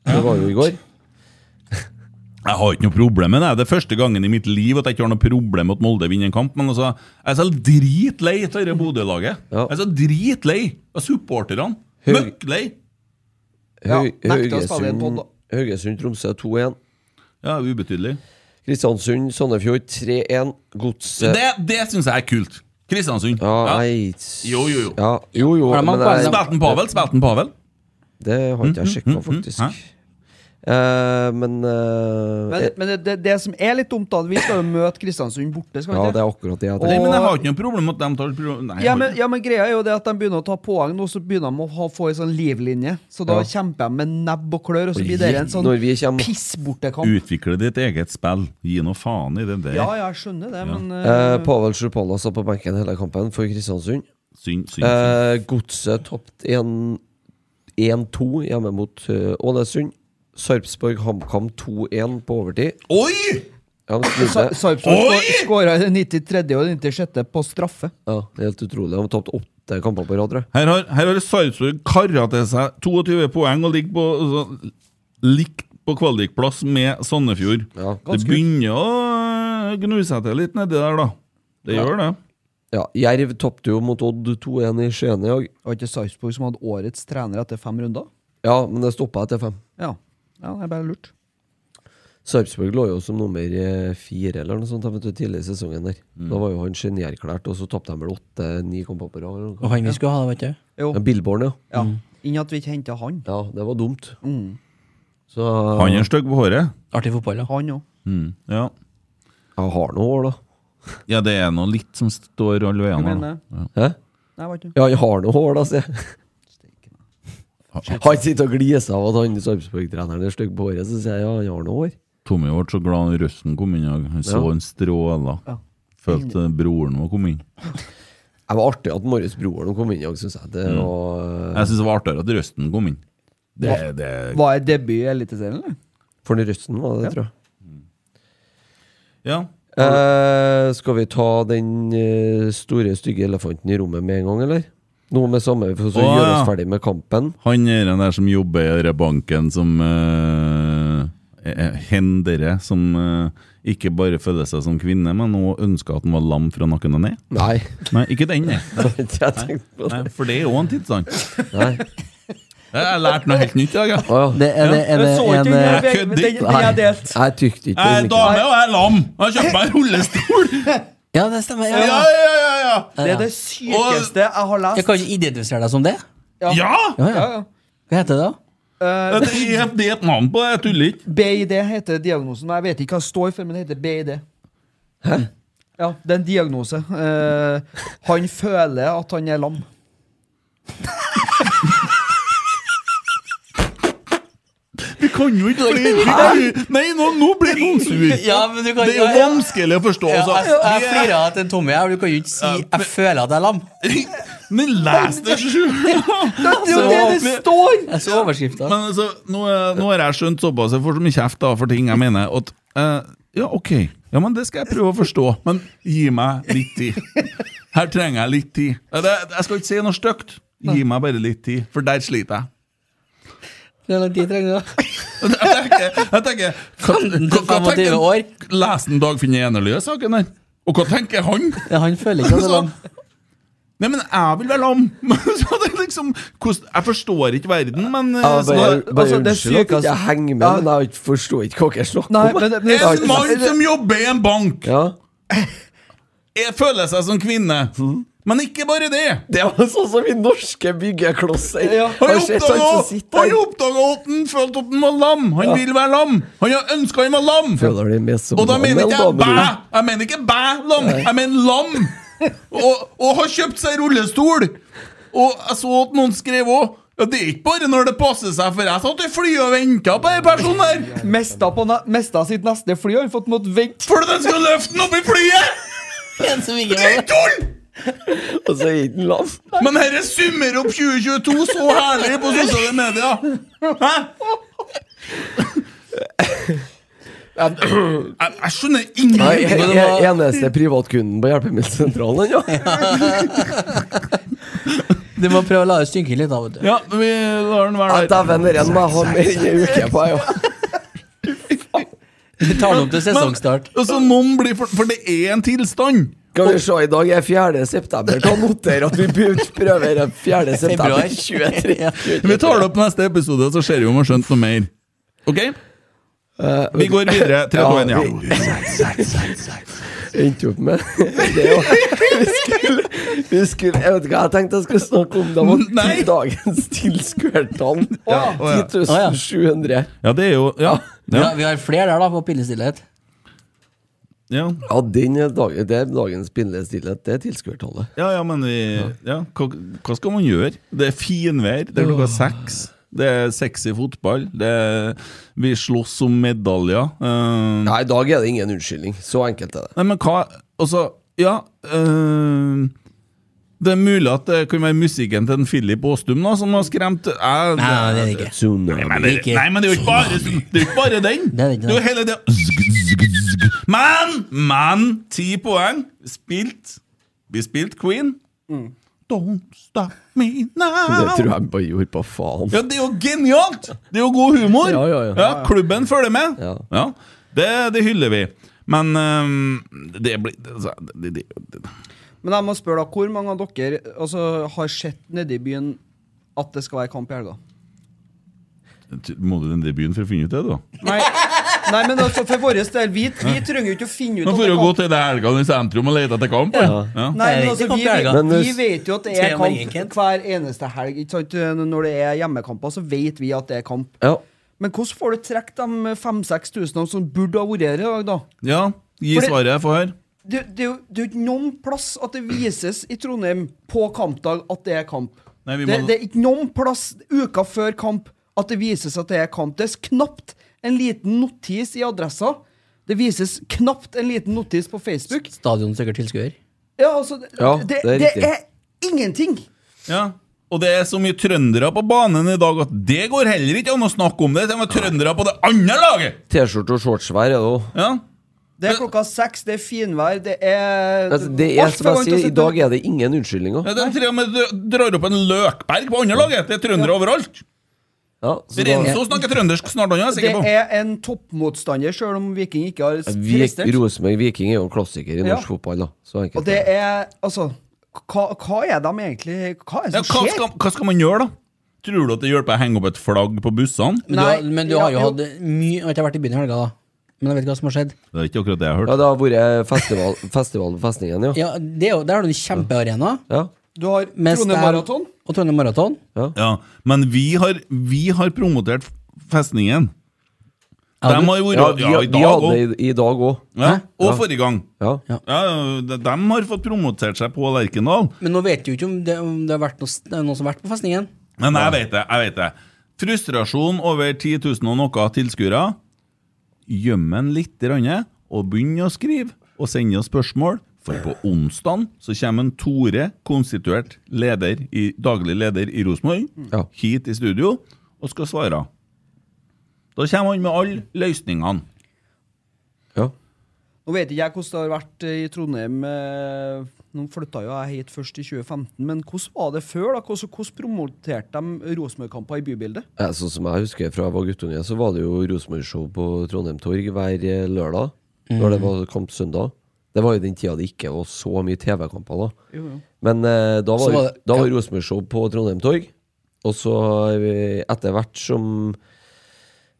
[SPEAKER 4] Det var jo i går.
[SPEAKER 3] Jeg har ikke noe problem med det. Det er første gangen i mitt liv at jeg ikke har noe problem med at Molde vinner en kamp. Men altså, jeg er så dritlei av dette Bodø-laget.
[SPEAKER 4] Ja.
[SPEAKER 3] Jeg er så dritlei av supporterne.
[SPEAKER 4] Høy-
[SPEAKER 3] Møkklei!
[SPEAKER 6] Ja,
[SPEAKER 4] Høy-
[SPEAKER 6] nekta å spille i en podd,
[SPEAKER 4] Haugesund-
[SPEAKER 6] da.
[SPEAKER 4] Haugesund-Tromsø 2-1.
[SPEAKER 3] Ja, ubetydelig.
[SPEAKER 4] Kristiansund, Sandefjord 3-1. Godset
[SPEAKER 3] Det, det syns jeg er kult. Kristiansund.
[SPEAKER 4] ja,
[SPEAKER 3] Ja.
[SPEAKER 4] nei
[SPEAKER 3] Jo, jo, jo.
[SPEAKER 4] Ja, jo, jo
[SPEAKER 5] Har de
[SPEAKER 4] men
[SPEAKER 5] hatt
[SPEAKER 4] jeg-
[SPEAKER 5] poeng,
[SPEAKER 3] Spilte han Pavel? Spilte han Pavel?
[SPEAKER 4] det har ikke
[SPEAKER 3] Mm,
[SPEAKER 4] jeg sjekka, faktisk.
[SPEAKER 3] hæ?
[SPEAKER 4] Eh, men eh,
[SPEAKER 6] Men, men det, det, det som er litt dumt, da Vi skal jo møte Kristiansund borte, skal vi
[SPEAKER 4] Ja,
[SPEAKER 6] ikke?
[SPEAKER 4] det er akkurat det jeg
[SPEAKER 3] Nei,
[SPEAKER 4] tenkte.
[SPEAKER 3] men jeg har ikke noe problem med at de tar pro- Nei,
[SPEAKER 6] Ja men, ja, men greia er jo det at de begynner å ta poeng nå, så begynner de å ha, få en sånn livlinje. Så da
[SPEAKER 4] Ja.
[SPEAKER 6] kjemper de med nebb og klør, og så
[SPEAKER 4] Og
[SPEAKER 6] blir det
[SPEAKER 4] gi-
[SPEAKER 6] en sånn
[SPEAKER 4] når vi kommer-
[SPEAKER 6] pissbortekamp.
[SPEAKER 3] Utvikle ditt eget spill. Gi noe faen i det der.
[SPEAKER 6] Ja, ja, jeg skjønner det, men eh,
[SPEAKER 4] Eh, Pavel Sjupala satt på benken hele kampen for Kristiansund.
[SPEAKER 3] Synd, synd. synd.
[SPEAKER 4] Eh, Godset tapte 1-2 hjemme mot eh, Ålesund. Sarpsborg HamKam 2-1 på overtid.
[SPEAKER 3] Oi!
[SPEAKER 4] Ja, de snudde.
[SPEAKER 6] Sa- Sarpsborg skåra i det 93. og det 96. på straffe.
[SPEAKER 4] ja, helt utrolig. De har tapt åtte kamper på rad. tror jeg.
[SPEAKER 3] Her har, her har Sarpsborg kara til seg 22 poeng og ligger på altså, likt på kvalikplass med Sandefjord.
[SPEAKER 4] Ja,
[SPEAKER 3] det begynner å øh, gnu seg til litt nedi der, da. Det gjør det.
[SPEAKER 4] Ja, Jerv tapte jo mot Odd 2-1 i Skien i dag.
[SPEAKER 6] Det var ikke Sarpsborg som hadde årets trener etter fem runder?
[SPEAKER 4] Ja, men det stoppa etter fem.
[SPEAKER 6] Ja, ja det er bare lurt.
[SPEAKER 4] Sarpsborg lå jo som nummer eh, fire eller noe sånt jeg vet, du, tidlig i sesongen. der Da var jo han genierklært, og så tapte de vel åtte-ni kamper på rad. eller noe.
[SPEAKER 5] Og han vi skulle ha, det, vet du.
[SPEAKER 6] Jo,
[SPEAKER 4] Ja, Billborn, ja.
[SPEAKER 6] ja. Mm. Innen at vi ikke henta han.
[SPEAKER 4] Ja, det var dumt. Så
[SPEAKER 3] Han er stygg på håret.
[SPEAKER 5] Artig fotball, da.
[SPEAKER 6] Han òg.
[SPEAKER 3] Mm, ja.
[SPEAKER 4] Jeg har noe hår, da.
[SPEAKER 3] ja, det er nå litt som står alle
[SPEAKER 6] Hva
[SPEAKER 3] veiene. her, da.
[SPEAKER 6] mener du?
[SPEAKER 4] Hæ?
[SPEAKER 6] Nei, vet du.
[SPEAKER 4] Ja, jeg har noe hår, da, sier jeg. Han sitter og gliser av at han Sarpsborg-treneren er stygg på håret, så sier jeg ja, han har noe hår.
[SPEAKER 3] Tommy ble så glad når røsten kom inn. i dag. Han så
[SPEAKER 4] Ja.
[SPEAKER 3] en stråle.
[SPEAKER 6] Ja.
[SPEAKER 3] Følte broren vår kom inn.
[SPEAKER 4] Det var artig at Marius Broren kom inn i dag, syns jeg. Det
[SPEAKER 3] Mm.
[SPEAKER 4] var eh,
[SPEAKER 3] Jeg syns det var artigere at røsten kom inn. Det, det,
[SPEAKER 6] Var jeg debut i Eliteserien, eller?
[SPEAKER 4] For den røsten var det, tror jeg.
[SPEAKER 3] ja.
[SPEAKER 4] Eh, skal vi ta den eh, store, stygge elefanten i rommet med en gang, eller? Noe med samme, for så
[SPEAKER 3] Å,
[SPEAKER 4] gjøre
[SPEAKER 3] ja.
[SPEAKER 4] oss ferdig med kampen.
[SPEAKER 3] Han er den der som jobber i den banken som uh, Hendere, som eh, ikke bare føler seg som kvinne, men også ønsker at han var lam fra nakken og ned.
[SPEAKER 4] Nei.
[SPEAKER 3] Nei, ikke den, nei.
[SPEAKER 4] jeg tenkte på
[SPEAKER 3] nei
[SPEAKER 4] det.
[SPEAKER 3] for det er òg en tidsstand.
[SPEAKER 4] Nei.
[SPEAKER 3] Jeg har lært noe helt nytt i dag, jeg.
[SPEAKER 4] Å ja.
[SPEAKER 5] Det, er det, er det
[SPEAKER 6] Jeg så
[SPEAKER 5] en
[SPEAKER 6] ikke den
[SPEAKER 5] eh,
[SPEAKER 6] der vegen, men den- den er delt.
[SPEAKER 4] Jeg tykte ikke på
[SPEAKER 3] Jeg er
[SPEAKER 4] den.
[SPEAKER 3] dame og jeg er lam! Jeg har kjøpt meg en rullestol!
[SPEAKER 5] Ja, det stemmer. Ja,
[SPEAKER 3] Ja,
[SPEAKER 5] ja.
[SPEAKER 3] ja, ja! ja.
[SPEAKER 6] Det er det sykeste jeg har
[SPEAKER 5] Jeg
[SPEAKER 6] lest.
[SPEAKER 5] kan ikke identifisere deg som det.
[SPEAKER 3] Ja!
[SPEAKER 5] Ja, ja.
[SPEAKER 6] ja.
[SPEAKER 5] Hva heter det,
[SPEAKER 6] Eh,
[SPEAKER 5] da?
[SPEAKER 3] Det er det er et navn på det, jeg tuller ikke.
[SPEAKER 6] BID heter diagnosen. Jeg vet ikke hva det står for, men det heter BID. Ja, det er en diagnose. Eh, han føler at han er lam.
[SPEAKER 3] Vi kan jo ikke flere Nei, nå, nå blir noen sur.
[SPEAKER 5] Ja, men du kan
[SPEAKER 3] Det er jo vanskelig å forstå,
[SPEAKER 5] Ja, jeg
[SPEAKER 3] altså.
[SPEAKER 5] jeg flirer av at en Tommy her, du kan jo ikke si 'jeg føler at jeg er lam'.
[SPEAKER 3] Men les det sjøl!
[SPEAKER 6] Det er jo det det står!
[SPEAKER 5] Jeg så overskrifta.
[SPEAKER 3] Men altså, nå, eh, nå har jeg skjønt såpass, jeg får så mye kjeft da for ting jeg mener at eh, Ja, ok, ja, men det skal jeg prøve å forstå, men gi meg litt tid. Her trenger jeg litt tid. Eh, det- Jeg skal ikke si noe stygt. Gi meg bare litt tid, for der sliter jeg.
[SPEAKER 5] Hvor lang tid trenger du? da?
[SPEAKER 3] Jeg tenker, jeg tenker hva- hva- hva
[SPEAKER 5] 25 år.
[SPEAKER 3] tenker- Leser han Dagfinn Enerløe saken der? Og hva tenker han?
[SPEAKER 5] Ja, han føler ikke at han er lam.
[SPEAKER 3] sånn. Nei, men jeg vil være lam! Så det er liksom, hvordan- jeg forstår ikke verden, men eh,
[SPEAKER 4] Ja,
[SPEAKER 3] så
[SPEAKER 4] bare,
[SPEAKER 3] da-
[SPEAKER 4] bare
[SPEAKER 6] altså, det
[SPEAKER 4] unnskyld at
[SPEAKER 6] sykeste-
[SPEAKER 4] jeg ikke henger med, men jeg forstår ikke hva jeg snakker
[SPEAKER 6] Nei,
[SPEAKER 4] om.
[SPEAKER 6] men, men,
[SPEAKER 4] har
[SPEAKER 3] En
[SPEAKER 4] ikke-
[SPEAKER 3] mann som jobber i en bank!
[SPEAKER 4] Ja,
[SPEAKER 3] jeg føler seg som kvinne.
[SPEAKER 4] Mhm.
[SPEAKER 3] Men ikke bare det.
[SPEAKER 4] Det var sånn som i norske byggeklosser.
[SPEAKER 6] Ja.
[SPEAKER 4] Har
[SPEAKER 3] Han
[SPEAKER 4] du sett han som sitter der?
[SPEAKER 3] oppdaga at han følte at han var lam. Han vil være lam. Han har ønska han var lam.
[SPEAKER 4] Føler de med som
[SPEAKER 3] Og da
[SPEAKER 4] han,
[SPEAKER 3] mener
[SPEAKER 4] eller
[SPEAKER 3] ikke jeg
[SPEAKER 4] damer?
[SPEAKER 3] bæ. Jeg mener ikke bæ lam. Jeg mener lam. Og, og har kjøpt seg rullestol! Og jeg så at noen skrev òg ja, Det er ikke bare når det passer seg, for jeg satt i flyet og venta på den personen her!
[SPEAKER 6] Mesta, på ne- mesta sitt neste fly har han fått måttet vente.
[SPEAKER 3] For at jeg skal løfte den opp i flyet!
[SPEAKER 5] En som ikke
[SPEAKER 3] Det er ikke tull!
[SPEAKER 4] Og så er ikke den lav.
[SPEAKER 3] Men herre summer opp 2022 så herlig på sosiale medier! Hæ? Jeg, jeg skjønner
[SPEAKER 4] Nei,
[SPEAKER 3] ingenting.
[SPEAKER 4] jeg,
[SPEAKER 5] Men det
[SPEAKER 4] jeg,
[SPEAKER 5] var-
[SPEAKER 4] eneste privatkunden på hjelpemiddelsentralen ennå.
[SPEAKER 5] Du må prøve å la det synke litt, da. vet du
[SPEAKER 3] Ja, men vi lar den
[SPEAKER 4] Ja,
[SPEAKER 3] være der.
[SPEAKER 4] Dæven, dette må jeg ha mer enn en uke på. Jeg.
[SPEAKER 5] Vi tar den opp til sesongstart.
[SPEAKER 3] Altså, noen blir for, for det er en tilstand.
[SPEAKER 4] Kan vi se, i dag er 4. september. Ta noter at vi prøver- prøver den 4. september
[SPEAKER 5] Februar.
[SPEAKER 4] 23.
[SPEAKER 5] Ja.
[SPEAKER 3] Vi tar det opp neste episode, så ser vi om vi har skjønt noe mer. Ok? Vi går videre. 3, 2, 1, ja.
[SPEAKER 4] Endte opp med det er jo- vi skulle, vi skulle, Jeg vet ikke hva jeg tenkte jeg skulle snakke om. Det var
[SPEAKER 3] Nei.
[SPEAKER 4] til dagens tilskuertall.
[SPEAKER 3] Å, ja.
[SPEAKER 4] 10.700.
[SPEAKER 3] Ja, det er jo Ja.
[SPEAKER 5] Ja.
[SPEAKER 3] ja.
[SPEAKER 5] vi har flere der, da, på pillestillhet.
[SPEAKER 3] ja.
[SPEAKER 4] Ja, den er dag, det er dagens pinlige stillhet. Det er tilskuertallet.
[SPEAKER 3] Ja, ja, men vi, ja, hva, hva skal man gjøre? Det er finvær, det er klokka seks. Det er sexy fotball. Det er, vi slåss om medaljer. eh,
[SPEAKER 4] Nei, i dag er det ingen unnskyldning. Så enkelt er det.
[SPEAKER 3] nei, men hva Altså, ja eh, Det er mulig at det kan være musikken til en Philip Aastum da, som har skremt jeg,
[SPEAKER 5] Nei, det er det ikke.
[SPEAKER 3] Nei, men det,
[SPEAKER 5] ikke.
[SPEAKER 3] nei, men det er jo ikke bare, det er jo ikke bare den!
[SPEAKER 5] Det er ikke
[SPEAKER 3] jo hele det zg, zg, zg. Men! Men! Ti poeng. Spilt. Vi spilte Queen. Don't stop me
[SPEAKER 4] Mm. Det
[SPEAKER 3] now.
[SPEAKER 4] tror jeg bare gjorde på faen.
[SPEAKER 3] Ja, det er jo genialt! Det er jo god humor!
[SPEAKER 4] Ja, ja, ja.
[SPEAKER 3] Klubben følger med. Ja.
[SPEAKER 4] Ja.
[SPEAKER 3] det, det hyller vi. Men øhm, det blir altså, det, det, det.
[SPEAKER 6] Men jeg må spørre da, hvor mange av dere altså, har sett nede i byen at det skal være kamp i helga?
[SPEAKER 3] Må du den debuten for å finne ut det, da?
[SPEAKER 6] Nei, nei men altså, for vår del, vi, vi trenger jo ikke å finne ut
[SPEAKER 3] Nå
[SPEAKER 6] at
[SPEAKER 3] får
[SPEAKER 6] det
[SPEAKER 3] du
[SPEAKER 6] er
[SPEAKER 3] gå
[SPEAKER 6] kamp.
[SPEAKER 3] til det helga i sentrum og lete etter kamp. Ja.
[SPEAKER 6] Nei,
[SPEAKER 3] Ja.
[SPEAKER 5] Det
[SPEAKER 6] men
[SPEAKER 5] er
[SPEAKER 6] altså,
[SPEAKER 5] ikke kamp
[SPEAKER 6] vi,
[SPEAKER 5] i helga.
[SPEAKER 4] Men
[SPEAKER 6] vi
[SPEAKER 4] hvis-
[SPEAKER 6] vet jo at det
[SPEAKER 5] Tre
[SPEAKER 6] er
[SPEAKER 5] om morgenen.
[SPEAKER 6] kamp hver eneste helg. Ikke sant? Når det er hjemmekamper, så vet vi at det er kamp.
[SPEAKER 4] Ja.
[SPEAKER 6] Men hvordan får du trukket de 5000-6000 som burde ha vært her i dag, da?
[SPEAKER 3] ja, gi
[SPEAKER 6] For det-
[SPEAKER 3] svaret. Få høre.
[SPEAKER 6] Det, det, er jo- det er jo ikke noen plass at det vises i Trondheim på kampdag at det er kamp.
[SPEAKER 3] Nei, vi
[SPEAKER 6] det,
[SPEAKER 3] må-
[SPEAKER 6] det er ikke noen plass uka før kamp at det vises at det er kamp. Det er knapt en liten notis i adressa. Det vises knapt en liten notis på Facebook.
[SPEAKER 5] Stadion søker tilskuer.
[SPEAKER 6] Ja, altså, det,
[SPEAKER 4] Ja,
[SPEAKER 6] det,
[SPEAKER 4] det er
[SPEAKER 6] det,
[SPEAKER 4] riktig.
[SPEAKER 6] er ingenting!
[SPEAKER 3] Ja. Og det er så mye trøndere på banen i dag at det går heller ikke an å snakke om det. Det var trøndere på det andre laget!
[SPEAKER 4] T-skjorte og shortsvær er det òg.
[SPEAKER 3] Ja.
[SPEAKER 6] Det er klokka seks, det er finvær, det er
[SPEAKER 4] Altså, Det er
[SPEAKER 6] alt
[SPEAKER 4] som jeg
[SPEAKER 6] for varmt å
[SPEAKER 4] sier, i
[SPEAKER 6] sitte-
[SPEAKER 4] dag er det ingen unnskyldninger.
[SPEAKER 3] Ja, De til og med dr- drar opp en Løkberg på andre laget! Det er trøndere overalt!
[SPEAKER 4] Ja, så da,
[SPEAKER 3] Renzo snakker trøndersk snart, han er jeg
[SPEAKER 6] Det
[SPEAKER 3] sikker på.
[SPEAKER 6] er en toppmotstander, sjøl om Viking ikke har
[SPEAKER 4] Vik,
[SPEAKER 6] prestert.
[SPEAKER 4] Rosenborg Viking er jo en klassiker i
[SPEAKER 6] Ja.
[SPEAKER 4] norsk fotball, da. Så
[SPEAKER 6] Og
[SPEAKER 4] enkelt.
[SPEAKER 6] det
[SPEAKER 4] er det.
[SPEAKER 6] er Altså, hva, hva er de egentlig Hva er
[SPEAKER 3] Ja,
[SPEAKER 6] det
[SPEAKER 3] hva,
[SPEAKER 6] som skjer?
[SPEAKER 3] skal, hva skal man gjøre, da? Tror du at det hjelper å henge opp et flagg på bussene?
[SPEAKER 5] Men, du, har-
[SPEAKER 6] Nei,
[SPEAKER 5] men du har
[SPEAKER 6] ja, jo.
[SPEAKER 5] jo hatt mye Jeg har ikke vært i byen i helga, da. Men jeg vet ikke hva som har skjedd.
[SPEAKER 3] Det er ikke akkurat det jeg har
[SPEAKER 4] Ja,
[SPEAKER 3] hørt.
[SPEAKER 4] det har vært festival, festival på festningen, ja.
[SPEAKER 5] Ja, det er jo, Der har du en kjempearena.
[SPEAKER 4] ja.
[SPEAKER 6] Du har
[SPEAKER 5] med
[SPEAKER 6] Trondheim
[SPEAKER 5] stand-
[SPEAKER 6] Maraton.
[SPEAKER 5] Og Trondheim Maraton.
[SPEAKER 3] Ja, men vi har, vi har promotert festningen. De
[SPEAKER 5] du-
[SPEAKER 3] har jo
[SPEAKER 4] ja
[SPEAKER 3] vært
[SPEAKER 4] vi,
[SPEAKER 3] ja, i
[SPEAKER 4] vi
[SPEAKER 3] dag
[SPEAKER 4] hadde
[SPEAKER 3] òg.
[SPEAKER 4] i, i dag òg.
[SPEAKER 3] Ja, og
[SPEAKER 4] Ja.
[SPEAKER 3] forrige gang.
[SPEAKER 4] Ja.
[SPEAKER 3] Ja, de, de har fått promotert seg på Lerkendal.
[SPEAKER 5] Men nå vet du jo ikke om det, om det har vært noe, s- noen som har vært på festningen.
[SPEAKER 3] Men jeg vet det. jeg vet det Frustrasjon over 10 000 og noe tilskuere. Gjem den litt grann, og begynn å skrive og sende oss spørsmål. For på onsdag så kommer en Tore, konstituert leder i, daglig leder i Rosenborg,
[SPEAKER 4] Ja.
[SPEAKER 3] hit i studio og skal svare. Da kommer han med alle løsningene.
[SPEAKER 4] ja.
[SPEAKER 6] Nå vet ikke jeg hvordan det har vært eh, i Trondheim. eh, Nå flytta jo jeg hit først i 2015, men hvordan var det før? da? Hvordan, hvordan promoterte de Rosenborg-kamper i bybildet?
[SPEAKER 4] Ja, sånn som jeg husker fra jeg var guttunge, så var det jo Rosenborg-show på Trondheim Torg hver eh, lørdag. Når
[SPEAKER 3] Mm.
[SPEAKER 4] det var kamp søndag. Det var jo den tida det ikke var så mye TV-kamper, da. Men eh, da
[SPEAKER 5] Så
[SPEAKER 4] var,
[SPEAKER 5] var det-
[SPEAKER 4] da var
[SPEAKER 5] ja.
[SPEAKER 4] Rosenborg-show på Trondheim Torg. Og så eh, etter hvert som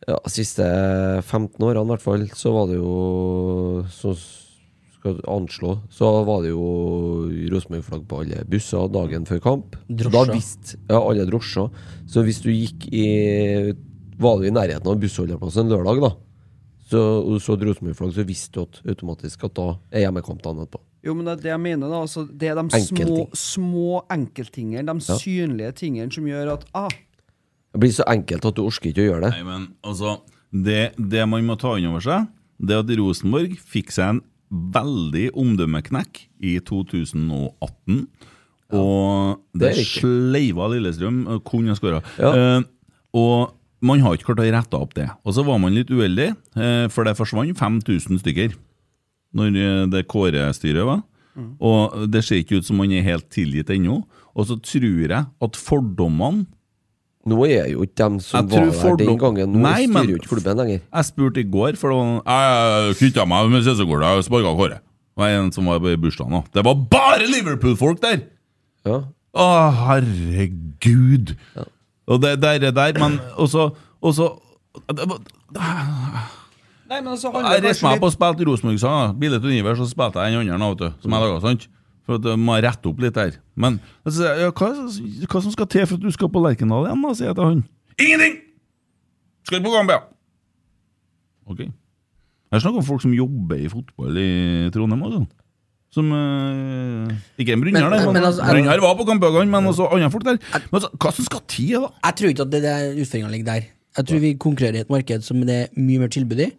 [SPEAKER 4] ja, siste 15 årene i hvert fall, så var det jo Så skal jeg anslå Så var det jo Rosenborg-flagg på alle busser dagen før kamp. Da
[SPEAKER 5] Drosjer.
[SPEAKER 4] visste Ja, alle drosjer. Så hvis du gikk i Var du i nærheten av bussholdeplassen lørdag, da, Så, og så et Rosenborg-flagg, så visste du at automatisk at da er hjemmekamp dagen etterpå.
[SPEAKER 6] Jo, men det er det jeg mener, da. Altså, det er de små,
[SPEAKER 4] Enkelting.
[SPEAKER 6] små enkelttingene, de
[SPEAKER 4] Ja.
[SPEAKER 6] synlige tingene som gjør at ah,
[SPEAKER 4] Det blir så enkelt at du orker ikke å gjøre det.
[SPEAKER 3] Nei, men altså det, det man må ta inn over seg, det er at Rosenborg fikk seg en veldig omdømmeknekk i 2018. Og det,
[SPEAKER 4] det er riktig.
[SPEAKER 3] sleiva Lillestrøm. eh, Kunne ha skåra.
[SPEAKER 4] Ja.
[SPEAKER 3] Eh, og man har ikke klart å rette opp det. Og så var man litt uheldig, eh, for det forsvant 5000 stykker når eh, det Kåre-styret var. Og det ser ikke ut som man er helt tilgitt ennå. Og så tror jeg at fordommene
[SPEAKER 4] Nå er jo ikke dem som
[SPEAKER 3] Jeg tror
[SPEAKER 4] var der den
[SPEAKER 3] fordom-
[SPEAKER 4] gangen, nå
[SPEAKER 3] Nei, men-
[SPEAKER 4] styrer jo ikke klubben lenger.
[SPEAKER 3] Jeg spurte i går, for det var Jeg knytta meg med CC-kortet og sparka håret. Det var en som var i bursdagen òg. Det var bare Liverpool-folk der!
[SPEAKER 4] Ja.
[SPEAKER 3] Å, herregud! Og det der, det der Men også, også det var-
[SPEAKER 6] Nei, men altså handler
[SPEAKER 3] Jeg
[SPEAKER 6] det
[SPEAKER 3] reiste
[SPEAKER 6] kanskje
[SPEAKER 3] meg opp
[SPEAKER 6] litt
[SPEAKER 3] og spilte Rosenborg-sanger. Bildet til Univer, så spilte jeg den andre, vet du, som jeg laga. Sant? For at jeg må rette opp litt der. Men så sier jeg, ja, hva, hva som skal til for at du skal på Lerkendal igjen, da, sier jeg til han. Ingenting! Skal på Gambia! Ok. Jeg snakker om folk som jobber i fotball i Trondheim. Altså. Som eh, Ikke en Brynjar,
[SPEAKER 5] Men-
[SPEAKER 3] det.
[SPEAKER 5] men altså, er-
[SPEAKER 3] Brynjar var på kampene, men også andre folk der. Men altså, hva som skal til, da?
[SPEAKER 5] Jeg tror ikke at det der utfordringene ligger der. Jeg tror vi konkurrerer i et marked som det er mye mer tilbud i.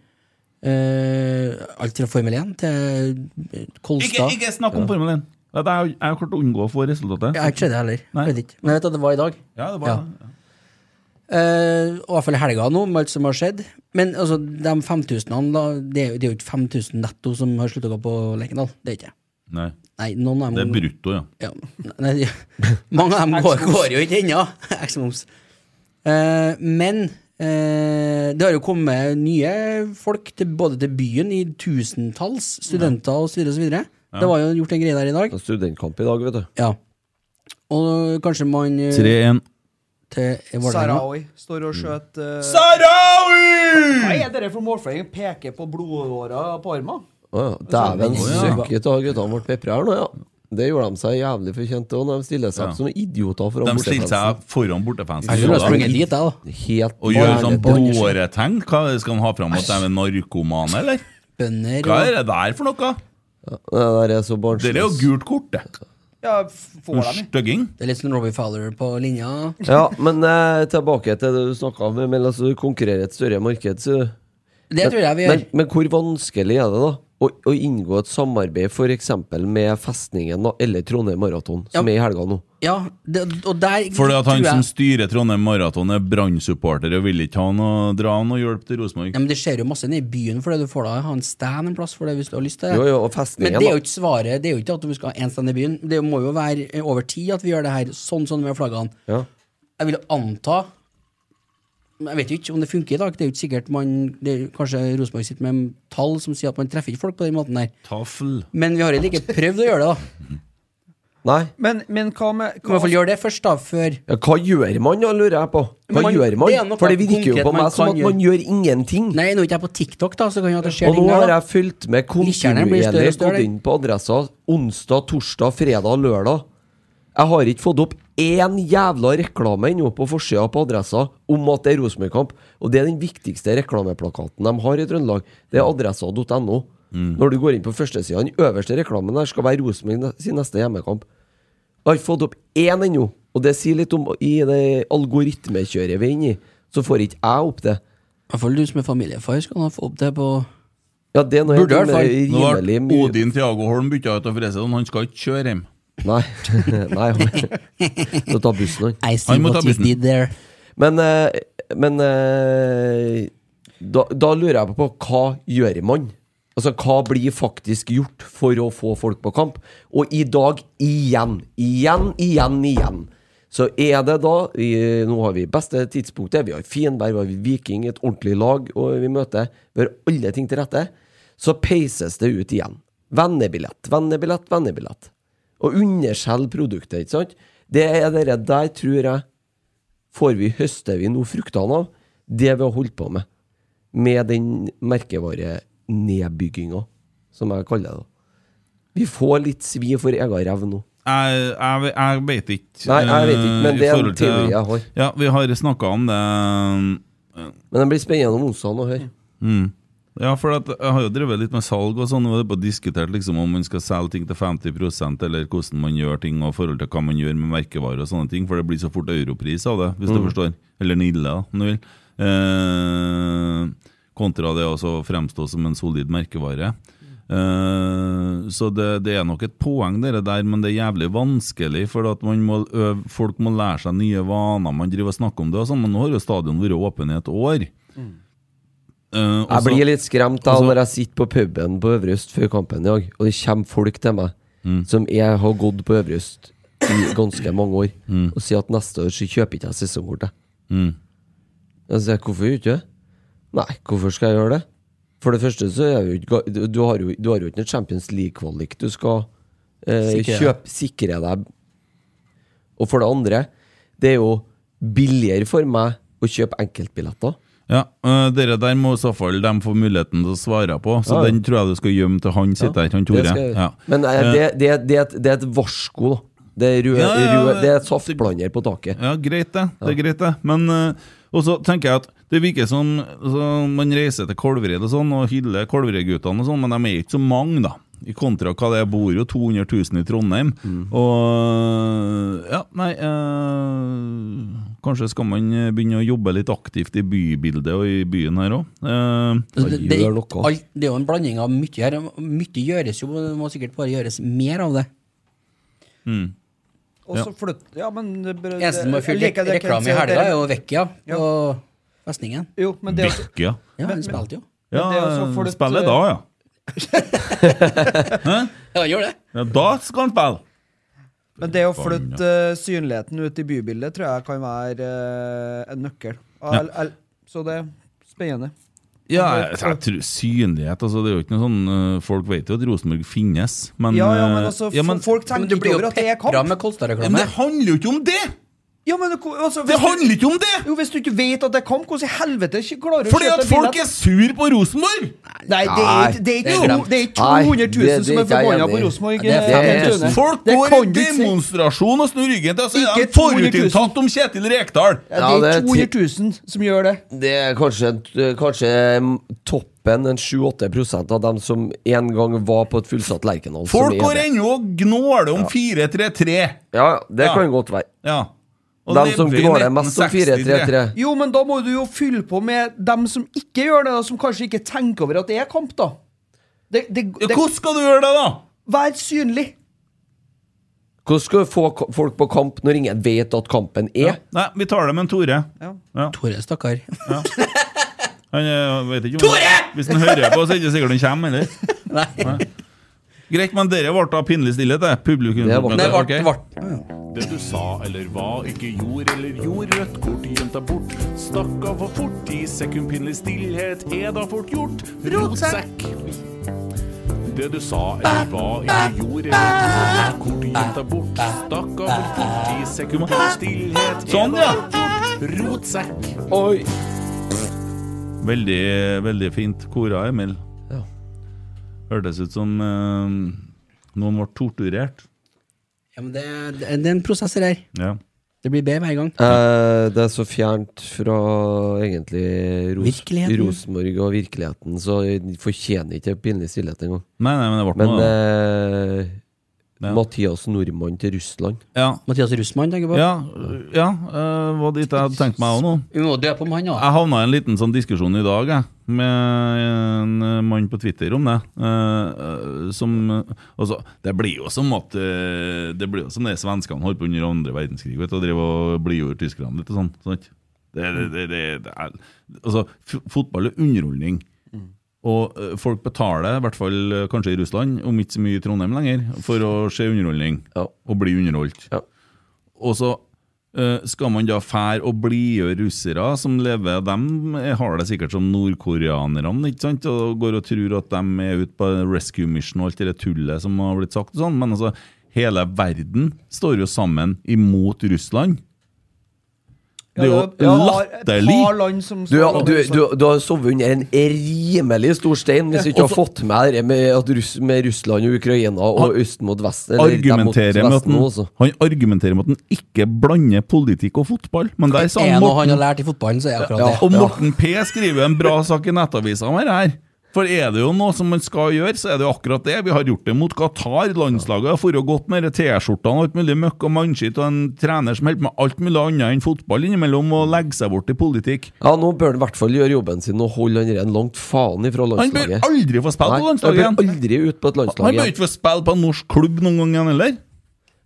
[SPEAKER 5] Eh, alt fra Formel 1 til eh,
[SPEAKER 3] Ikke,
[SPEAKER 5] Kolstad.
[SPEAKER 3] ikke snakk om Formel 1. Jeg har jeg har klart å unngå å få resultatet.
[SPEAKER 5] Jeg har ikke sett det heller.
[SPEAKER 3] Nei.
[SPEAKER 5] Jeg Vet ikke. Men jeg vet at det var i dag.
[SPEAKER 3] Ja, det var
[SPEAKER 5] Ja.
[SPEAKER 3] det.
[SPEAKER 5] Eh, og i hvert fall i helga nå, med alt som har skjedd. Men altså, de 5000-ene, da, det, er jo- det er jo ikke 5000 netto som har slutta å gå på Lekendal. Det er ikke det.
[SPEAKER 3] Nei,
[SPEAKER 5] Nei, noen av
[SPEAKER 3] det
[SPEAKER 5] dem
[SPEAKER 3] er brutto, ja.
[SPEAKER 5] ja, nei, Mange av dem går, går jo ikke ennå. Eksmoms. Eh, men eh, det har jo kommet nye folk til, både til byen i tusentalls, studenter osv. osv. videre Det var jo gjort en greie der i dag.
[SPEAKER 4] Det er studentkamp i dag, vet du.
[SPEAKER 5] Ja. Og kanskje man eh,
[SPEAKER 3] 3-1.
[SPEAKER 5] til Vålerenga
[SPEAKER 6] Sarawi sånn står og skjøt eh, Hva
[SPEAKER 3] Sarawi!
[SPEAKER 6] er dere for målfløying? Peker på blodåra på armen?
[SPEAKER 4] Å ja. Dæven
[SPEAKER 3] ja.
[SPEAKER 4] søkke ta guttene ble pepra her nå, ja. Det gjorde de seg jævlig fortjent til, og de stiller seg opp som idioter
[SPEAKER 3] De
[SPEAKER 4] foran
[SPEAKER 3] stilte seg foran bortefansen. Så
[SPEAKER 5] Jeg skulle ha
[SPEAKER 3] da-
[SPEAKER 5] sprunget dit, jeg, da.
[SPEAKER 4] Helt
[SPEAKER 3] Og gjør
[SPEAKER 4] vanlig.
[SPEAKER 3] sånn
[SPEAKER 5] Bandersen.
[SPEAKER 3] blåretegn? Hva er det, Skal han ha fram at de er narkomane, eller?
[SPEAKER 5] Bønder
[SPEAKER 3] Hva er
[SPEAKER 5] og
[SPEAKER 3] det der for noe?
[SPEAKER 4] Det der er så barnslig.
[SPEAKER 3] Det er jo gult kort, det.
[SPEAKER 6] Ja, f- får dem i.
[SPEAKER 3] Stygging.
[SPEAKER 5] Det er litt sånn Robbie Fowler på linja.
[SPEAKER 4] Ja, men eh, tilbake til det du snakka om, men altså, du konkurrerer i et større marked, så
[SPEAKER 5] Det tror jeg vi
[SPEAKER 4] men,
[SPEAKER 5] gjør.
[SPEAKER 4] men hvor vanskelig er det, da? Å, å inngå et samarbeid f.eks. med Festningen da, eller Trondheim Maraton, som
[SPEAKER 5] Ja.
[SPEAKER 4] er i helga nå.
[SPEAKER 5] Ja, det, og der
[SPEAKER 3] Fordi at han
[SPEAKER 5] tror jeg-
[SPEAKER 3] som styrer Trondheim Maraton, er Brann-supporter og vil ikke ha noe dra noe hjelp til
[SPEAKER 5] Ja,
[SPEAKER 3] Rosenborg.
[SPEAKER 5] men Det skjer jo masse nede i byen for det. Du får da ha en stand en plass for det hvis du har lyst til det.
[SPEAKER 4] Jo, jo, og festningen,
[SPEAKER 5] men det er
[SPEAKER 4] da.
[SPEAKER 5] jo ikke svaret. Det er jo ikke at du skal ha én stand i byen. Det må jo være eh, over tid at vi gjør det her, sånn som med flaggene.
[SPEAKER 4] Ja.
[SPEAKER 5] Jeg vil jo anta men Jeg vet jo ikke om det funker i dag. Det er jo ikke sikkert man det er, Kanskje Rosenborg sitter med tall som sier at man treffer ikke folk på den måten der.
[SPEAKER 3] Taffel.
[SPEAKER 5] Men vi har heller ikke prøvd å gjøre det, da.
[SPEAKER 4] Nei.
[SPEAKER 6] Men, men hva med
[SPEAKER 5] Vi må i hvert fall gjøre det først, da, før
[SPEAKER 4] Ja, hva gjør man, da, lurer jeg på? Hva
[SPEAKER 5] Men man-
[SPEAKER 4] gjør
[SPEAKER 5] det er
[SPEAKER 4] man?
[SPEAKER 5] noe
[SPEAKER 4] For det virker jo
[SPEAKER 5] konkret
[SPEAKER 4] på
[SPEAKER 5] man
[SPEAKER 4] meg som
[SPEAKER 5] kan
[SPEAKER 4] at man gjør ingenting.
[SPEAKER 5] Nei, nå er ikke jeg på TikTok, da, så kan jo at det skjer
[SPEAKER 4] Og nå
[SPEAKER 5] ting der.
[SPEAKER 4] har
[SPEAKER 5] da.
[SPEAKER 4] jeg fulgt med
[SPEAKER 5] Lytterne blir større og
[SPEAKER 4] kontinuerlig
[SPEAKER 5] større.
[SPEAKER 4] gått inn på adressa onsdag, torsdag, fredag, lørdag. Jeg har ikke fått opp én jævla reklame ennå på forsida på adressa om at det er Rosenborg-kamp. Og det er den viktigste reklameplakaten de har i Trøndelag. Det er adressa.no.
[SPEAKER 5] Mm.
[SPEAKER 4] Når du går inn på førstesida, den øverste reklamen der skal være Rosenborg ne- sin neste hjemmekamp. Jeg har ikke fått opp én ennå, og det sier litt om i det algoritmekjøret vi er inne i. Så får ikke jeg opp det.
[SPEAKER 5] I hvert fall du som er familiefar, skal nå få opp det på
[SPEAKER 4] Ja, det er noe
[SPEAKER 5] Burde i
[SPEAKER 4] helt
[SPEAKER 5] hvert fall.
[SPEAKER 3] Nå
[SPEAKER 4] rimelig
[SPEAKER 3] ble
[SPEAKER 4] mye
[SPEAKER 3] Odin Thiago Holm bytta ut av Freseland. Han skal ikke kjøre hjem.
[SPEAKER 4] Nei. Nei han- Må ta bussen, han.
[SPEAKER 5] I see
[SPEAKER 3] Han må
[SPEAKER 5] what
[SPEAKER 3] ta
[SPEAKER 5] you
[SPEAKER 3] bussen.
[SPEAKER 5] did there.
[SPEAKER 4] Men, eh, men eh, da, da lurer jeg på hva gjør man? Altså, hva blir faktisk gjort for å få folk på kamp? Og i dag igjen, igjen, igjen, igjen. Så er det da i, Nå har vi beste tidspunktet. Vi har Fienberg, vi har Viking, et ordentlig lag og vi møter. Vi har alle ting til rette. Så peises det ut igjen. Vennebillett, vennebillett, vennebillett. Og underselge produktet, ikke sant? Det er det der, tror jeg, får vi, høster vi nå fruktene av det vi har holdt på med, med den merkevarenedbygginga, som jeg kaller det. Vi får litt svi for egen rev nå.
[SPEAKER 3] Jeg, jeg, jeg vet ikke.
[SPEAKER 4] Nei, jeg vet ikke, men
[SPEAKER 3] eh, i
[SPEAKER 4] det er en
[SPEAKER 3] forhold til-
[SPEAKER 4] teori jeg har.
[SPEAKER 3] Ja, Vi har snakka om det.
[SPEAKER 4] Men det blir spennende om onsdagen å høre.
[SPEAKER 3] Ja, for at jeg har jo drevet litt med salg og sånn, og det er bare diskutert liksom om man skal selge ting til 50 eller hvordan man gjør ting og forhold til hva man gjør med merkevarer og sånne ting, for det blir så fort europris av det,
[SPEAKER 4] Mm.
[SPEAKER 3] hvis du forstår. Eller Nille, da, om du vil. Eh, kontra det å så fremstå som en solid merkevare. Eh, så det, det er nok et poeng dere der, men det er jævlig vanskelig. For at man må øve, folk må lære seg nye vaner. Man driver og snakker om det. Og sånn, men nå har jo stadion vært åpen i et år. Eh, og
[SPEAKER 4] Mm. Jeg
[SPEAKER 3] så-
[SPEAKER 4] blir litt skremt da
[SPEAKER 3] også- Altså-
[SPEAKER 4] når jeg sitter på puben på Øvre Øst før kampen i dag, og det kommer folk til meg
[SPEAKER 3] Mm.
[SPEAKER 4] som jeg har gått på Øvre Øst i ganske mange år, og sier at neste år så kjøper ikke jeg sesongkort. jeg.
[SPEAKER 3] Mm.
[SPEAKER 4] Jeg sier hvorfor gjør du ikke det? Nei, hvorfor skal jeg gjøre det? For det første så er jeg jo ikke ga- du- Du har jo, du har jo ikke noen Champions League-kvalik du skal eh,
[SPEAKER 5] Sikre.
[SPEAKER 4] kjøpe, sikre deg. Og for det andre, det er jo billigere for meg å kjøpe enkeltbilletter.
[SPEAKER 3] Ja, øh, dere der må i så fall de få muligheten til å svare på, så
[SPEAKER 4] Ja, ja.
[SPEAKER 3] den tror jeg du skal gjemme til han sitter her, han
[SPEAKER 4] Det
[SPEAKER 3] Tore.
[SPEAKER 4] skal jeg gjøre.
[SPEAKER 3] Ja.
[SPEAKER 4] Men eh, det, det, det, er et- det er et varsko, da. Det er, rød,
[SPEAKER 3] Ja, ja, ja,
[SPEAKER 4] rød, det er
[SPEAKER 3] det-
[SPEAKER 4] et saftblander på taket.
[SPEAKER 3] ja, greit det. Det er greit, det. Men øh, Og så tenker jeg at det virker som så man reiser til Kolvereid og sånn og hyller Kolvereid-guttene og sånn, men de er ikke så mange, da. I kontra hva det er, bor jo 200 000 i Trondheim. Og ja, nei øh, Kanskje skal man øh, begynne å jobbe litt aktivt i bybildet og i byen her Eh, òg.
[SPEAKER 5] Altså, Det, det,
[SPEAKER 4] gjør noe.
[SPEAKER 5] alt, det er jo en blanding av mye her. Mye gjøres jo, men det må sikkert bare gjøres mer av det.
[SPEAKER 6] Og så flytt Ja, men det- det-
[SPEAKER 5] Eneste som har
[SPEAKER 6] jeg
[SPEAKER 5] fylt
[SPEAKER 6] liker det
[SPEAKER 5] reklame i
[SPEAKER 6] Kent sier,
[SPEAKER 5] helga, er jo
[SPEAKER 6] det-
[SPEAKER 5] Vekkia på festningen.
[SPEAKER 6] Jo, men det er også-
[SPEAKER 3] Virker.
[SPEAKER 5] Ja, han spilte jo.
[SPEAKER 3] Ja,
[SPEAKER 6] Men det er jo så for det-
[SPEAKER 3] spiller da, ja.
[SPEAKER 5] Ja, han gjør det.
[SPEAKER 3] Ja, da skal han spille!
[SPEAKER 6] Men det å flytte eh, synligheten ut i bybildet tror jeg kan være eh, en nøkkel.
[SPEAKER 3] Ja.
[SPEAKER 6] Al- al- så det er spennende.
[SPEAKER 3] Ja, jeg, jeg tror Synlighet, altså. Det er jo ikke noe sånn øh, Folk vet jo at Rosenborg finnes, men
[SPEAKER 6] Ja, ja, men
[SPEAKER 3] øh,
[SPEAKER 6] altså,
[SPEAKER 3] ja, men-
[SPEAKER 6] f- folk
[SPEAKER 5] Men
[SPEAKER 6] tenker
[SPEAKER 5] du
[SPEAKER 6] ikke
[SPEAKER 5] blir jo
[SPEAKER 6] over at det er
[SPEAKER 5] pepra
[SPEAKER 6] kamp.
[SPEAKER 5] med
[SPEAKER 3] Ja, men
[SPEAKER 5] Kolstad-reklame.
[SPEAKER 3] det handler jo ikke om det!
[SPEAKER 6] Ja, men ko- altså,
[SPEAKER 3] Det
[SPEAKER 6] hvis du,
[SPEAKER 3] handler ikke om det!
[SPEAKER 6] jo, hvis du ikke vet at det er kamp, hvordan i helvete ikke klarer du
[SPEAKER 3] Fordi at folk er sur på Rosenborg!
[SPEAKER 6] Nei, det er, ikke- det er,
[SPEAKER 5] det er
[SPEAKER 6] ikke to-
[SPEAKER 5] glemt.
[SPEAKER 6] det er ikke
[SPEAKER 4] Nei,
[SPEAKER 6] 200 000
[SPEAKER 4] det-
[SPEAKER 6] som
[SPEAKER 4] det er
[SPEAKER 6] er
[SPEAKER 4] ikke jeg
[SPEAKER 6] forbanna
[SPEAKER 4] enig
[SPEAKER 6] på
[SPEAKER 4] i.
[SPEAKER 6] Rosenborg.
[SPEAKER 5] Ja, det er
[SPEAKER 6] eh,
[SPEAKER 5] 50 000.
[SPEAKER 6] Tune.
[SPEAKER 3] Folk
[SPEAKER 6] Det
[SPEAKER 3] går
[SPEAKER 6] kan
[SPEAKER 3] i
[SPEAKER 6] du ikke si.
[SPEAKER 3] demonstrasjon og snur ryggen til, og så er de
[SPEAKER 6] Ikke 200 000.
[SPEAKER 3] forutinntatt om Kjetil Rekdal!
[SPEAKER 6] Ja,
[SPEAKER 4] Ja,
[SPEAKER 6] det
[SPEAKER 4] det
[SPEAKER 6] er
[SPEAKER 4] er
[SPEAKER 6] 200 000 som gjør det.
[SPEAKER 4] Det er kanskje, kanskje toppen, en 7-8 av dem som en gang var på et fullsatt Lerkendal. som
[SPEAKER 3] Folk
[SPEAKER 4] er
[SPEAKER 3] går
[SPEAKER 4] det.
[SPEAKER 3] ennå og gnåler om 4-3-3!
[SPEAKER 4] Ja, det
[SPEAKER 3] Ja.
[SPEAKER 4] kan godt være.
[SPEAKER 3] Ja. Og
[SPEAKER 4] De som
[SPEAKER 3] lever i
[SPEAKER 4] gnåler mest om 4-3-3.
[SPEAKER 3] 1963.
[SPEAKER 6] Jo, men da må du jo fylle på med dem som ikke gjør det, da, som kanskje ikke tenker over at det er kamp, da. Det, det,
[SPEAKER 3] Ja,
[SPEAKER 6] det,
[SPEAKER 3] Hvordan skal du gjøre det, da?
[SPEAKER 6] vær synlig.
[SPEAKER 4] Hvordan skal du få ko- folk på kamp når ingen vet at kampen er?
[SPEAKER 3] Nei, vi tar det med en Tore.
[SPEAKER 5] Tore, stakkar.
[SPEAKER 3] Han eh, vet ikke om Tore! Hvis han hører på, så er det ikke sikkert han kommer, eller?
[SPEAKER 5] Nei,
[SPEAKER 3] Greit, men dere ble da pinlig stille til publikum.
[SPEAKER 4] Det ble-
[SPEAKER 5] det
[SPEAKER 3] Ok.
[SPEAKER 5] ble
[SPEAKER 8] Det du sa eller hva ikke gjorde eller gjorde, rødt kort gjemt deg bort. Stakk av for fort i sekundpinlig stillhet, er da fort gjort. Rotsekk. Det du sa eller hva ikke gjorde eller gjorde, rødt kort gjemt deg bort. Stakk av for fort i sekundpinlig stillhet,
[SPEAKER 3] Sånn, ja.
[SPEAKER 8] er rotsekk.
[SPEAKER 4] Oi!
[SPEAKER 3] Veldig, veldig fint kora, Emil.
[SPEAKER 4] Ja.
[SPEAKER 3] Hørtes ut som eh, noen ble torturert.
[SPEAKER 5] Ja, men det, det, det er en prosess her.
[SPEAKER 3] Ja.
[SPEAKER 5] Det blir bedre hver gang.
[SPEAKER 4] Eh, det er så fjernt fra egentlig Ros
[SPEAKER 5] Virkeligheten.
[SPEAKER 4] Rosenborg og virkeligheten, så jeg fortjener ikke pinlig stillhet engang.
[SPEAKER 3] Nei, nei, men det ble
[SPEAKER 4] Men
[SPEAKER 3] noe. da.
[SPEAKER 4] eh,
[SPEAKER 3] Ja.
[SPEAKER 4] Mathias Nordmann til Russland
[SPEAKER 3] Ja,
[SPEAKER 5] Mathias Russmann tenker jeg på.
[SPEAKER 3] ja, ja eh, var dit jeg hadde tenkt meg òg nå.
[SPEAKER 5] Vi må døpe om han òg.
[SPEAKER 3] Jeg havna i en liten sånn diskusjon i dag jeg, med en eh, mann på Twitter om det. eh, eh, som, eh, altså, det blir jo som at eh, Det blir jo som det svenskene holdt på under andre verdenskrig vet, du, og drev og blidgjorde tyskerne litt. og sånn, sant? Det, det, det, det, det er, altså, f fotball er underholdning. Og eh, folk betaler, i hvert fall eh, kanskje i Russland, om ikke så mye i Trondheim lenger, for å se underholdning
[SPEAKER 4] Ja.
[SPEAKER 3] og bli underholdt.
[SPEAKER 4] Ja.
[SPEAKER 3] Og så eh, skal man da fære og blidgjøre russere som lever dem har det sikkert som nordkoreanerne, ikke sant? Og går og tror at de er ute på rescue mission og alt det der tullet som har blitt sagt og sånn. Men altså, hele verden står jo sammen imot Russland. Det er jo latterlig.
[SPEAKER 6] Et par land som
[SPEAKER 4] Du,
[SPEAKER 6] står-
[SPEAKER 4] du, du, du har sovet under en rimelig stor stein hvis du ikke har fått med det med, at Russ, med Russland og Ukraina og Østen mot Vesten. eller dem mot altså.
[SPEAKER 3] argumenterer med at
[SPEAKER 4] Vesten
[SPEAKER 3] han,
[SPEAKER 4] også.
[SPEAKER 3] han argumenterer med at han ikke blander politikk og fotball. Men der sa
[SPEAKER 5] Er
[SPEAKER 3] han
[SPEAKER 5] noe han
[SPEAKER 3] Morten
[SPEAKER 5] har lært i fotballen, så er det akkurat
[SPEAKER 3] Og
[SPEAKER 5] det.
[SPEAKER 3] Morten P skriver en bra sak i nettavisa om det her. For er det jo noe som man skal gjøre, så er det jo akkurat det. Vi har gjort det mot Qatar. Landslaget har forrige gått med de T-skjortene og alt mulig møkk og mannskitt, og en trener som holder på med alt mulig annet enn fotball innimellom, og legger seg bort i politikk.
[SPEAKER 4] Ja, nå bør han i hvert fall gjøre jobben sin og holde han Ren langt faen ifra
[SPEAKER 3] Han bør
[SPEAKER 4] landslaget.
[SPEAKER 3] aldri få spille på
[SPEAKER 4] Nei, han bør
[SPEAKER 3] landslaget igjen!
[SPEAKER 4] aldri ut på et
[SPEAKER 3] Han
[SPEAKER 4] landslag
[SPEAKER 3] bør
[SPEAKER 4] igjen.
[SPEAKER 3] ikke få spille på en norsk klubb noen gang igjen heller.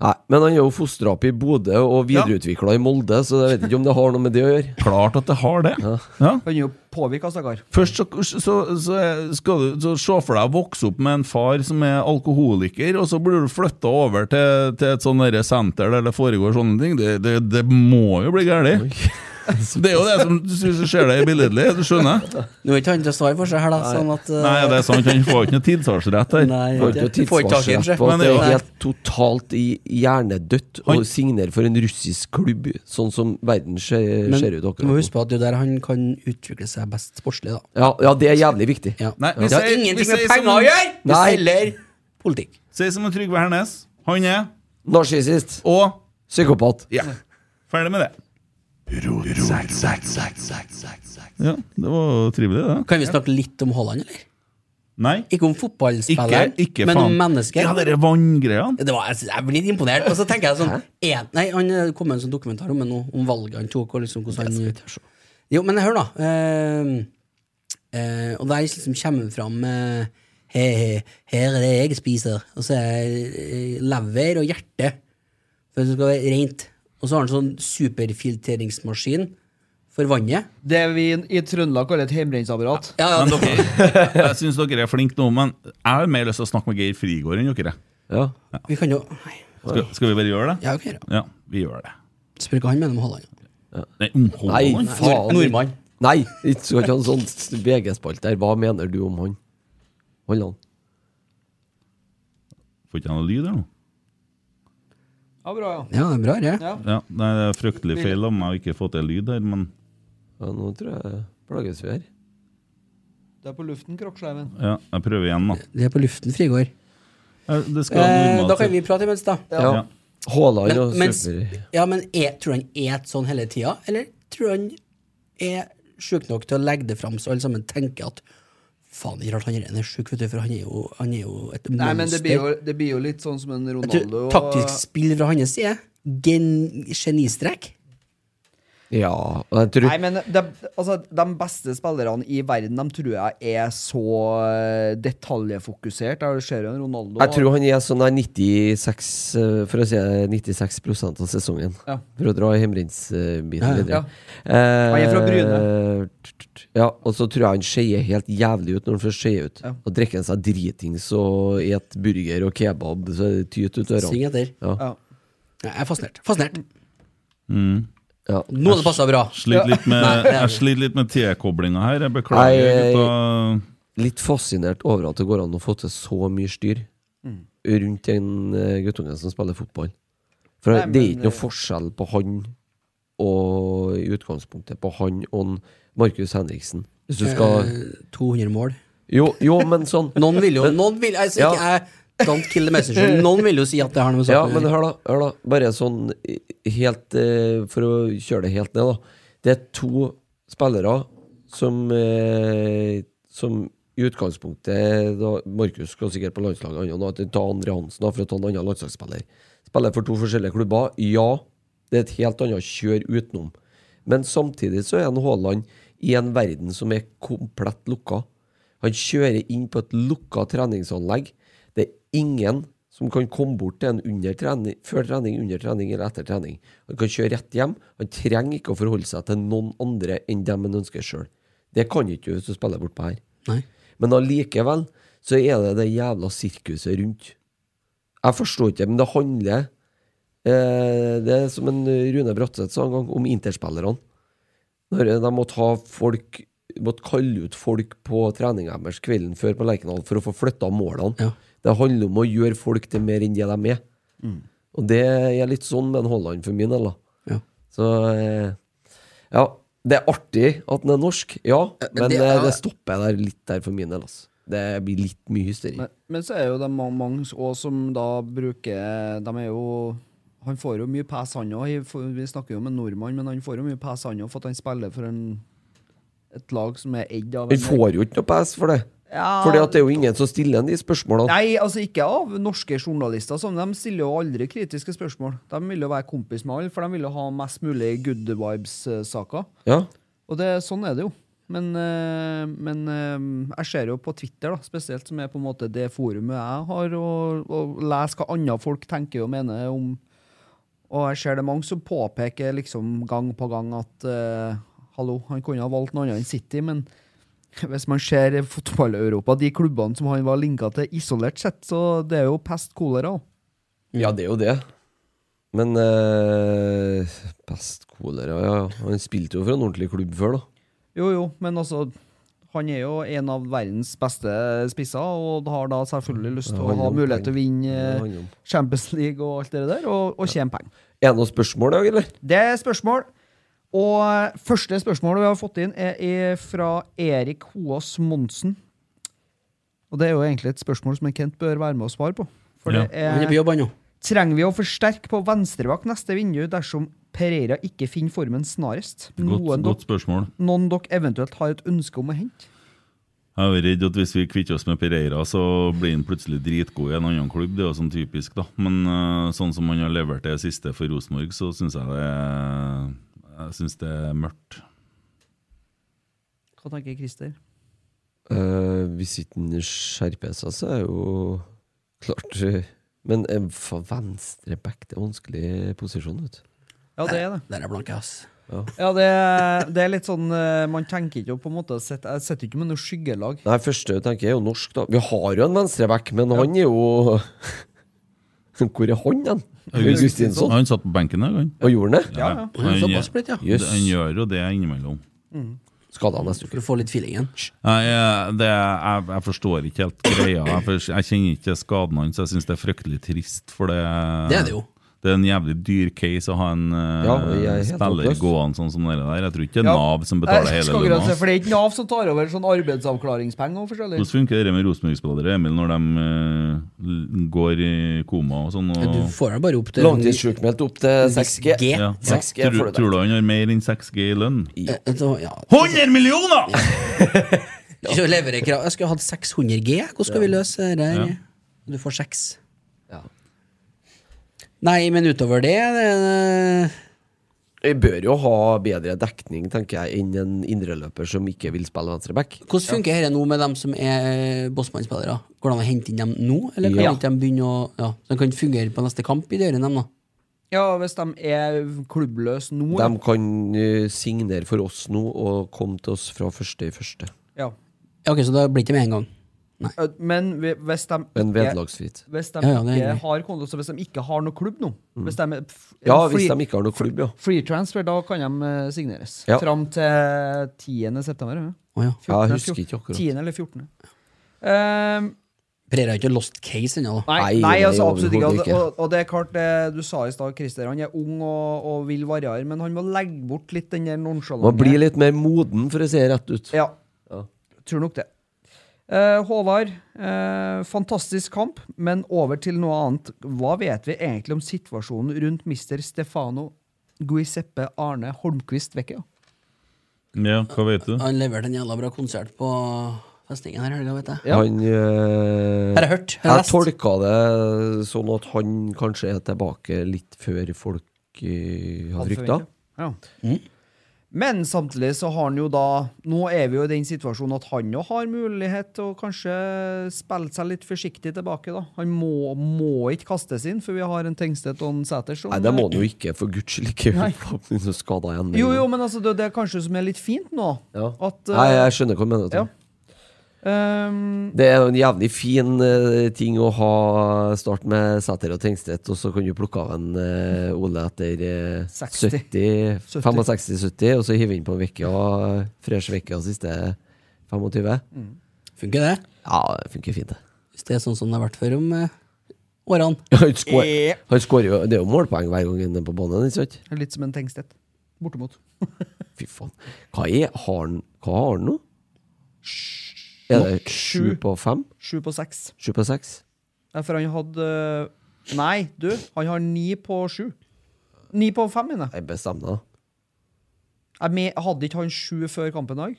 [SPEAKER 4] Nei, men han er jo fostra opp i Bodø og videreutvikla i Molde, så jeg vet ikke om det har noe med det å gjøre.
[SPEAKER 3] Klart at det har det. Ja.
[SPEAKER 6] Han er jo påvirka, stakkar.
[SPEAKER 3] Først så, så, så, skal du så se for deg å vokse opp med en far som er alkoholiker, og så blir du flytta over til, til et sånn derre senter der det foregår sånne ting. Det, det, det må jo bli galt. Det er jo det som hvis du ser det billedlig, du skjønner?
[SPEAKER 5] Nå er ikke han til å svare for seg her, da. Sånn at eh,
[SPEAKER 3] Nei, det er sant, han får ikke noe tilsvarsrett her.
[SPEAKER 5] nei,
[SPEAKER 4] Får ikke
[SPEAKER 5] du
[SPEAKER 4] noe
[SPEAKER 5] får ikke tak i en
[SPEAKER 4] tidsvarsel
[SPEAKER 5] sjef.
[SPEAKER 4] på
[SPEAKER 3] Men
[SPEAKER 4] at
[SPEAKER 3] det er
[SPEAKER 4] det er
[SPEAKER 3] jo-
[SPEAKER 4] helt totalt i hjernedødt å
[SPEAKER 3] Han-
[SPEAKER 4] signere for en russisk klubb, sånn som verden ser,
[SPEAKER 5] Men
[SPEAKER 4] ser ut
[SPEAKER 5] du må
[SPEAKER 4] akkurat nå.
[SPEAKER 5] huske på at det er jo der han kan utvikle seg best sportslig, da.
[SPEAKER 4] Ja, ja, det er jævlig viktig.
[SPEAKER 5] Ja.
[SPEAKER 3] Nei, vi
[SPEAKER 5] det har
[SPEAKER 3] sier- vi
[SPEAKER 5] ingenting med
[SPEAKER 3] sier
[SPEAKER 5] penger
[SPEAKER 3] som-
[SPEAKER 5] å gjøre! Vi
[SPEAKER 4] Nei.
[SPEAKER 5] selger politikk.
[SPEAKER 3] Si som en Trygve Hernes. Han er
[SPEAKER 4] Narsissist.
[SPEAKER 3] og
[SPEAKER 4] Psykopat.
[SPEAKER 3] Ja. Ferdig med det. Ja, det var jo trivelig, det.
[SPEAKER 5] Kan vi snakke litt om Haaland, eller?
[SPEAKER 3] Nei,
[SPEAKER 5] Ikke om
[SPEAKER 3] ikke,
[SPEAKER 5] fotballspilleren,
[SPEAKER 3] ikke
[SPEAKER 5] men om
[SPEAKER 3] faen.
[SPEAKER 5] mennesket.
[SPEAKER 3] Ja, dere vanngreiene.
[SPEAKER 5] det var, jeg synes- jeg blir litt imponert. Og så tenker jeg sånn en, Nei, han eh, kom med en sånn dokumentar om, det nå, om valget han tok, og liksom hvordan han Jo, men hør, da. eh, eh, og der liksom kommer han fram eh, he, he, Her er det jeg spiser. Og så er det eh, lever og hjerte. For det skal være rent. Og så har han sånn superfiltreringsmaskin for vannet.
[SPEAKER 6] Det vi i Trøndelag kaller et hjemmebrensapparat.
[SPEAKER 5] Ja, ja,
[SPEAKER 3] Men
[SPEAKER 5] det,
[SPEAKER 3] dere, jeg syns dere er flinke nå, men jeg har mer lyst til å snakke med Geir Frigård enn dere.
[SPEAKER 4] Ja.
[SPEAKER 5] vi kan jo nei,
[SPEAKER 3] Skal, skal vi bare gjøre det?
[SPEAKER 5] Ja, ok, da.
[SPEAKER 3] Ja, vi gjør det.
[SPEAKER 5] Spør hva han mener om Haaland.
[SPEAKER 3] Nei, om
[SPEAKER 4] Nei,
[SPEAKER 3] Haaland.
[SPEAKER 4] faen.
[SPEAKER 5] Nordmann.
[SPEAKER 4] Nei, ikke skal ikke ha en sånn VG-spalte der. Hva mener du om han? Hold han.
[SPEAKER 3] Får ikke jeg noe lyd her nå?
[SPEAKER 6] Ja, bra, ja.
[SPEAKER 5] Ja, det er bra, det.
[SPEAKER 6] Ja.
[SPEAKER 3] Ja, nei, det er fryktelig feil om jeg ikke har fått til lyd her, men
[SPEAKER 4] Ja, nå tror jeg plages vi her.
[SPEAKER 6] Det er på luften, Krokkskleiven.
[SPEAKER 3] ja, jeg prøver igjen, da.
[SPEAKER 5] Det er på luften, Frigård.
[SPEAKER 3] Ja, Det skal
[SPEAKER 5] Eh, da
[SPEAKER 3] normalt
[SPEAKER 5] kan vi prate imens, da.
[SPEAKER 4] Ja.
[SPEAKER 3] Ja.
[SPEAKER 4] Haaland og
[SPEAKER 5] Men, men,
[SPEAKER 4] super...
[SPEAKER 5] ja, men er, tror han et sånn hele tida, eller tror han er sjuk nok til å legge det fram så alle sammen tenker at faen, ikke rart han er- han er sjuk, vet du, for han er jo, han er jo et
[SPEAKER 6] Nei,
[SPEAKER 5] monster.
[SPEAKER 6] men det blir, jo, det blir jo litt sånn som en
[SPEAKER 5] Jeg
[SPEAKER 6] Ronaldo
[SPEAKER 5] tror,
[SPEAKER 6] og-
[SPEAKER 5] taktisk spill fra hans side. Gen, genistrek.
[SPEAKER 4] Ja, og jeg tror
[SPEAKER 6] Nei, men de, altså, de beste spillerne i verden De tror jeg er så eh, detaljfokusert. Jeg ser jo en Ronaldo
[SPEAKER 4] Jeg tror han er sånn der 96 eh, For å si det, 96 av sesongen.
[SPEAKER 6] Ja.
[SPEAKER 4] For å dra Hemrins-biten
[SPEAKER 5] Ja, ja.
[SPEAKER 4] videre. Han
[SPEAKER 6] er fra
[SPEAKER 4] Ja, og så tror jeg han skeier helt jævlig ut når han først skeier ut.
[SPEAKER 6] Ja.
[SPEAKER 4] Og drikker han seg dritings og et burger og kebab, så er det tyt ut
[SPEAKER 5] Syng
[SPEAKER 4] ørene.
[SPEAKER 5] etter.
[SPEAKER 6] ja.
[SPEAKER 5] Jeg er fascinert. Fascinert.
[SPEAKER 4] Mm. Ja.
[SPEAKER 5] Nå har det passa bra.
[SPEAKER 3] Sliter litt med,
[SPEAKER 5] Nei, det er-
[SPEAKER 3] jeg sliter litt med T-koblinga her. Jeg
[SPEAKER 4] Nei,
[SPEAKER 3] beklager.
[SPEAKER 4] jeg-
[SPEAKER 3] gutta.
[SPEAKER 4] Litt fascinert over at det går an å få til så mye styr rundt den eh, guttungen som spiller fotball. For
[SPEAKER 6] Nei,
[SPEAKER 4] det er
[SPEAKER 6] men,
[SPEAKER 4] ikke noe
[SPEAKER 6] eh,
[SPEAKER 4] forskjell på han og i utgangspunktet på han og en Markus Henriksen. Hvis du skal
[SPEAKER 5] Eh, 200 mål.
[SPEAKER 4] Jo, jo men sånn
[SPEAKER 5] Noen vil jo noen vil, altså,
[SPEAKER 4] Ja.
[SPEAKER 5] ikke, jeg, Don't kill the messenger. Noen vil jo si at det har noe med
[SPEAKER 4] Ja,
[SPEAKER 5] saken å
[SPEAKER 4] men
[SPEAKER 5] gjøre.
[SPEAKER 4] hør da, hør da. Bare sånn i- helt eh, For å kjøre det helt ned, da. Det er to spillere som eh, Som i utgangspunktet da, Markus skal sikkert på landslaget, han og ta Andre Hansen da, for å ta en annen landslagsspiller. Spiller for to forskjellige klubber. Ja, det er et helt annet kjør utenom. Men samtidig så er han Haaland i en verden som er komplett lukka. Han kjører inn på et lukka treningsanlegg. Det er ingen som kan komme bort til en under trening, før trening, under trening eller etter trening. Han kan kjøre rett hjem. Han trenger ikke å forholde seg til noen andre enn dem han ønsker sjøl. Det kan ikke du hvis du spiller bortpå her.
[SPEAKER 5] Nei.
[SPEAKER 4] Men allikevel så er det det jævla sirkuset rundt. Jeg forstår ikke, men det handler eh, Det er som en Rune Bratseth sa en gang, om interspillerne. Når eh, de måtte ha folk Måtte kalle ut folk på treninga deres kvelden før på Lerkendal for å få flytta målene.
[SPEAKER 5] Ja.
[SPEAKER 4] Det handler om å gjøre folk til mer enn det de er. Og det er litt sånn med en Haaland for min del, da.
[SPEAKER 5] Ja.
[SPEAKER 4] Så eh, ja. Det er artig at den er norsk, ja, men
[SPEAKER 5] det
[SPEAKER 4] det,
[SPEAKER 5] er-
[SPEAKER 4] det stopper der litt der for min del. Altså. Det blir litt mye hysteri.
[SPEAKER 6] Men, men så er jo det mange, mange også som da bruker De er jo Han får jo mye pass, han òg. Vi snakker jo om en nordmann, men han får jo mye pass, han òg, for at han spiller for en et lag som er eid av en-
[SPEAKER 4] Han får jo ikke noe pass for det.
[SPEAKER 6] Ja.
[SPEAKER 4] Fordi at det er jo ingen som stiller han de spørsmålene.
[SPEAKER 6] Nei, altså ikke av norske journalister. Som de stiller jo aldri kritiske spørsmål. De vil jo være kompis med alle, for de vil jo ha mest mulig good eh, vibes-saker.
[SPEAKER 4] Ja.
[SPEAKER 6] Og det, sånn er det jo. Men, eh, men eh, jeg ser jo på Twitter, da, spesielt, som er på en måte det forumet jeg har, og, og leser hva andre folk tenker og mener om Og jeg ser det mange som påpeker liksom gang på gang at eh, hallo, han kunne ha valgt noe annet enn City, men hvis man ser i fotball-Europa, de klubbene som han var linka til, isolert sett, så det er jo pest kolera. da.
[SPEAKER 4] ja, det er jo det. Men eh, Pest kolera, ja. ja. Han spilte jo for en ordentlig klubb før, da.
[SPEAKER 6] Jo, jo, men altså han er jo en av verdens beste spisser og har da
[SPEAKER 4] Mm.
[SPEAKER 6] selvfølgelig lyst til å ha mulighet til å vinne
[SPEAKER 4] Det
[SPEAKER 6] eh,
[SPEAKER 4] handler om-
[SPEAKER 6] Champions League og alt det der, og, og tjene penger.
[SPEAKER 4] Er det noe spørsmål, Dag, eller?
[SPEAKER 6] Det er spørsmål. Og eh, første spørsmålet vi har fått inn, er, er fra Erik Hoas Monsen. Og det er jo egentlig et spørsmål som en Kent bør være med og svare på. For
[SPEAKER 3] Ja.
[SPEAKER 6] det
[SPEAKER 5] Han er på
[SPEAKER 6] er,
[SPEAKER 5] jobb, han nå.
[SPEAKER 6] trenger vi å forsterke på venstrebakk neste vindu dersom Pereira ikke finner formen snarest?
[SPEAKER 3] Godt,
[SPEAKER 6] Noen,
[SPEAKER 3] godt
[SPEAKER 6] dok,
[SPEAKER 3] spørsmål.
[SPEAKER 6] noen dere eventuelt har et ønske om å hente?
[SPEAKER 3] Jeg er jo redd at hvis vi kvitter oss med Pereira, så blir han plutselig dritgod i en annen klubb. Det er jo sånn typisk, da. Men eh, sånn som han har levert det siste for Rosenborg, så syns jeg det er, jeg synes det er mørkt.
[SPEAKER 6] Hva tenker Christer?
[SPEAKER 4] Eh, hvis ikke den skjerper seg, så er jo klart eh, Men eh, for venstre back, det er vanskelig posisjon, vet du.
[SPEAKER 6] Ja, det er det.
[SPEAKER 5] Der er blanke, ass.
[SPEAKER 6] Ja, det, er- det er litt sånn eh, Man tenker ikke å på en måte sette- Jeg sitter ikke med noe skyggelag.
[SPEAKER 4] Nei, første tenker jeg er jo norsk, da. Vi har jo en venstreback, men han er jo Hvor er han hen? Augustinsson?
[SPEAKER 3] Han satt på benken der, han.
[SPEAKER 4] Og gjorde han det?
[SPEAKER 6] Ja, ja.
[SPEAKER 5] Han er
[SPEAKER 3] Han-
[SPEAKER 5] såpass blitt, ja.
[SPEAKER 4] Jøss.
[SPEAKER 3] Han gjør jo det innimellom.
[SPEAKER 4] Skada neste uke.
[SPEAKER 5] For å få litt feelingen.
[SPEAKER 3] Nei, jeg- det, jeg, jeg forstår ikke helt greia. Jeg, for, jeg kjenner ikke skaden hans. Jeg syns det er fryktelig trist, for det
[SPEAKER 5] Det er det jo.
[SPEAKER 3] Det er en jævlig dyr case å ha en eh,
[SPEAKER 4] Ja, jeg er helt
[SPEAKER 3] spiller
[SPEAKER 4] oppløst.
[SPEAKER 3] gående sånn som det der. Jeg tror ikke det er
[SPEAKER 6] Ja.
[SPEAKER 3] Nav som betaler
[SPEAKER 6] Jeg
[SPEAKER 3] hele
[SPEAKER 6] skal akkurat si,
[SPEAKER 3] lønna.
[SPEAKER 6] For det er ikke Nav som tar over sånn arbeidsavklaringspenger og forskjellig.
[SPEAKER 3] Hvordan funker det med Rosenborg-spillere, Emil, når de eh, l- går i koma og sånn? Og,
[SPEAKER 5] Du får den bare opp til
[SPEAKER 4] Langtidssjukmeldt opp til 6G.
[SPEAKER 5] G.
[SPEAKER 3] ja.
[SPEAKER 4] Ja, 6G
[SPEAKER 3] Tror,
[SPEAKER 4] får du der.
[SPEAKER 3] tror du han har mer enn 6G i lønn?
[SPEAKER 5] Eh, eh, så- Ja.
[SPEAKER 3] 100 millioner!
[SPEAKER 5] Ikke levere krav. Jeg skulle hatt 600 G. Hvordan skal vi løse det her? Du får seks.
[SPEAKER 4] Ja.
[SPEAKER 5] Nei, men utover det, det
[SPEAKER 4] Vi bør jo ha bedre dekning, tenker jeg, enn en indreløper som ikke vil spille venstreback.
[SPEAKER 5] Hvordan funker dette nå med dem som er Bossmann-spillere? Går det an å hente inn dem nå, eller kan
[SPEAKER 4] Ja.
[SPEAKER 5] ikke de begynne å ja, så De kan fungere på neste kamp i døren, dem, da?
[SPEAKER 6] Ja, hvis de er klubbløse nå,
[SPEAKER 4] De kan eh, signere for oss nå og komme til oss fra første i første.
[SPEAKER 6] ja.
[SPEAKER 5] Ja, ok, Så da blir det ikke med en gang.
[SPEAKER 6] Eh, Men vi- hvis de
[SPEAKER 4] Men
[SPEAKER 6] ikke,
[SPEAKER 4] vederlagsfritt.
[SPEAKER 6] hvis de,
[SPEAKER 5] Ja, ja, det er
[SPEAKER 6] ikke
[SPEAKER 5] greit.
[SPEAKER 6] har konto, så hvis de ikke har noe klubb nå Hvis de er f-
[SPEAKER 4] Mm. Ja,
[SPEAKER 6] free-
[SPEAKER 4] hvis de ikke har noe klubb, ja.
[SPEAKER 6] Free transfer, da kan de eh, signeres.
[SPEAKER 4] Ja.
[SPEAKER 6] Fram til 10. september. Ja.
[SPEAKER 5] Å ja.
[SPEAKER 6] 14.,
[SPEAKER 4] Ja, jeg husker ikke akkurat.
[SPEAKER 6] 10. eller 14. Ehm,
[SPEAKER 5] Pereira har ikke lost case ennå, da.
[SPEAKER 6] Nei,
[SPEAKER 4] Nei,
[SPEAKER 6] nei,
[SPEAKER 4] nei,
[SPEAKER 6] altså, absolutt ikke.
[SPEAKER 4] overhodet ikke.
[SPEAKER 6] Og, og det er klart, det du sa i stad, Christer, han er ung og, og vil variere, men han må legge bort litt den der
[SPEAKER 4] Man blir
[SPEAKER 6] nonsjalante
[SPEAKER 4] litt mer moden, for å si det rett ut.
[SPEAKER 6] Ja.
[SPEAKER 4] Ja.
[SPEAKER 6] Tror nok det. Eh, Håvard, eh, fantastisk kamp, men over til noe annet. Hva vet vi egentlig om situasjonen rundt mister Stefano Guiseppe Arne Holmquist Vecchia?
[SPEAKER 3] Ja, hva vet du?
[SPEAKER 5] Han leverte en jævla bra konsert på festningen her i helga, vet jeg.
[SPEAKER 6] Ja.
[SPEAKER 4] Han eh,
[SPEAKER 5] Har jeg hørt? Har
[SPEAKER 4] Jeg
[SPEAKER 5] jeg lest?
[SPEAKER 4] tolka det sånn at han kanskje er tilbake litt før folk eh, har frykta.
[SPEAKER 6] Ja.
[SPEAKER 4] Mm.
[SPEAKER 6] Men samtidig så har han jo da Nå er vi jo i den situasjonen at han jo har mulighet til å kanskje spille seg litt forsiktig tilbake, da. Han må, må ikke kastes inn, for vi har en Tengstedt og en Sæter som
[SPEAKER 4] Nei, det må han jo ikke, for guds skyld. Ikke
[SPEAKER 6] Nei.
[SPEAKER 4] bli så skada igjen. med
[SPEAKER 6] Jo,
[SPEAKER 4] en
[SPEAKER 6] jo,
[SPEAKER 4] gang.
[SPEAKER 6] men altså, det, det er kanskje som er litt fint nå.
[SPEAKER 4] Ja.
[SPEAKER 6] At
[SPEAKER 4] Nei,
[SPEAKER 6] eh,
[SPEAKER 4] jeg skjønner hva du mener. Tom.
[SPEAKER 6] ja. ehm,
[SPEAKER 4] Det er jo en jævlig fin eh, ting å ha eh, start med Sæter og Tengstedt, og så kan du plukke av en eh, Ole etter eh,
[SPEAKER 6] 60.
[SPEAKER 4] 70, 65-70, og så hive inn på en uke og freshe uka siste 25.
[SPEAKER 5] Funker det?
[SPEAKER 4] Ja, det funker fint, det.
[SPEAKER 5] Hvis det er sånn som det har vært før om eh, årene.
[SPEAKER 4] Han skår- Eh. han skårer jo Det er jo målpoeng hver gang han er på banen, ikke sant?
[SPEAKER 6] litt som en Tengstedt. Bortimot.
[SPEAKER 4] Fy faen. Hva er har han Hva har han nå? Er det sju
[SPEAKER 6] sju.
[SPEAKER 4] på fem?
[SPEAKER 6] Sju på seks.
[SPEAKER 4] Sju på seks?
[SPEAKER 6] Nei, For han hadde eh, Nei, du, han har ni på sju. Ni på fem, mener jeg.
[SPEAKER 4] Jeg bestemmer meg.
[SPEAKER 6] Jeg me- Hadde ikke han sju før kampen i dag?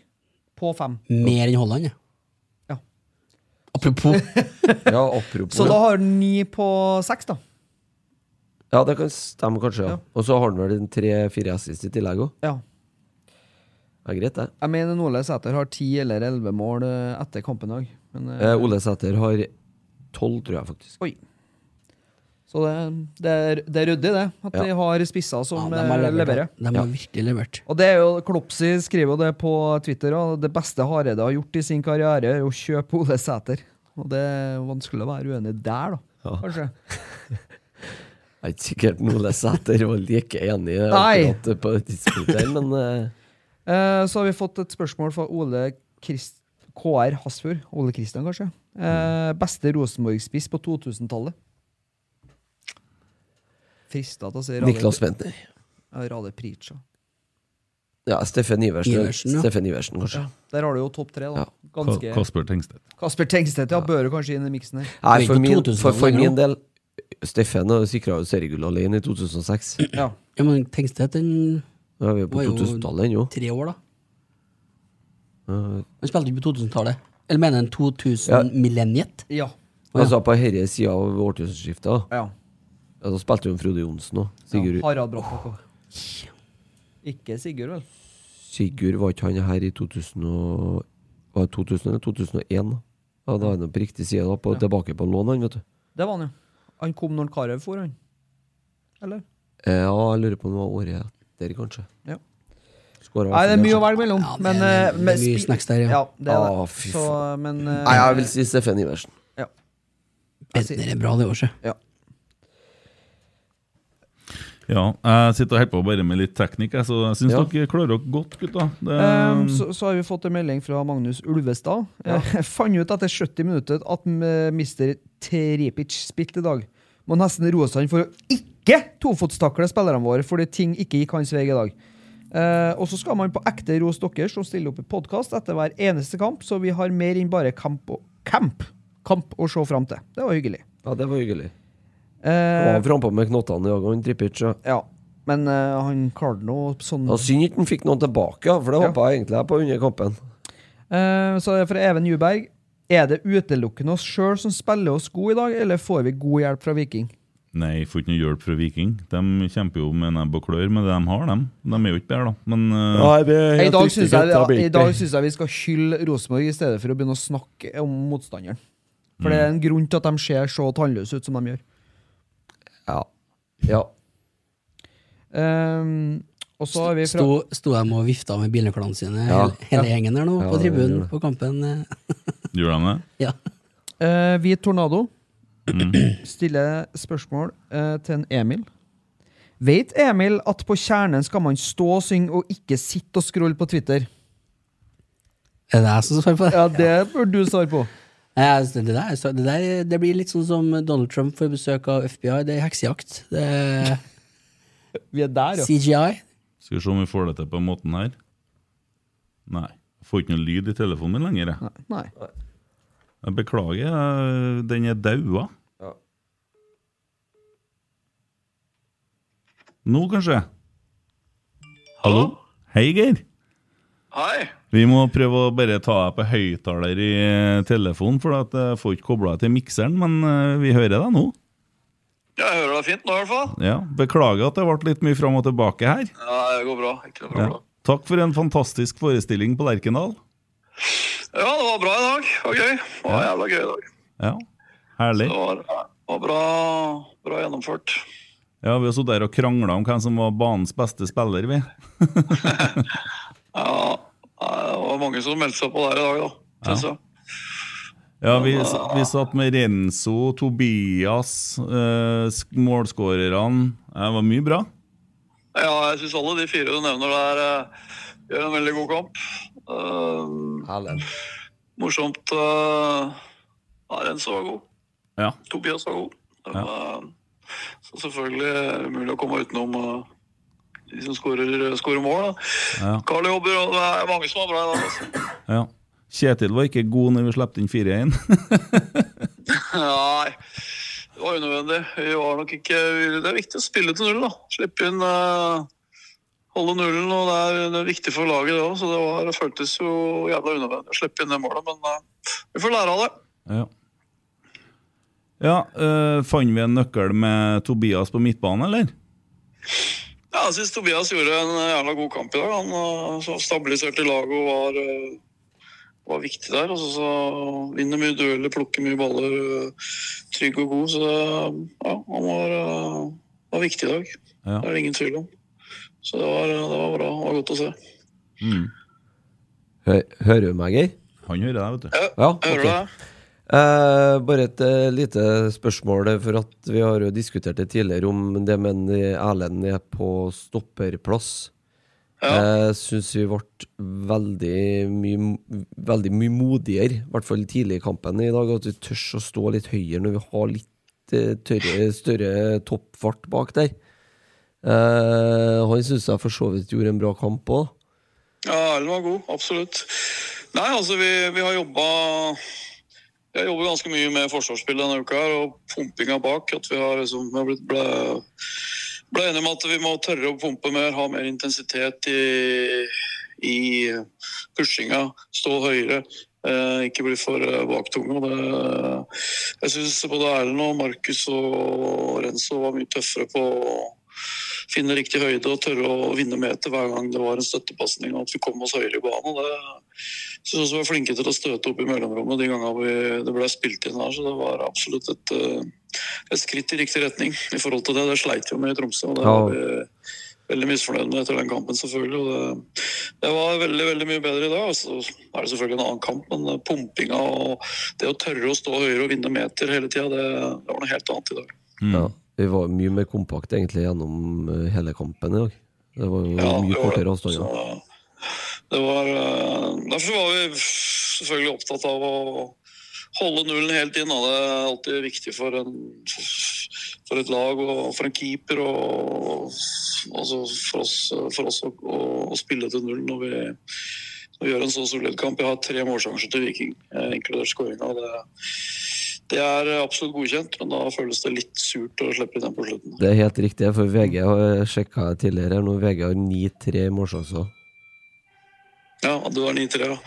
[SPEAKER 6] på fem.
[SPEAKER 5] Mer enn Holland, ja.
[SPEAKER 6] Ja.
[SPEAKER 5] Apropos
[SPEAKER 4] Ja, apropos
[SPEAKER 6] Så da har han ni på seks, da.
[SPEAKER 4] Ja, det kan stemme, kanskje. Ja. Og så har han vel en tre-fire assist i tillegg òg.
[SPEAKER 6] Ja.
[SPEAKER 4] Ja, greit, det.
[SPEAKER 6] Jeg mener Ole Sæter har ti eller elleve mål eh, etter kampen i dag. Men, eh,
[SPEAKER 4] Eh, Ole Sæter har tolv, tror jeg faktisk.
[SPEAKER 6] Oi. Så det, det, er, det er ryddig, det. At
[SPEAKER 4] Ja.
[SPEAKER 6] de har spisser
[SPEAKER 5] ja,
[SPEAKER 6] som
[SPEAKER 5] De
[SPEAKER 6] eh,
[SPEAKER 5] har
[SPEAKER 6] leverer.
[SPEAKER 5] levert. De har virkelig levert.
[SPEAKER 6] Og det er jo, Klopsi skriver jo det på Twitter. Og det beste Hareide har gjort i sin karriere, er å kjøpe Ole Sæter. Og det er vanskelig å være uenig der, da.
[SPEAKER 4] Ja.
[SPEAKER 6] Kanskje.
[SPEAKER 4] Jeg er ikke sikkert om Ole Sæter var like enig
[SPEAKER 6] Nei.
[SPEAKER 4] akkurat på det tidspunktet her, men eh,
[SPEAKER 6] Eh, så har vi fått et spørsmål fra Ole Krist KR Hasfjord. Ole Kristian, kanskje. Eh, beste Rosenborg-spiss på 2000-tallet? Frista til å si Rade-
[SPEAKER 4] Niklas Bentner.
[SPEAKER 6] Ja, Rade Prica.
[SPEAKER 4] Ja, Steffen Iversen.
[SPEAKER 5] Iversen, ja.
[SPEAKER 4] Steffen Iversen, kanskje.
[SPEAKER 6] Der har du jo topp tre, da.
[SPEAKER 4] Ja.
[SPEAKER 6] Ganske
[SPEAKER 3] Kasper Tengstedt.
[SPEAKER 6] Kasper Tengstedt, ja. Bør jo kanskje inn i miksen her.
[SPEAKER 4] Nei,
[SPEAKER 5] Men
[SPEAKER 4] for
[SPEAKER 5] ikke
[SPEAKER 4] min,
[SPEAKER 5] 2000-tallet
[SPEAKER 4] for, for
[SPEAKER 5] lenger
[SPEAKER 4] min del Steffen har sikra jo seriegull alene i 2006.
[SPEAKER 6] Ja.
[SPEAKER 5] Ja, men Tengstedt den
[SPEAKER 4] Nå er vi på
[SPEAKER 5] Var jo-
[SPEAKER 4] 2000-tallet ennå.
[SPEAKER 5] tre år, da.
[SPEAKER 4] Eh,
[SPEAKER 5] Han spilte ikke på 2000-tallet. Eller mener han 2000
[SPEAKER 4] Ja.
[SPEAKER 5] millenniet?
[SPEAKER 6] Ja.
[SPEAKER 4] Altså på herre sida av årtusenskiftet. da.
[SPEAKER 6] ja.
[SPEAKER 4] Ja, da spilte jo Frode Johnsen òg. Sigurd,
[SPEAKER 6] Harald Brattak òg. Ikke Sigurd, vel?
[SPEAKER 4] Sigurd var ikke han her i 2000 og, var det 2000 eller 2001? da? Ja, da er han på riktig side, da. På, Tilbake på lån, han, vet du.
[SPEAKER 6] Det var han, jo. Han kom når Karev for, han. Eller?
[SPEAKER 4] Eh, Ja, jeg lurer på om det var året etter, kanskje.
[SPEAKER 6] Ja.
[SPEAKER 4] Skåret
[SPEAKER 6] Nei, det er mye å
[SPEAKER 4] kanskje.
[SPEAKER 6] velge mellom.
[SPEAKER 5] Ja, det er-
[SPEAKER 6] men, eh,
[SPEAKER 5] det er
[SPEAKER 6] men
[SPEAKER 5] mye
[SPEAKER 6] spi-
[SPEAKER 5] snacks der, ja.
[SPEAKER 6] ja. det er
[SPEAKER 4] Å,
[SPEAKER 6] det.
[SPEAKER 4] fy
[SPEAKER 6] Så, men eh,
[SPEAKER 4] Nei, jeg vil si Steffen Iversen.
[SPEAKER 6] Altså,
[SPEAKER 5] Bentner er bra, det år, sjø.
[SPEAKER 3] Ja, jeg sitter og holder på bare med litt teknikk, jeg, så jeg syns
[SPEAKER 4] Ja.
[SPEAKER 3] dere klarer dere godt, gutta. Det,
[SPEAKER 4] Mm.
[SPEAKER 6] Ehm, så, så har vi fått en melding fra Magnus Ulvestad. Jeg fant ut etter 70 minutter at eh, Mr. Tripic spilte i dag. Må nesten rose han for å ikke tofotstakle spillerne våre fordi ting ikke gikk hans vei i dag. Eh, og så skal man på ekte rose dere som stiller opp i podkast etter hver eneste kamp, så vi har mer enn bare kamp og kamp, kamp å se fram til. Det var hyggelig.
[SPEAKER 4] Ja, det var hyggelig. Og
[SPEAKER 6] Eh,
[SPEAKER 4] han frampå med knottene i dag, han Trippic. Ja.
[SPEAKER 6] ja. Men eh, han klarte nå sånn
[SPEAKER 4] Ja, Synd ikke han fikk noen tilbake, ja, for det
[SPEAKER 6] Ja.
[SPEAKER 4] håpa jeg egentlig jeg på under kampen.
[SPEAKER 6] Eh, Så er det fra Even Juberg. Er det utelukkende oss sjøl som spiller oss gode i dag, eller får vi god hjelp fra Viking?
[SPEAKER 3] Nei, jeg får ikke noe hjelp fra Viking. De kjemper jo med nebb og klør med det de har, dem. De er jo ikke bedre, da. Men eh,
[SPEAKER 6] I dag syns jeg, i dag synes jeg vi skal skylde Rosenborg i stedet for å begynne å snakke om motstanderen. For det er
[SPEAKER 4] Mm.
[SPEAKER 6] en grunn til at de ser så tannløse ut som de gjør.
[SPEAKER 4] Ja. ja.
[SPEAKER 6] Eh, og så har vi fra
[SPEAKER 5] Sto, sto de og vifta med bilnøklene sine,
[SPEAKER 4] Ja.
[SPEAKER 5] hele, hele gjengen der nå,
[SPEAKER 4] Ja,
[SPEAKER 5] på
[SPEAKER 4] det gjorde
[SPEAKER 5] tribunen
[SPEAKER 4] det.
[SPEAKER 5] på kampen. eh,
[SPEAKER 3] gjør de det?
[SPEAKER 5] Ja.
[SPEAKER 6] Eh, vi Tornado
[SPEAKER 4] Mm.
[SPEAKER 6] stiller spørsmål eh, til en Emil. Veit Emil at på kjernen skal man stå og synge og ikke sitte og scrolle på Twitter?
[SPEAKER 5] Er det jeg som svarer på det?
[SPEAKER 6] Ja, det burde du svare på.
[SPEAKER 5] Nei, altså, det, der, så- det der det blir litt sånn som Donald Trump får besøk av FBI. Det er heksejakt. Det er
[SPEAKER 6] Vi er der, ja.
[SPEAKER 5] CGI.
[SPEAKER 3] Skal vi se om vi får det til på den måten her. Nei. Jeg får ikke noe lyd i telefonen min lenger. Jeg,
[SPEAKER 6] Nei.
[SPEAKER 3] jeg beklager, jeg- den er daua.
[SPEAKER 4] Ja.
[SPEAKER 3] Nå, kanskje? Hallo? Hei, Geir.
[SPEAKER 9] Hei.
[SPEAKER 3] Vi må prøve å bare ta deg på høyttaler i eh, telefonen, for at jeg får ikke kobla deg til mikseren, men eh, vi hører deg nå.
[SPEAKER 9] Ja, jeg hører deg fint nå, i hvert fall.
[SPEAKER 3] Ja, Beklager at det ble litt mye fram og tilbake her.
[SPEAKER 9] Ja, det går bra. Ikke noe
[SPEAKER 3] Ja.
[SPEAKER 9] problem.
[SPEAKER 3] Takk for en fantastisk forestilling på Lerkendal.
[SPEAKER 9] Ja. det var bra i dag. Det var gøy. Det var jævla gøy i dag.
[SPEAKER 3] Ja, Herlig.
[SPEAKER 9] Det var, det var bra, bra gjennomført.
[SPEAKER 3] Ja, Vi har sittet der og krangla om hvem som var banens beste spiller. vi.
[SPEAKER 9] Ja, det var mange som meldte seg på der i dag, da. Synes jeg.
[SPEAKER 3] Ja, Vi, vi satt med Renzo, Tobias, eh, sk- målskårerne. Det var mye bra.
[SPEAKER 9] Ja, jeg syns alle de fire du nevner der, eh, gjør en veldig god kamp. Eh,
[SPEAKER 4] Erlend.
[SPEAKER 9] morsomt. Uh, ja, Renzo var god.
[SPEAKER 3] Ja,
[SPEAKER 9] Tobias var god. Eh, så selvfølgelig er det umulig å komme utenom eh, de som skårer skårer mål. da.
[SPEAKER 3] Ja.
[SPEAKER 9] Carl jobber, og det er mange som er bra i dag. altså.
[SPEAKER 3] ja. Kjetil var ikke god når vi slapp inn 4-1.
[SPEAKER 9] Nei, det var unødvendig. Vi var nok ikke Det er viktig å spille til null, da. Slippe inn eh, holde nullen, og det er, det er viktig for laget, det òg. Så det, var, det føltes jo jævla unødvendig å slippe inn det målet, men eh, vi får lære av det.
[SPEAKER 3] Ja. Ja, øh, Fant vi en nøkkel med Tobias på midtbanen, eller?
[SPEAKER 9] Ja, jeg syns Tobias gjorde en eh, jævla god kamp i dag. Han eh, så stabiliserte laget og var, eh, var viktig der. Og så, så vinner mye dueller, plukker mye baller, eh, trygg og god. Så eh, ja, han var, eh, var viktig i dag.
[SPEAKER 3] Ja.
[SPEAKER 9] Det er det ingen tvil om. Så det var, eh, det var bra. Det var godt å se.
[SPEAKER 4] Hø- Hører du meg, Geir?
[SPEAKER 3] Han hører deg, vet du.
[SPEAKER 9] Ja,
[SPEAKER 4] Ja,
[SPEAKER 9] jeg hører
[SPEAKER 4] ok.
[SPEAKER 9] deg.
[SPEAKER 4] Eh, bare et eh, lite spørsmål, eh, for at vi har jo diskutert det tidligere om det med en, eh, Erlend er på stopperplass.
[SPEAKER 9] Ja.
[SPEAKER 4] Jeg syns vi ble veldig mye, veldig mye modigere, i hvert fall tidlig i kampen i dag, at vi tør å stå litt høyere når vi har litt eh, tørre, større toppfart bak der. Eh, han syns jeg for så vidt gjorde en bra kamp òg.
[SPEAKER 9] Ja, Erlend var god, absolutt. Nei, altså, vi, vi har jobba Vi har jobbet ganske mye med forsvarsspill denne uka her, og pumpinga bak. At vi har liksom vi har blitt ble, ble enige om at vi må tørre å pumpe mer, ha mer intensitet i, i pushinga. Stå høyere. Eh, ikke bli for eh, baktunge. og Det, eh, jeg syns både Erlend og Markus og Renzo var mye tøffere på finne riktig høyde og tørre å vinne meter hver gang det var en støttepasning. og At vi kom oss høyere i banen. og Det jeg synes også vi var flinke til å støte opp i mellomrommet de gangene vi, det ble spilt inn her. Så det var absolutt et, eh, et skritt i riktig retning i forhold til det. Det sleit vi jo med i Tromsø. og det
[SPEAKER 4] Ja.
[SPEAKER 9] var vi Veldig misfornøyd med etter den kampen, selvfølgelig. og Det, det var veldig veldig mye bedre i dag. og Så er det selvfølgelig en annen kamp, men eh, pumpinga og det å tørre å stå høyere og vinne meter hele tida, det, det var noe helt annet i dag.
[SPEAKER 4] Ja, vi var mye mer kompakte egentlig gjennom eh, hele kampen i dag. Det var jo
[SPEAKER 9] det var
[SPEAKER 4] mye
[SPEAKER 9] det.
[SPEAKER 4] kortere avstander.
[SPEAKER 9] Så Det var eh, Derfor var vi selvfølgelig opptatt av å holde nullen helt inn. da. Det er alltid viktig for, en, for et lag og for en keeper og altså for oss, for oss å, å, å spille til null når vi når vi gjør en så solid kamp. Jeg har tre målsjanser til Viking, eh, inkludert skåringa. Det, det er absolutt godkjent, men da føles det litt surt å slippe inn den på slutten.
[SPEAKER 4] Det er helt riktig, for VG har sjekka tidligere. Nå VG har 9-3 målsjanser.
[SPEAKER 9] Ja, du har 9-3, ja.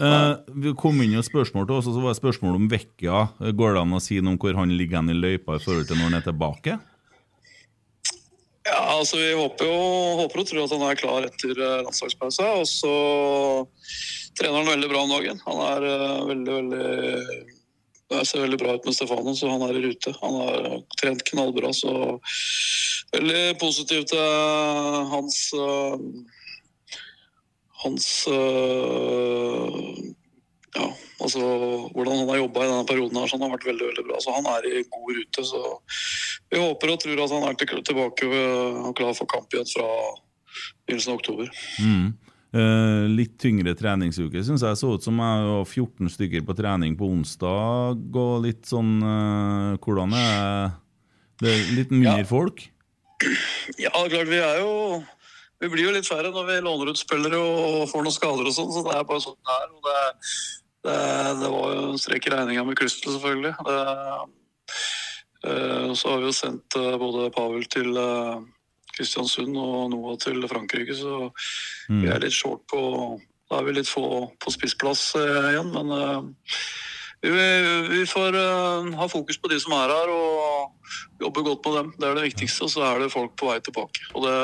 [SPEAKER 3] Eh, vi kom inn i et spørsmål til oss, og så var det spørsmål om Vekkia. Går det an å si noe om hvor han ligger hen i løypa i forhold til når han er tilbake?
[SPEAKER 9] Ja, altså Vi håper jo håper og tror at han er klar etter eh, landslagspause. Og så trener han veldig bra om dagen. Han er eh, veldig, veldig det ser veldig bra ut med Stefano, så han er i rute. Han har trent knallbra, så veldig positiv til hans eh, Hans eh, Ja, altså hvordan han har jobba i denne perioden her, så han har vært veldig, veldig bra. Så han er i god rute, så vi håper og tror at han er til- tilbake eh, og klar for kamp igjen fra begynnelsen av oktober.
[SPEAKER 3] Eh, litt tyngre treningsuke, syns jeg. Så ut som jeg var 14 stykker på trening på onsdag, og litt sånn eh, Hvordan er det? er Litt mindre folk?
[SPEAKER 9] Ja, det er klart vi er jo Vi blir jo litt færre når vi låner ut spillere og får noen skader og sånn, så det er bare sånn det er. Og det, det, det var jo en strek i regninga med Crystal, selvfølgelig. Det, eh, så har vi jo sendt eh, både Pavel til eh, Kristiansund og Noah til Frankrike, så
[SPEAKER 3] Mm.
[SPEAKER 9] vi er litt short på Da er vi litt få på spissplass eh, igjen, men eh, vi, vi får eh, ha fokus på de som er her, og jobbe godt med dem. Det er det viktigste. Og så er det folk på vei tilbake. Og det,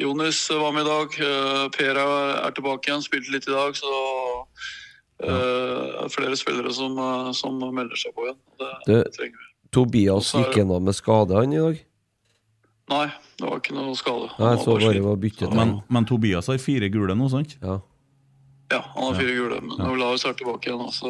[SPEAKER 9] Jonis var med i dag. eh, per er, er tilbake igjen, spilte litt i dag. Så eh, det er flere spillere som, eh, som melder seg på igjen. og Det,
[SPEAKER 4] Du-
[SPEAKER 9] det trenger vi.
[SPEAKER 4] Tobias
[SPEAKER 9] Og så er
[SPEAKER 4] gikk gjennom med skade han i dag.
[SPEAKER 9] Nei, det var ikke noe skade. Han
[SPEAKER 4] Nei,
[SPEAKER 9] var
[SPEAKER 4] så
[SPEAKER 9] bare
[SPEAKER 4] bare
[SPEAKER 9] sliten.
[SPEAKER 4] var byttet til
[SPEAKER 3] Men,
[SPEAKER 4] han.
[SPEAKER 3] men Tobias har fire gule nå, sant?
[SPEAKER 4] Ja.
[SPEAKER 9] Ja, han har fire gule, men Olaus er tilbake igjen. da, Så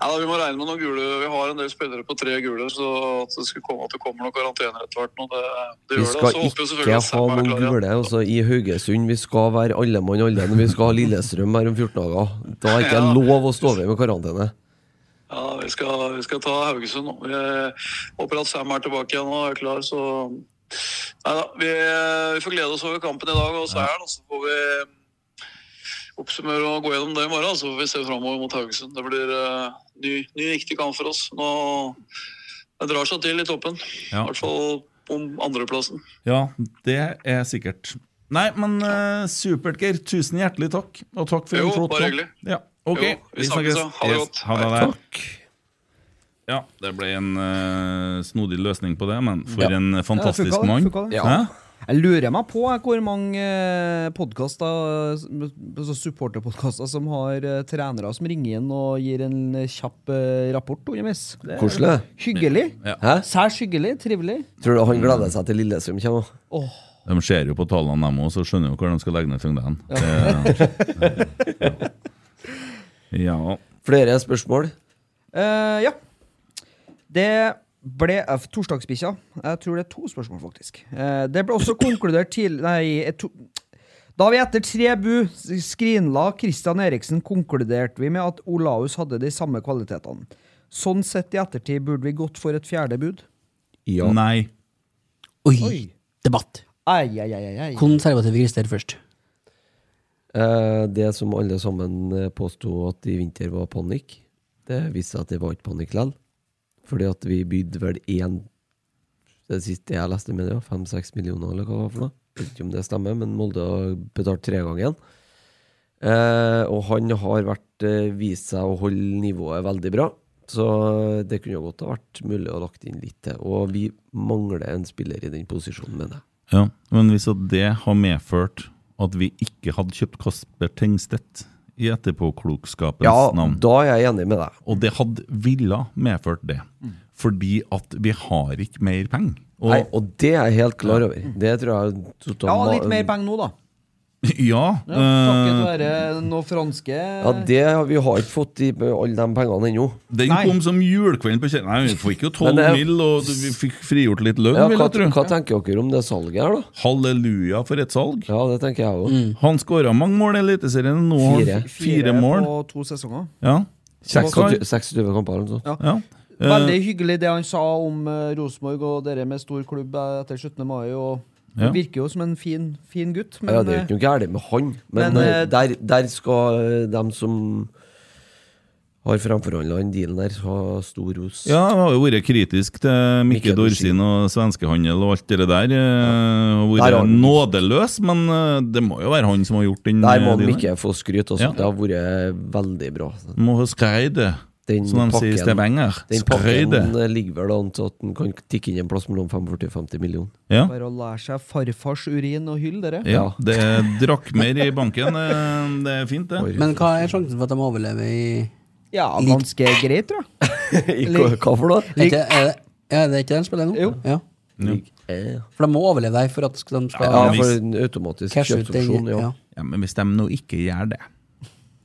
[SPEAKER 9] ja, da, vi må regne med noen gule. Vi har en del spillere på tre gule, så at det, skulle komme, at det kommer noen karantener etter hvert. nå, Det, det
[SPEAKER 4] Vi
[SPEAKER 9] gjør det.
[SPEAKER 4] skal
[SPEAKER 9] Så håper vi
[SPEAKER 4] ikke
[SPEAKER 9] selvfølgelig
[SPEAKER 4] ha
[SPEAKER 9] at Sam er
[SPEAKER 4] noen
[SPEAKER 9] klar igjen.
[SPEAKER 4] gule altså, i Haugesund. Vi skal være alle mann alle. når Vi skal ha Lillestrøm her om 14 dager. Da er ikke
[SPEAKER 9] Ja.
[SPEAKER 4] lov å stå ved med karantene.
[SPEAKER 9] Ja, vi skal, vi skal ta Haugesund nå. Vi eh, håper at Sam er tilbake igjen og er klar, så Nei da. Vi, vi får glede oss over kampen i dag og seieren, og så får vi eh, oppsummere og gå gjennom det i morgen. Så får vi se framover mot Haugesund. Det blir eh, ny, ny viktig kamp for oss. Nå det drar seg til i toppen. I
[SPEAKER 3] Ja.
[SPEAKER 9] hvert fall håp om andreplassen.
[SPEAKER 3] Ja, det er sikkert. Nei, men eh, supert, Geir. Tusen hjertelig takk. Og takk for
[SPEAKER 9] Jo,
[SPEAKER 3] en flott
[SPEAKER 9] bare
[SPEAKER 3] pod.
[SPEAKER 9] hyggelig.
[SPEAKER 3] Ja, ok.
[SPEAKER 9] Jo, vi snakkes, da. Ha det
[SPEAKER 3] Yes,
[SPEAKER 9] godt.
[SPEAKER 3] Ha det der. Ja, det ble en eh, snodig løsning på det, men for
[SPEAKER 6] Ja.
[SPEAKER 3] en fantastisk
[SPEAKER 6] funka det,
[SPEAKER 3] mann.
[SPEAKER 6] funka det.
[SPEAKER 3] Hæ?
[SPEAKER 6] Jeg lurer meg på jeg, hvor mange eh, podkaster, eh, altså supporterpodkaster, som har eh, trenere som ringer inn og gir en eh, kjapp eh, rapport underveis. Det er
[SPEAKER 4] Koselig.
[SPEAKER 6] Hyggelig.
[SPEAKER 4] Hæ?
[SPEAKER 6] Særs hyggelig. Trivelig.
[SPEAKER 4] Tror du han gleder seg til Lillestrøm kommer?
[SPEAKER 3] De ser jo på tallene, dem òg, så skjønner jo hvor de skal legge ned tyngden. Det- Ja. ja.
[SPEAKER 4] Flere spørsmål?
[SPEAKER 6] Eh, ja. Det ble eh, torsdagsbikkja. Jeg tror det er to spørsmål, faktisk. Eh, det ble også konkludert til Nei, eh, to, da vi etter tre bu skrinla Christian Eriksen, konkluderte vi med at Olaus hadde de samme kvalitetene. Sånn sett i ettertid burde vi gått for et fjerde bud.
[SPEAKER 4] Ja.
[SPEAKER 3] Nei.
[SPEAKER 5] Oi,
[SPEAKER 6] Oi.
[SPEAKER 5] debatt.
[SPEAKER 6] Ai, ai, ai, ai, ai.
[SPEAKER 5] Konservative Christer først.
[SPEAKER 4] Eh, det som alle sammen eh, påsto at i vinter var panikk, det viste seg at det var ikke panikk likevel. Fordi at vi bydde vel én Det siste jeg leste, mener jeg, fem-seks millioner, eller hva det var for noe. Jeg Vet ikke om det stemmer, men Molde har betalt tregangen. Uh, og han har vært, eh, vist seg å holde nivået veldig bra. Så eh, det kunne jo godt ha vært mulig å lagt inn litt til. Og vi mangler en spiller i den posisjonen, mener jeg.
[SPEAKER 3] Ja, Men hvis at det har medført at vi ikke hadde kjøpt Kasper Tengstedt i etterpåklokskapens
[SPEAKER 4] Ja,
[SPEAKER 3] navn
[SPEAKER 4] da er jeg enig med deg.
[SPEAKER 3] Og det hadde ville medført det. Fordi at vi har ikke mer penger. Og
[SPEAKER 4] Mm. Nei, og det er jeg helt klar over. Det tror jeg
[SPEAKER 6] Ja,
[SPEAKER 4] totalt
[SPEAKER 6] litt mer penger nå, da.
[SPEAKER 3] ja,
[SPEAKER 6] Ja, takket
[SPEAKER 3] eh,
[SPEAKER 6] være noen franske
[SPEAKER 4] Ja, det har vi har ikke fått i alle de pengene ennå.
[SPEAKER 3] eh, den
[SPEAKER 6] Nei.
[SPEAKER 3] kom som julekvelden på kjelleren. Nei, vi fikk jo 12
[SPEAKER 4] Men det-
[SPEAKER 3] mil, og vi fikk frigjort litt lønn,
[SPEAKER 4] Ja,
[SPEAKER 3] vil
[SPEAKER 4] hva,
[SPEAKER 3] jeg tro.
[SPEAKER 4] hva tenker dere om det salget her, da?
[SPEAKER 3] Halleluja for et salg.
[SPEAKER 4] Ja, det tenker jeg òg.
[SPEAKER 3] Han skåra mange mål i Eliteserien. Nå har han
[SPEAKER 4] Fire.
[SPEAKER 3] f- fire mål.
[SPEAKER 6] på to sesonger.
[SPEAKER 3] Ja. Kjekk kar.
[SPEAKER 4] 26 kamper eller noe sånt.
[SPEAKER 3] Ja. Eh,
[SPEAKER 6] Veldig hyggelig det han sa om eh, Rosenborg og dere med stor klubb eh, etter 17. mai. Og
[SPEAKER 3] Ja.
[SPEAKER 6] Han virker jo som en fin, fin gutt, men
[SPEAKER 4] Ja, det er jo ikke noe galt med han, men,
[SPEAKER 6] men,
[SPEAKER 4] eh,
[SPEAKER 6] eh,
[SPEAKER 4] der, der skal eh, dem som har framforhandla den dealen der, ha stor ros.
[SPEAKER 3] Ja, jeg har jo vært kritisk til Mikke
[SPEAKER 4] Mikke Dorsin.
[SPEAKER 3] Dorsin og svenskehandel og alt det der. eh, Og
[SPEAKER 4] Der har
[SPEAKER 3] vært
[SPEAKER 4] han-
[SPEAKER 3] nådeløs, men eh, det må jo være han som har gjort den.
[SPEAKER 4] Der må
[SPEAKER 3] eh, dealen.
[SPEAKER 4] Mikke få skryt. Altså.
[SPEAKER 3] Ja.
[SPEAKER 4] Det har vært veldig bra.
[SPEAKER 3] Må ha skreide,
[SPEAKER 4] Den
[SPEAKER 3] som de sier i
[SPEAKER 4] pakken-
[SPEAKER 3] Stavanger.
[SPEAKER 4] Den
[SPEAKER 3] Skreide.
[SPEAKER 4] pakken eh, ligger vel an til at den kan tikke inn en plass mellom 45 og 50 millioner.
[SPEAKER 3] Ja.
[SPEAKER 6] bare å lære seg farfars urin og hylle dere.
[SPEAKER 3] ja, det er drakmer i banken. eh, Det er fint, det.
[SPEAKER 5] Men hva er sjansen for at de overlever i
[SPEAKER 6] Ja, ganske greit, tror jeg.
[SPEAKER 4] I hva, hva for noe?
[SPEAKER 5] Er ikke- er det- Ja, det er ikke den spiller nå?
[SPEAKER 6] Jo.
[SPEAKER 5] Ja.
[SPEAKER 4] Ja,
[SPEAKER 5] For de må overleve der for at de skal
[SPEAKER 4] ja,
[SPEAKER 3] hvis-
[SPEAKER 4] for en automatisk
[SPEAKER 5] cashe ut den.
[SPEAKER 4] kjøpsopsjon, ja.
[SPEAKER 5] Ja.
[SPEAKER 3] Ja, Men hvis de nå ikke gjør det,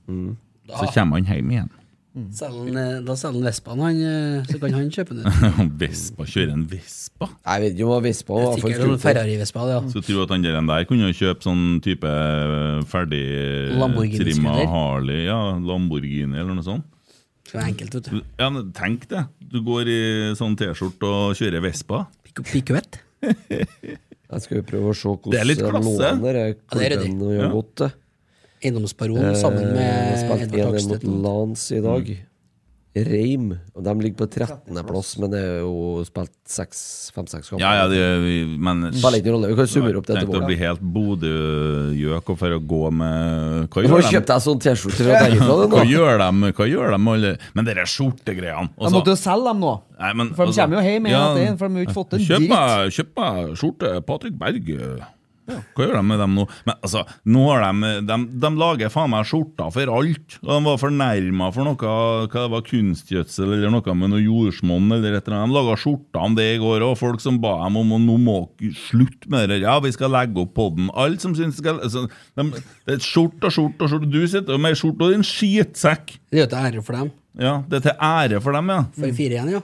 [SPEAKER 4] Mm.
[SPEAKER 3] så kommer han hjem igjen.
[SPEAKER 5] Selger han, eh, Da selger han Vespaen, han, eh, så kan han kjøpe den ut.
[SPEAKER 3] Vespa kjører en Vespa?
[SPEAKER 4] Jeg vet ikke om det var Vespa var for Mm.
[SPEAKER 5] Sikkert en
[SPEAKER 4] skrot.
[SPEAKER 5] Ferrari-Vespa. det, Ja.
[SPEAKER 3] Så tror jeg at han der, der kunne jo kjøpe sånn type eh, ferdig eh,
[SPEAKER 5] Lamborghini-scooter.
[SPEAKER 3] trimma Harley, ja, Lamborghini eller noe sånt.
[SPEAKER 5] Det er enkelt, vet du.
[SPEAKER 3] Ja, men Tenk det. Du går i sånn T-skjorte og kjører Vespa.
[SPEAKER 5] Pico- Picoett.
[SPEAKER 4] Jeg skal jo prøve å se
[SPEAKER 3] Det er litt
[SPEAKER 4] hvordan
[SPEAKER 3] klasse.
[SPEAKER 4] lånene der er
[SPEAKER 5] Ja, det er
[SPEAKER 4] klubben og
[SPEAKER 3] Ja.
[SPEAKER 4] gjør godt det.
[SPEAKER 5] Eiendomsbaron sammen
[SPEAKER 4] Eh,
[SPEAKER 5] med
[SPEAKER 4] Spilte
[SPEAKER 5] Edvard
[SPEAKER 4] 1-1 mot
[SPEAKER 5] Takstedt.
[SPEAKER 4] Lans i dag. Reim. Og de ligger på 13. plass, men det er jo spilt 5-6 kamper.
[SPEAKER 3] Ja, ja, det, vi- men
[SPEAKER 4] Spiller ikke noen rolle, vi kan summere opp det
[SPEAKER 3] Tenk å
[SPEAKER 4] etterpå.
[SPEAKER 3] bli helt Bodø-gjøk og for å gå med Hva
[SPEAKER 4] Du må
[SPEAKER 3] gjør de?
[SPEAKER 4] kjøpe deg sånn T-skjorte fra derifra, du,
[SPEAKER 3] Hva
[SPEAKER 4] nå.
[SPEAKER 3] gjør de, hva gjør de med alle Men det er skjortegreiene. altså-
[SPEAKER 5] altså-
[SPEAKER 6] De måtte jo selge dem nå.
[SPEAKER 3] Nei, men,
[SPEAKER 6] For de
[SPEAKER 3] altså,
[SPEAKER 6] kommer jo hjem en
[SPEAKER 3] ja,
[SPEAKER 6] etter en, for de har jo ikke fått en
[SPEAKER 3] kjøp
[SPEAKER 6] dritt.
[SPEAKER 3] meg, kjøp meg skjorte Patrick Berg. Hva gjør de med dem nå? Men altså, nå har de, de, de lager faen meg skjorter for alt. Og de var fornærma for noe Hva det var kunstgjødsel eller noe med noe jordsmonn. eller et eller annet. De laga skjorter om det i går òg. Folk som ba dem om å nå må dere slutte med det der. Ja, vi skal legge opp podden. Alt som syns skal altså, de, Det er skjorte og skjorte og skjorte. Du sitter jo med ei skjorte og en skitsekk.
[SPEAKER 5] Det er jo til ære for dem.
[SPEAKER 3] Ja, det er til ære for dem, ja.
[SPEAKER 5] For 4-1, ja.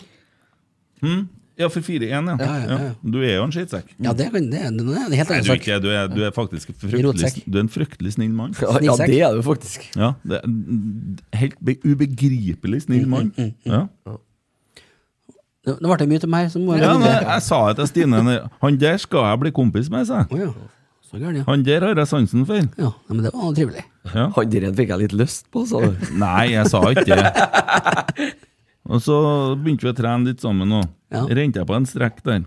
[SPEAKER 3] Ja, for 4-1, ja.
[SPEAKER 5] Ja, ja, ja.
[SPEAKER 3] Du er jo en skittsekk.
[SPEAKER 5] Ja, det, kan, det, er- det er en helt
[SPEAKER 3] Nei,
[SPEAKER 5] annen
[SPEAKER 3] du er
[SPEAKER 5] sak.
[SPEAKER 3] ikke det. Du er, du er faktisk fryktelig,
[SPEAKER 5] Rotsekk.
[SPEAKER 3] du er en fryktelig snill mann.
[SPEAKER 4] Ja, ja, det er det jo faktisk.
[SPEAKER 3] Ja, det er en Helt be- ubegripelig
[SPEAKER 5] Mm,
[SPEAKER 3] snill mann. Ja.
[SPEAKER 5] Nå nå ble det mye til meg, så må jeg
[SPEAKER 3] Ja,
[SPEAKER 5] gå
[SPEAKER 3] men
[SPEAKER 5] videre.
[SPEAKER 3] jeg sa det til Stine. Han der skal jeg bli kompis med, sa jeg.
[SPEAKER 5] Å ja. Så gæren, ja.
[SPEAKER 3] Han der har jeg sansen for.
[SPEAKER 5] ja. nei, Men det var trivelig.
[SPEAKER 3] Ja.
[SPEAKER 4] Han der fikk jeg litt lyst på, sa du.
[SPEAKER 3] Nei, jeg sa ikke det. Og så begynte vi å trene litt sammen, og
[SPEAKER 5] Ja.
[SPEAKER 3] rente jeg på en strekk der.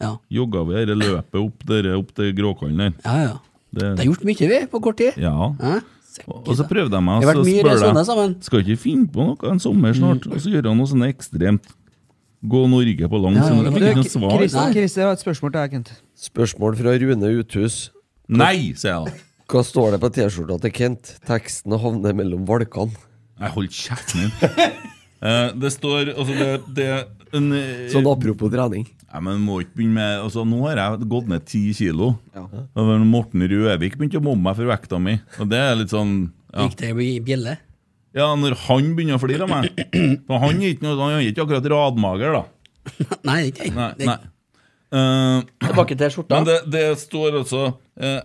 [SPEAKER 5] Ja.
[SPEAKER 3] Jogga vi dette løpet opp, dere, opp til Gråkollen der.
[SPEAKER 5] Ja, ja. Det
[SPEAKER 3] Det-
[SPEAKER 5] har gjort mye, vi, på kort tid.
[SPEAKER 3] Ja.
[SPEAKER 5] Hæ?
[SPEAKER 3] Og og så prøvde jeg meg,
[SPEAKER 5] Det
[SPEAKER 3] og
[SPEAKER 5] har
[SPEAKER 3] så
[SPEAKER 5] vært mye
[SPEAKER 3] spør
[SPEAKER 5] sånne
[SPEAKER 3] jeg
[SPEAKER 5] sammen.
[SPEAKER 3] Skal ikke finne på noe en sommer snart,
[SPEAKER 5] Mm.
[SPEAKER 3] og så gjør han noe sånn ekstremt. Gå Norge på langs.
[SPEAKER 5] Ja, ja,
[SPEAKER 3] men jeg
[SPEAKER 5] det
[SPEAKER 3] fikk ikke noe
[SPEAKER 5] var-
[SPEAKER 3] svar.
[SPEAKER 5] Nei.
[SPEAKER 6] Kristian, Kristian, jeg har et spørsmål til deg, Kent.
[SPEAKER 4] Spørsmål fra Rune Uthus.
[SPEAKER 3] Nei, sier jeg da.
[SPEAKER 4] Hva står det på T-skjorta til Kent? Teksten havner mellom valkene.
[SPEAKER 3] Jeg holder kjeften min. Eh, det står altså det, det en, eh,
[SPEAKER 4] Sånn apropos trening.
[SPEAKER 3] Nei, men må ikke begynne med altså, Nå har jeg gått ned ti kilo. Og men Morten Røvik begynte å mobbe meg for vekta mi. Og det er litt sånn Ja,
[SPEAKER 5] Gikk det i bjelle?
[SPEAKER 3] ja når han begynner å flire av meg For han er ikke, noe- han er ikke akkurat radmager, da.
[SPEAKER 5] Nei, ikke
[SPEAKER 3] Nei,
[SPEAKER 5] det-
[SPEAKER 3] nei. Eh,
[SPEAKER 5] Tilbake til skjorta.
[SPEAKER 3] men det, det står altså eh,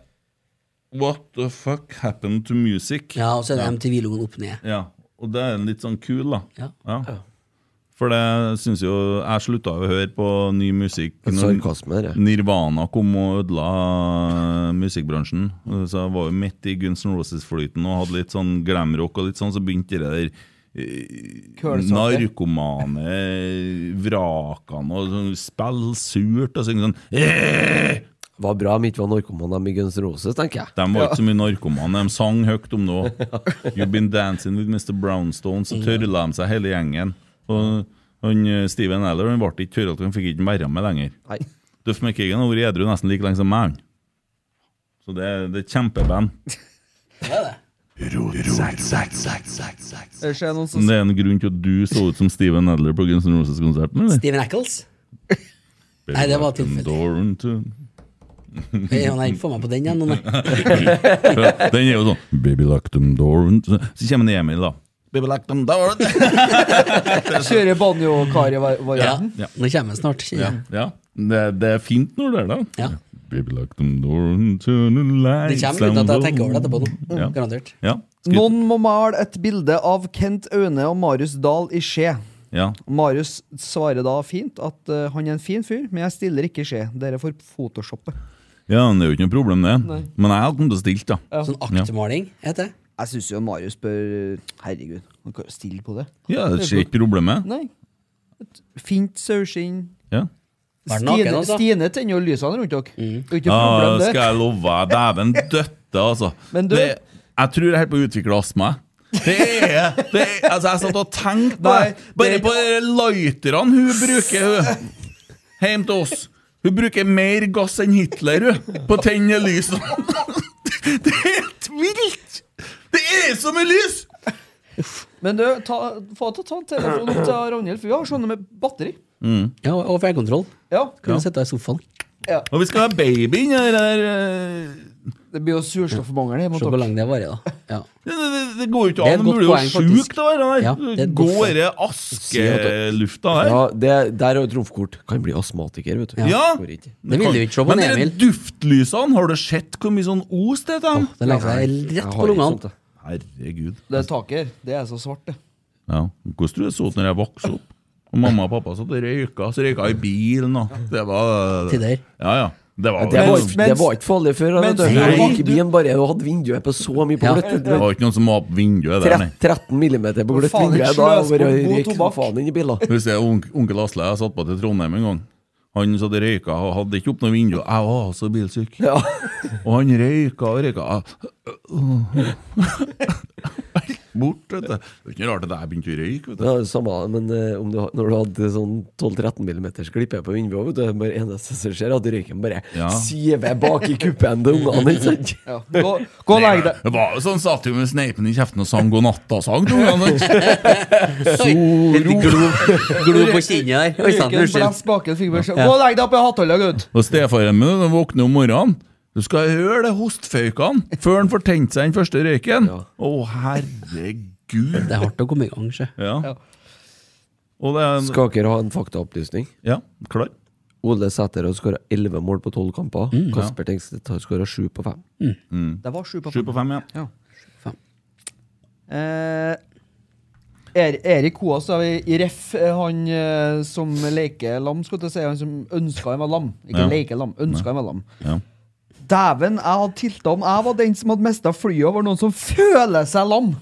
[SPEAKER 3] What the fuck happened to music?
[SPEAKER 5] Ja, og så er det MTV-logoen opp ned.
[SPEAKER 3] Ja, og det er en litt sånn kul, da.
[SPEAKER 5] Ja.
[SPEAKER 3] For det syns jo Jeg slutta jo å høre på ny musikk når
[SPEAKER 4] Sarkasme, dette.
[SPEAKER 3] Nirvana kom og ødela eh, musikkbransjen. Så jeg var jo midt i Guns N' Roses-flyten og hadde litt sånn glamrock og litt sånn, så begynte det der eh,
[SPEAKER 6] Kølsaker.
[SPEAKER 3] narkomane vrakene og sånn spille surt og synge sånn «Eh!»
[SPEAKER 4] Var bra om ikke var narkoman dem i Guns N' Roses, tenker jeg.
[SPEAKER 3] De var ikke så mye narkomane. De sang høyt om det òg. You've been dancing with Mr. Brownstone. Så tørla de seg hele gjengen. Og han, eh, Steven Eller han ble ikke tørrete, han fikk ikke være med lenger.
[SPEAKER 4] Nei.
[SPEAKER 3] Duff McKagan har vært edru nesten like lenge som meg. han. Så det, er- det er kjempeband.
[SPEAKER 6] Det skjer Eh, noen
[SPEAKER 3] Men
[SPEAKER 6] som
[SPEAKER 3] det er en grunn til at du så ut som Steven Adler på Guns N' Roses-konserten, eller?
[SPEAKER 5] Steven Eccles? Nei, det var tilfeldig.
[SPEAKER 3] Door to-
[SPEAKER 5] Ja, Nei, ikke få meg på den igjen. nå, Nei.
[SPEAKER 3] Den er jo sånn Baby lock them door into-" Så kommer det Emil, da. Baby lock them door into-"
[SPEAKER 6] kjører
[SPEAKER 5] Ja.
[SPEAKER 6] banjo-kari-varianten.
[SPEAKER 3] Ja.
[SPEAKER 5] Nå kommer den snart.
[SPEAKER 3] Ja, ja. Det, det er fint når det er da.
[SPEAKER 5] Ja.
[SPEAKER 3] Baby lock them door and turn the lights
[SPEAKER 5] Det kommer uten at jeg tenker over det etterpå. nå
[SPEAKER 3] Ja.
[SPEAKER 5] Garantert.
[SPEAKER 3] Ja. Skal vi-
[SPEAKER 6] Noen må male et bilde av Kent Aune og Marius Dahl i Skje.
[SPEAKER 3] ja.
[SPEAKER 6] Marius svarer da fint at eh, han er en fin fyr, men jeg stiller ikke i Skje. Dere får photoshoppe.
[SPEAKER 3] ja, men det er jo ikke noe problem, det. Men jeg hadde kommet til å stille, da.
[SPEAKER 5] Sånn aktemaling heter det.
[SPEAKER 6] Jeg syns jo Marius bør Herregud, han kan jo stille på det.
[SPEAKER 3] Ja, det skjer ikke problemet.
[SPEAKER 6] Nei. Et fint saueskinn.
[SPEAKER 3] Ja.
[SPEAKER 5] Vær
[SPEAKER 6] Stine,
[SPEAKER 5] naken, altså. Mm. Ah,
[SPEAKER 6] Stine tenner jo lysene rundt dere. Det er jo ikke
[SPEAKER 3] Ja,
[SPEAKER 6] problem, det.
[SPEAKER 3] skal jeg love deg. Dæven døtte, altså.
[SPEAKER 6] Men du-
[SPEAKER 3] det, jeg tror jeg er helt på å utvikle astma. jeg. Det er, det er, altså Jeg satt og tenkte på
[SPEAKER 6] Nei,
[SPEAKER 3] det. Bare
[SPEAKER 6] det er
[SPEAKER 3] på de lighterne hun bruker hun. hjem til oss. Hun bruker mer gass enn Hitler hun, på å tenne lys. Det er helt vilt! Det er så mye lys!
[SPEAKER 6] Men du, ta, få til å ta en telefon opp til Ragnhild, for vi har sånne med batteri.
[SPEAKER 5] Ja, og fjernkontroll.
[SPEAKER 6] Ja,
[SPEAKER 5] Kunne sitte i sofabaen.
[SPEAKER 3] Og vi skal ha baby inni det der eh,
[SPEAKER 6] Det blir jo surstoffmangel hjemme
[SPEAKER 5] Se
[SPEAKER 6] hos
[SPEAKER 5] hvor
[SPEAKER 6] dere.
[SPEAKER 5] lang det varer, da. Ja.
[SPEAKER 3] Det, det, det går jo ikke
[SPEAKER 5] Det er
[SPEAKER 3] an.
[SPEAKER 5] et
[SPEAKER 3] Du
[SPEAKER 5] godt
[SPEAKER 3] blir jo
[SPEAKER 5] poeng, faktisk.
[SPEAKER 3] sjuk av det
[SPEAKER 5] Ja,
[SPEAKER 3] der.
[SPEAKER 5] det er et godt
[SPEAKER 3] Går
[SPEAKER 5] poeng.
[SPEAKER 3] det
[SPEAKER 4] at
[SPEAKER 3] askelufta der?
[SPEAKER 4] Ja, det, der er jo trumfkort. Kan bli astmatiker, vet du.
[SPEAKER 3] Ja.
[SPEAKER 4] Går ikke.
[SPEAKER 5] Det ville du ikke se på
[SPEAKER 3] Men
[SPEAKER 5] en
[SPEAKER 3] dere
[SPEAKER 5] Emil.
[SPEAKER 3] duftlysene, har du sett hvor mye sånn os det er? til dem?
[SPEAKER 5] Det legger seg
[SPEAKER 4] Jeg
[SPEAKER 5] rett
[SPEAKER 4] har
[SPEAKER 5] på
[SPEAKER 4] ikke sånt,
[SPEAKER 5] lungene.
[SPEAKER 4] jeg.
[SPEAKER 3] Herregud.
[SPEAKER 6] Det taket her, det er så svart, det.
[SPEAKER 3] Ja. Hvordan tror du det så ut når jeg vokste opp? Og mamma og pappa satt og røyka, så røyka jeg i bilen og Det var
[SPEAKER 5] Tider.
[SPEAKER 3] Ja, ja. Det var,
[SPEAKER 4] Det
[SPEAKER 3] det
[SPEAKER 4] var,
[SPEAKER 6] Mens-
[SPEAKER 4] ikke- det var ikke farlig før. da, vet du.
[SPEAKER 6] mens-
[SPEAKER 4] Det
[SPEAKER 3] Nei.
[SPEAKER 4] var ikke bilen bare Hun hadde vinduet på så mye på
[SPEAKER 5] Ja.
[SPEAKER 4] gløtt.
[SPEAKER 3] var ikke noen som var opp vinduet der, nei.
[SPEAKER 4] 13 millimeter på gløtt
[SPEAKER 6] Faen,
[SPEAKER 4] vindu.
[SPEAKER 6] ikke sløs
[SPEAKER 4] Da
[SPEAKER 6] bort
[SPEAKER 4] var
[SPEAKER 6] god
[SPEAKER 4] røyk som
[SPEAKER 6] tobakk.
[SPEAKER 4] faen inn i biler.
[SPEAKER 3] Hvis det er onk- onkel Asle jeg satt på til Trondheim en gang. Han satt og røyka og hadde ikke opp noe vindu. Jeg var så bilsyk.
[SPEAKER 4] Ja.
[SPEAKER 3] Og han røyka og røyka. Bort, vet du. Det er ikke noe rart at jeg begynte å røyke. vet du.
[SPEAKER 4] Ja, det er samme, men eh, om du, har- når du hadde sånn 12-13 millimeters glippe på vinduet, vet du, det er bare eneste som skjer, er at røyken bare
[SPEAKER 3] Ja.
[SPEAKER 4] siver bak i kuppen til ungene. ikke sant?
[SPEAKER 6] Ja. Gå, gå og legg deg.
[SPEAKER 3] Det var jo sånn satt jo med sneipen i kjeften og sang god natta-sang. tror jeg, sant?
[SPEAKER 5] Glo på kinnet der. Oi sann,
[SPEAKER 6] Røyken
[SPEAKER 5] unnskyld.
[SPEAKER 6] blæs baken, fikk beskjed. Gå og legg deg opp i hattholda, gutt!
[SPEAKER 3] Og stefaren min han våkner om morgenen. Du skal høre det hostføykene før han får tent seg den første røyken. Å, herregud.
[SPEAKER 5] Det er hardt å komme i gang, sjø.
[SPEAKER 3] Ja. Og det er
[SPEAKER 4] Skal dere ha en faktaopplysning?
[SPEAKER 3] Ja, klar.
[SPEAKER 4] Ole Sæter har skåra 11 mål på 12 kamper. Kasper Tengstedt har skåra 7 på 5.
[SPEAKER 6] Det var sju på
[SPEAKER 3] Sju på fem, ja.
[SPEAKER 6] Eh, er, Erik Koas da, i i ref, eh, han eh, som leker lam, skulle jeg til å si, han som ønska han var lam. Ikke
[SPEAKER 3] Ja.
[SPEAKER 6] leker lam, ønska han var lam.
[SPEAKER 3] Ja.
[SPEAKER 6] Dæven, jeg hadde tilta om jeg var den som hadde mista flyet over noen som føler seg lam!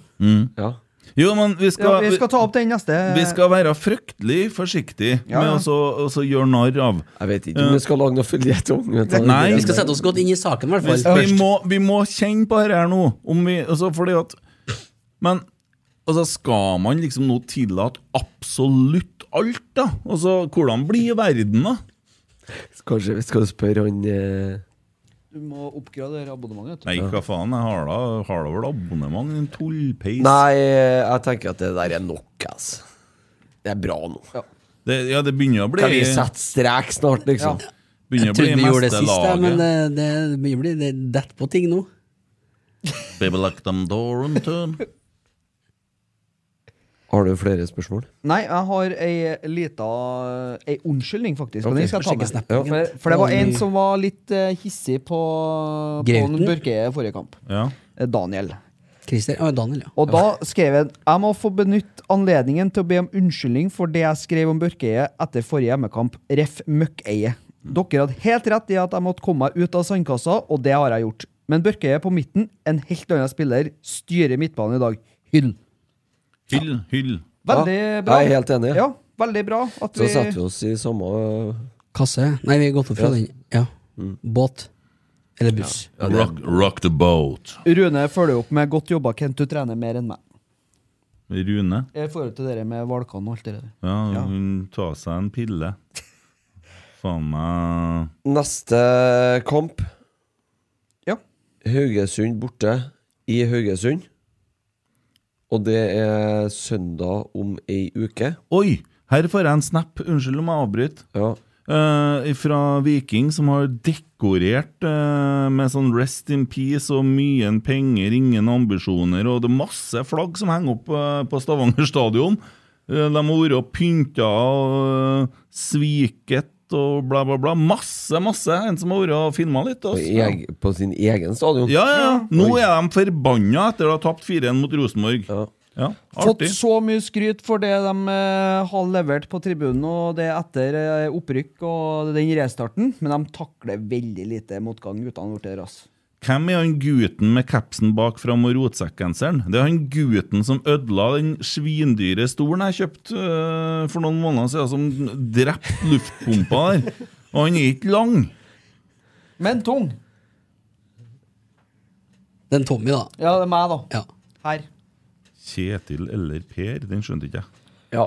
[SPEAKER 4] Ja.
[SPEAKER 3] Jo, men vi skal,
[SPEAKER 6] Ja, vi skal ta opp den neste.
[SPEAKER 3] vi skal være fryktelig forsiktige
[SPEAKER 6] Ja,
[SPEAKER 3] med
[SPEAKER 6] ja.
[SPEAKER 3] å så- å så gjøre narr av.
[SPEAKER 4] Jeg vet ikke om vi skal lage noe føljetong. vet du.
[SPEAKER 3] Nei.
[SPEAKER 5] Vi skal sette oss godt inn i saken, i hvert fall.
[SPEAKER 3] Vi må, vi må kjenne på dette her nå. Om vi, altså fordi at, men altså skal man liksom nå tillate absolutt alt, da? Altså, hvordan blir verden, da?
[SPEAKER 4] Kanskje vi skal spørre han eh,
[SPEAKER 6] Du må oppgradere abonnementet.
[SPEAKER 3] Nei, hva faen, jeg har da, har da vel abonnement? En tullpeis?
[SPEAKER 4] Nei, eh, jeg tenker at det der er nok, altså. Det er bra nå.
[SPEAKER 3] Det, ja, det begynner å bli
[SPEAKER 4] Kan vi sette strek snart, liksom?
[SPEAKER 3] begynner å bli
[SPEAKER 5] Jeg trodde vi gjorde det
[SPEAKER 3] meste
[SPEAKER 5] sist, da,
[SPEAKER 3] laget.
[SPEAKER 5] men eh, det begynner å bli det detter på ting nå.
[SPEAKER 3] Baby like them door and turn.
[SPEAKER 4] Har du flere spørsmål?
[SPEAKER 6] Nei, jeg har ei lita Ei unnskyldning, faktisk. og
[SPEAKER 4] Ok,
[SPEAKER 6] den skal jeg
[SPEAKER 5] får sjekke
[SPEAKER 6] ta med.
[SPEAKER 5] snappen din.
[SPEAKER 6] For, for det var en
[SPEAKER 5] Oi.
[SPEAKER 6] som var litt eh, hissig på, på
[SPEAKER 5] Grauten?
[SPEAKER 6] Børke i forrige kamp.
[SPEAKER 3] Ja.
[SPEAKER 6] Eh, Daniel.
[SPEAKER 5] Christer, ah, Daniel, ja.
[SPEAKER 6] Og da skrev han Jeg må få benytte anledningen til å be om unnskyldning for det jeg skrev om Børkeie etter forrige hjemmekamp, ref. Møkkeie. Dere hadde helt rett i at jeg måtte komme meg ut av sandkassa, og det har jeg gjort. Men Børkeie på midten, en helt annen spiller, styrer midtbanen i dag. Hyll.
[SPEAKER 3] Hyll, hyll.
[SPEAKER 6] Veldig
[SPEAKER 4] Ja,
[SPEAKER 6] bra.
[SPEAKER 4] jeg er helt enig.
[SPEAKER 6] Ja, veldig bra at
[SPEAKER 4] Så
[SPEAKER 6] vi
[SPEAKER 4] setter vi oss i samme
[SPEAKER 5] Kasse? Nei, vi har gått opp fra
[SPEAKER 4] Ja.
[SPEAKER 5] den. Ja. Mm. Båt. Eller buss.
[SPEAKER 3] Rock, rock the boat.
[SPEAKER 6] Rune følger opp med 'godt jobba, Kent, du trener mer enn meg'.
[SPEAKER 3] Rune.
[SPEAKER 6] I forhold til dere med valkene og alt det der.
[SPEAKER 3] Ja,
[SPEAKER 6] Ja.
[SPEAKER 3] hun tar seg en pille. Faen meg
[SPEAKER 4] Neste kamp.
[SPEAKER 6] Ja.
[SPEAKER 4] Haugesund borte i Haugesund. Og det er søndag om ei uke.
[SPEAKER 3] Oi! Her får jeg en snap. Unnskyld om jeg avbryter.
[SPEAKER 4] Ja.
[SPEAKER 3] Eh, fra Viking, som har dekorert eh, med sånn 'Rest in Peace' og mye penger, ingen ambisjoner, og det er masse flagg som henger opp eh, på Stavanger stadion. Eh, de har vært og pynta og eh, sviket og bla, bla, bla. Masse, masse! En som har vært og filma litt.
[SPEAKER 4] På,
[SPEAKER 3] Også.
[SPEAKER 4] eg, på sin egen stadion.
[SPEAKER 3] Ja, ja, ja. Nå er de forbanna etter å ha tapt 4-1 mot Rosenborg.
[SPEAKER 4] Ja.
[SPEAKER 3] Ja,
[SPEAKER 6] Fått
[SPEAKER 3] artig.
[SPEAKER 6] så mye skryt for det de eh, har levert på tribunen, og det etter eh, opprykk og den restarten, men de takler veldig lite motgang guttene har gjort der, ass.
[SPEAKER 3] Hvem er han gutten med kapsen bak fram og rotsekkgenseren? Det er han gutten som ødela den svindyre stolen jeg kjøpte øh, for noen måneder siden, som drepte luftpumpa der. Og han er ikke lang.
[SPEAKER 6] Men tung!
[SPEAKER 5] Den Tommy, da.
[SPEAKER 6] Ja, det er meg, da.
[SPEAKER 5] Ja.
[SPEAKER 6] Her.
[SPEAKER 3] Kjetil eller Per, den skjønte ikke jeg.
[SPEAKER 4] Ja.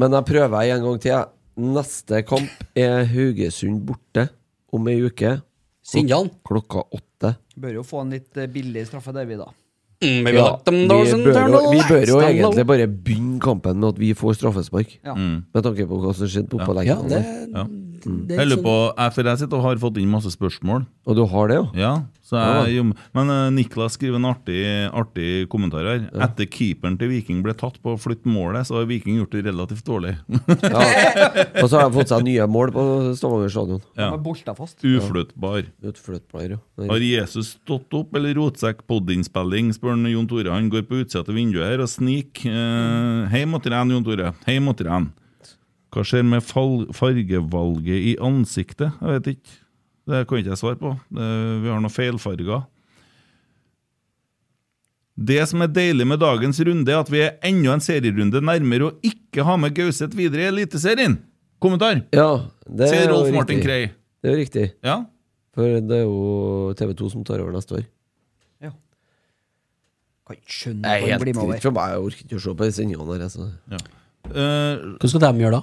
[SPEAKER 4] Men jeg prøver en gang til. jeg. Neste kamp er Haugesund borte om ei uke.
[SPEAKER 5] Syndene.
[SPEAKER 4] Klokka åtte.
[SPEAKER 6] Bør jo få en litt eh, billig straffe der, vi, da.
[SPEAKER 5] Mm,
[SPEAKER 4] Ja, vi, bør jo, vi bør jo egentlig bare begynne kampen med at vi får straffespark.
[SPEAKER 6] Ja.
[SPEAKER 4] Med tanke på hva som skjedde på
[SPEAKER 5] Ja,
[SPEAKER 4] opplegget.
[SPEAKER 5] det,
[SPEAKER 3] Ja.
[SPEAKER 5] det
[SPEAKER 3] Jeg
[SPEAKER 5] er
[SPEAKER 3] lurer
[SPEAKER 5] litt
[SPEAKER 3] på,
[SPEAKER 5] sånn
[SPEAKER 3] jeg, for jeg sitter og har fått inn masse spørsmål.
[SPEAKER 4] Og du har det, jo?
[SPEAKER 3] Ja, så jeg, jo, men øh, Niklas skriver en artig, artig kommentar her. Etter keeperen til Viking ble tatt på å flytte målet, så har Viking gjort det relativt dårlig.
[SPEAKER 4] Ja. Og så har de fått seg nye mål på Stavanger stadion.
[SPEAKER 6] De
[SPEAKER 3] Ja.
[SPEAKER 6] er bolta fast.
[SPEAKER 3] Uflyttbar.
[SPEAKER 4] Utflyttbar, jo.
[SPEAKER 3] Har
[SPEAKER 4] Der.
[SPEAKER 3] Jesus stått opp eller rotsekk podinnspilling, spør han Jon Tore. Han går på utsida til vinduet her og sniker. Eh, hei må trene, Jon Tore. Hei må trene. Hva skjer med fal fargevalget i ansiktet? Jeg vet ikke. Det kan ikke jeg svare på. Det, vi har noen feilfarger. Det som er deilig med dagens runde, er at vi er enda en serierunde nærmere å ikke ha med Gauseth videre i Eliteserien! Kommentar!
[SPEAKER 4] Ja, det er
[SPEAKER 3] Sier
[SPEAKER 4] jo
[SPEAKER 3] Rolf Martin
[SPEAKER 4] riktig.
[SPEAKER 3] Krei.
[SPEAKER 4] Det er jo riktig.
[SPEAKER 3] Ja?
[SPEAKER 4] For det er jo TV2 som tar over neste år.
[SPEAKER 6] Ja. Kan ikke skjønne
[SPEAKER 4] Nei,
[SPEAKER 6] at han
[SPEAKER 4] helt
[SPEAKER 6] blir med
[SPEAKER 4] fritt
[SPEAKER 6] over.
[SPEAKER 4] for meg. Jeg orker ikke å se på de sendingene der. Altså.
[SPEAKER 3] Eh,
[SPEAKER 5] sånn- Hva skal de gjøre da?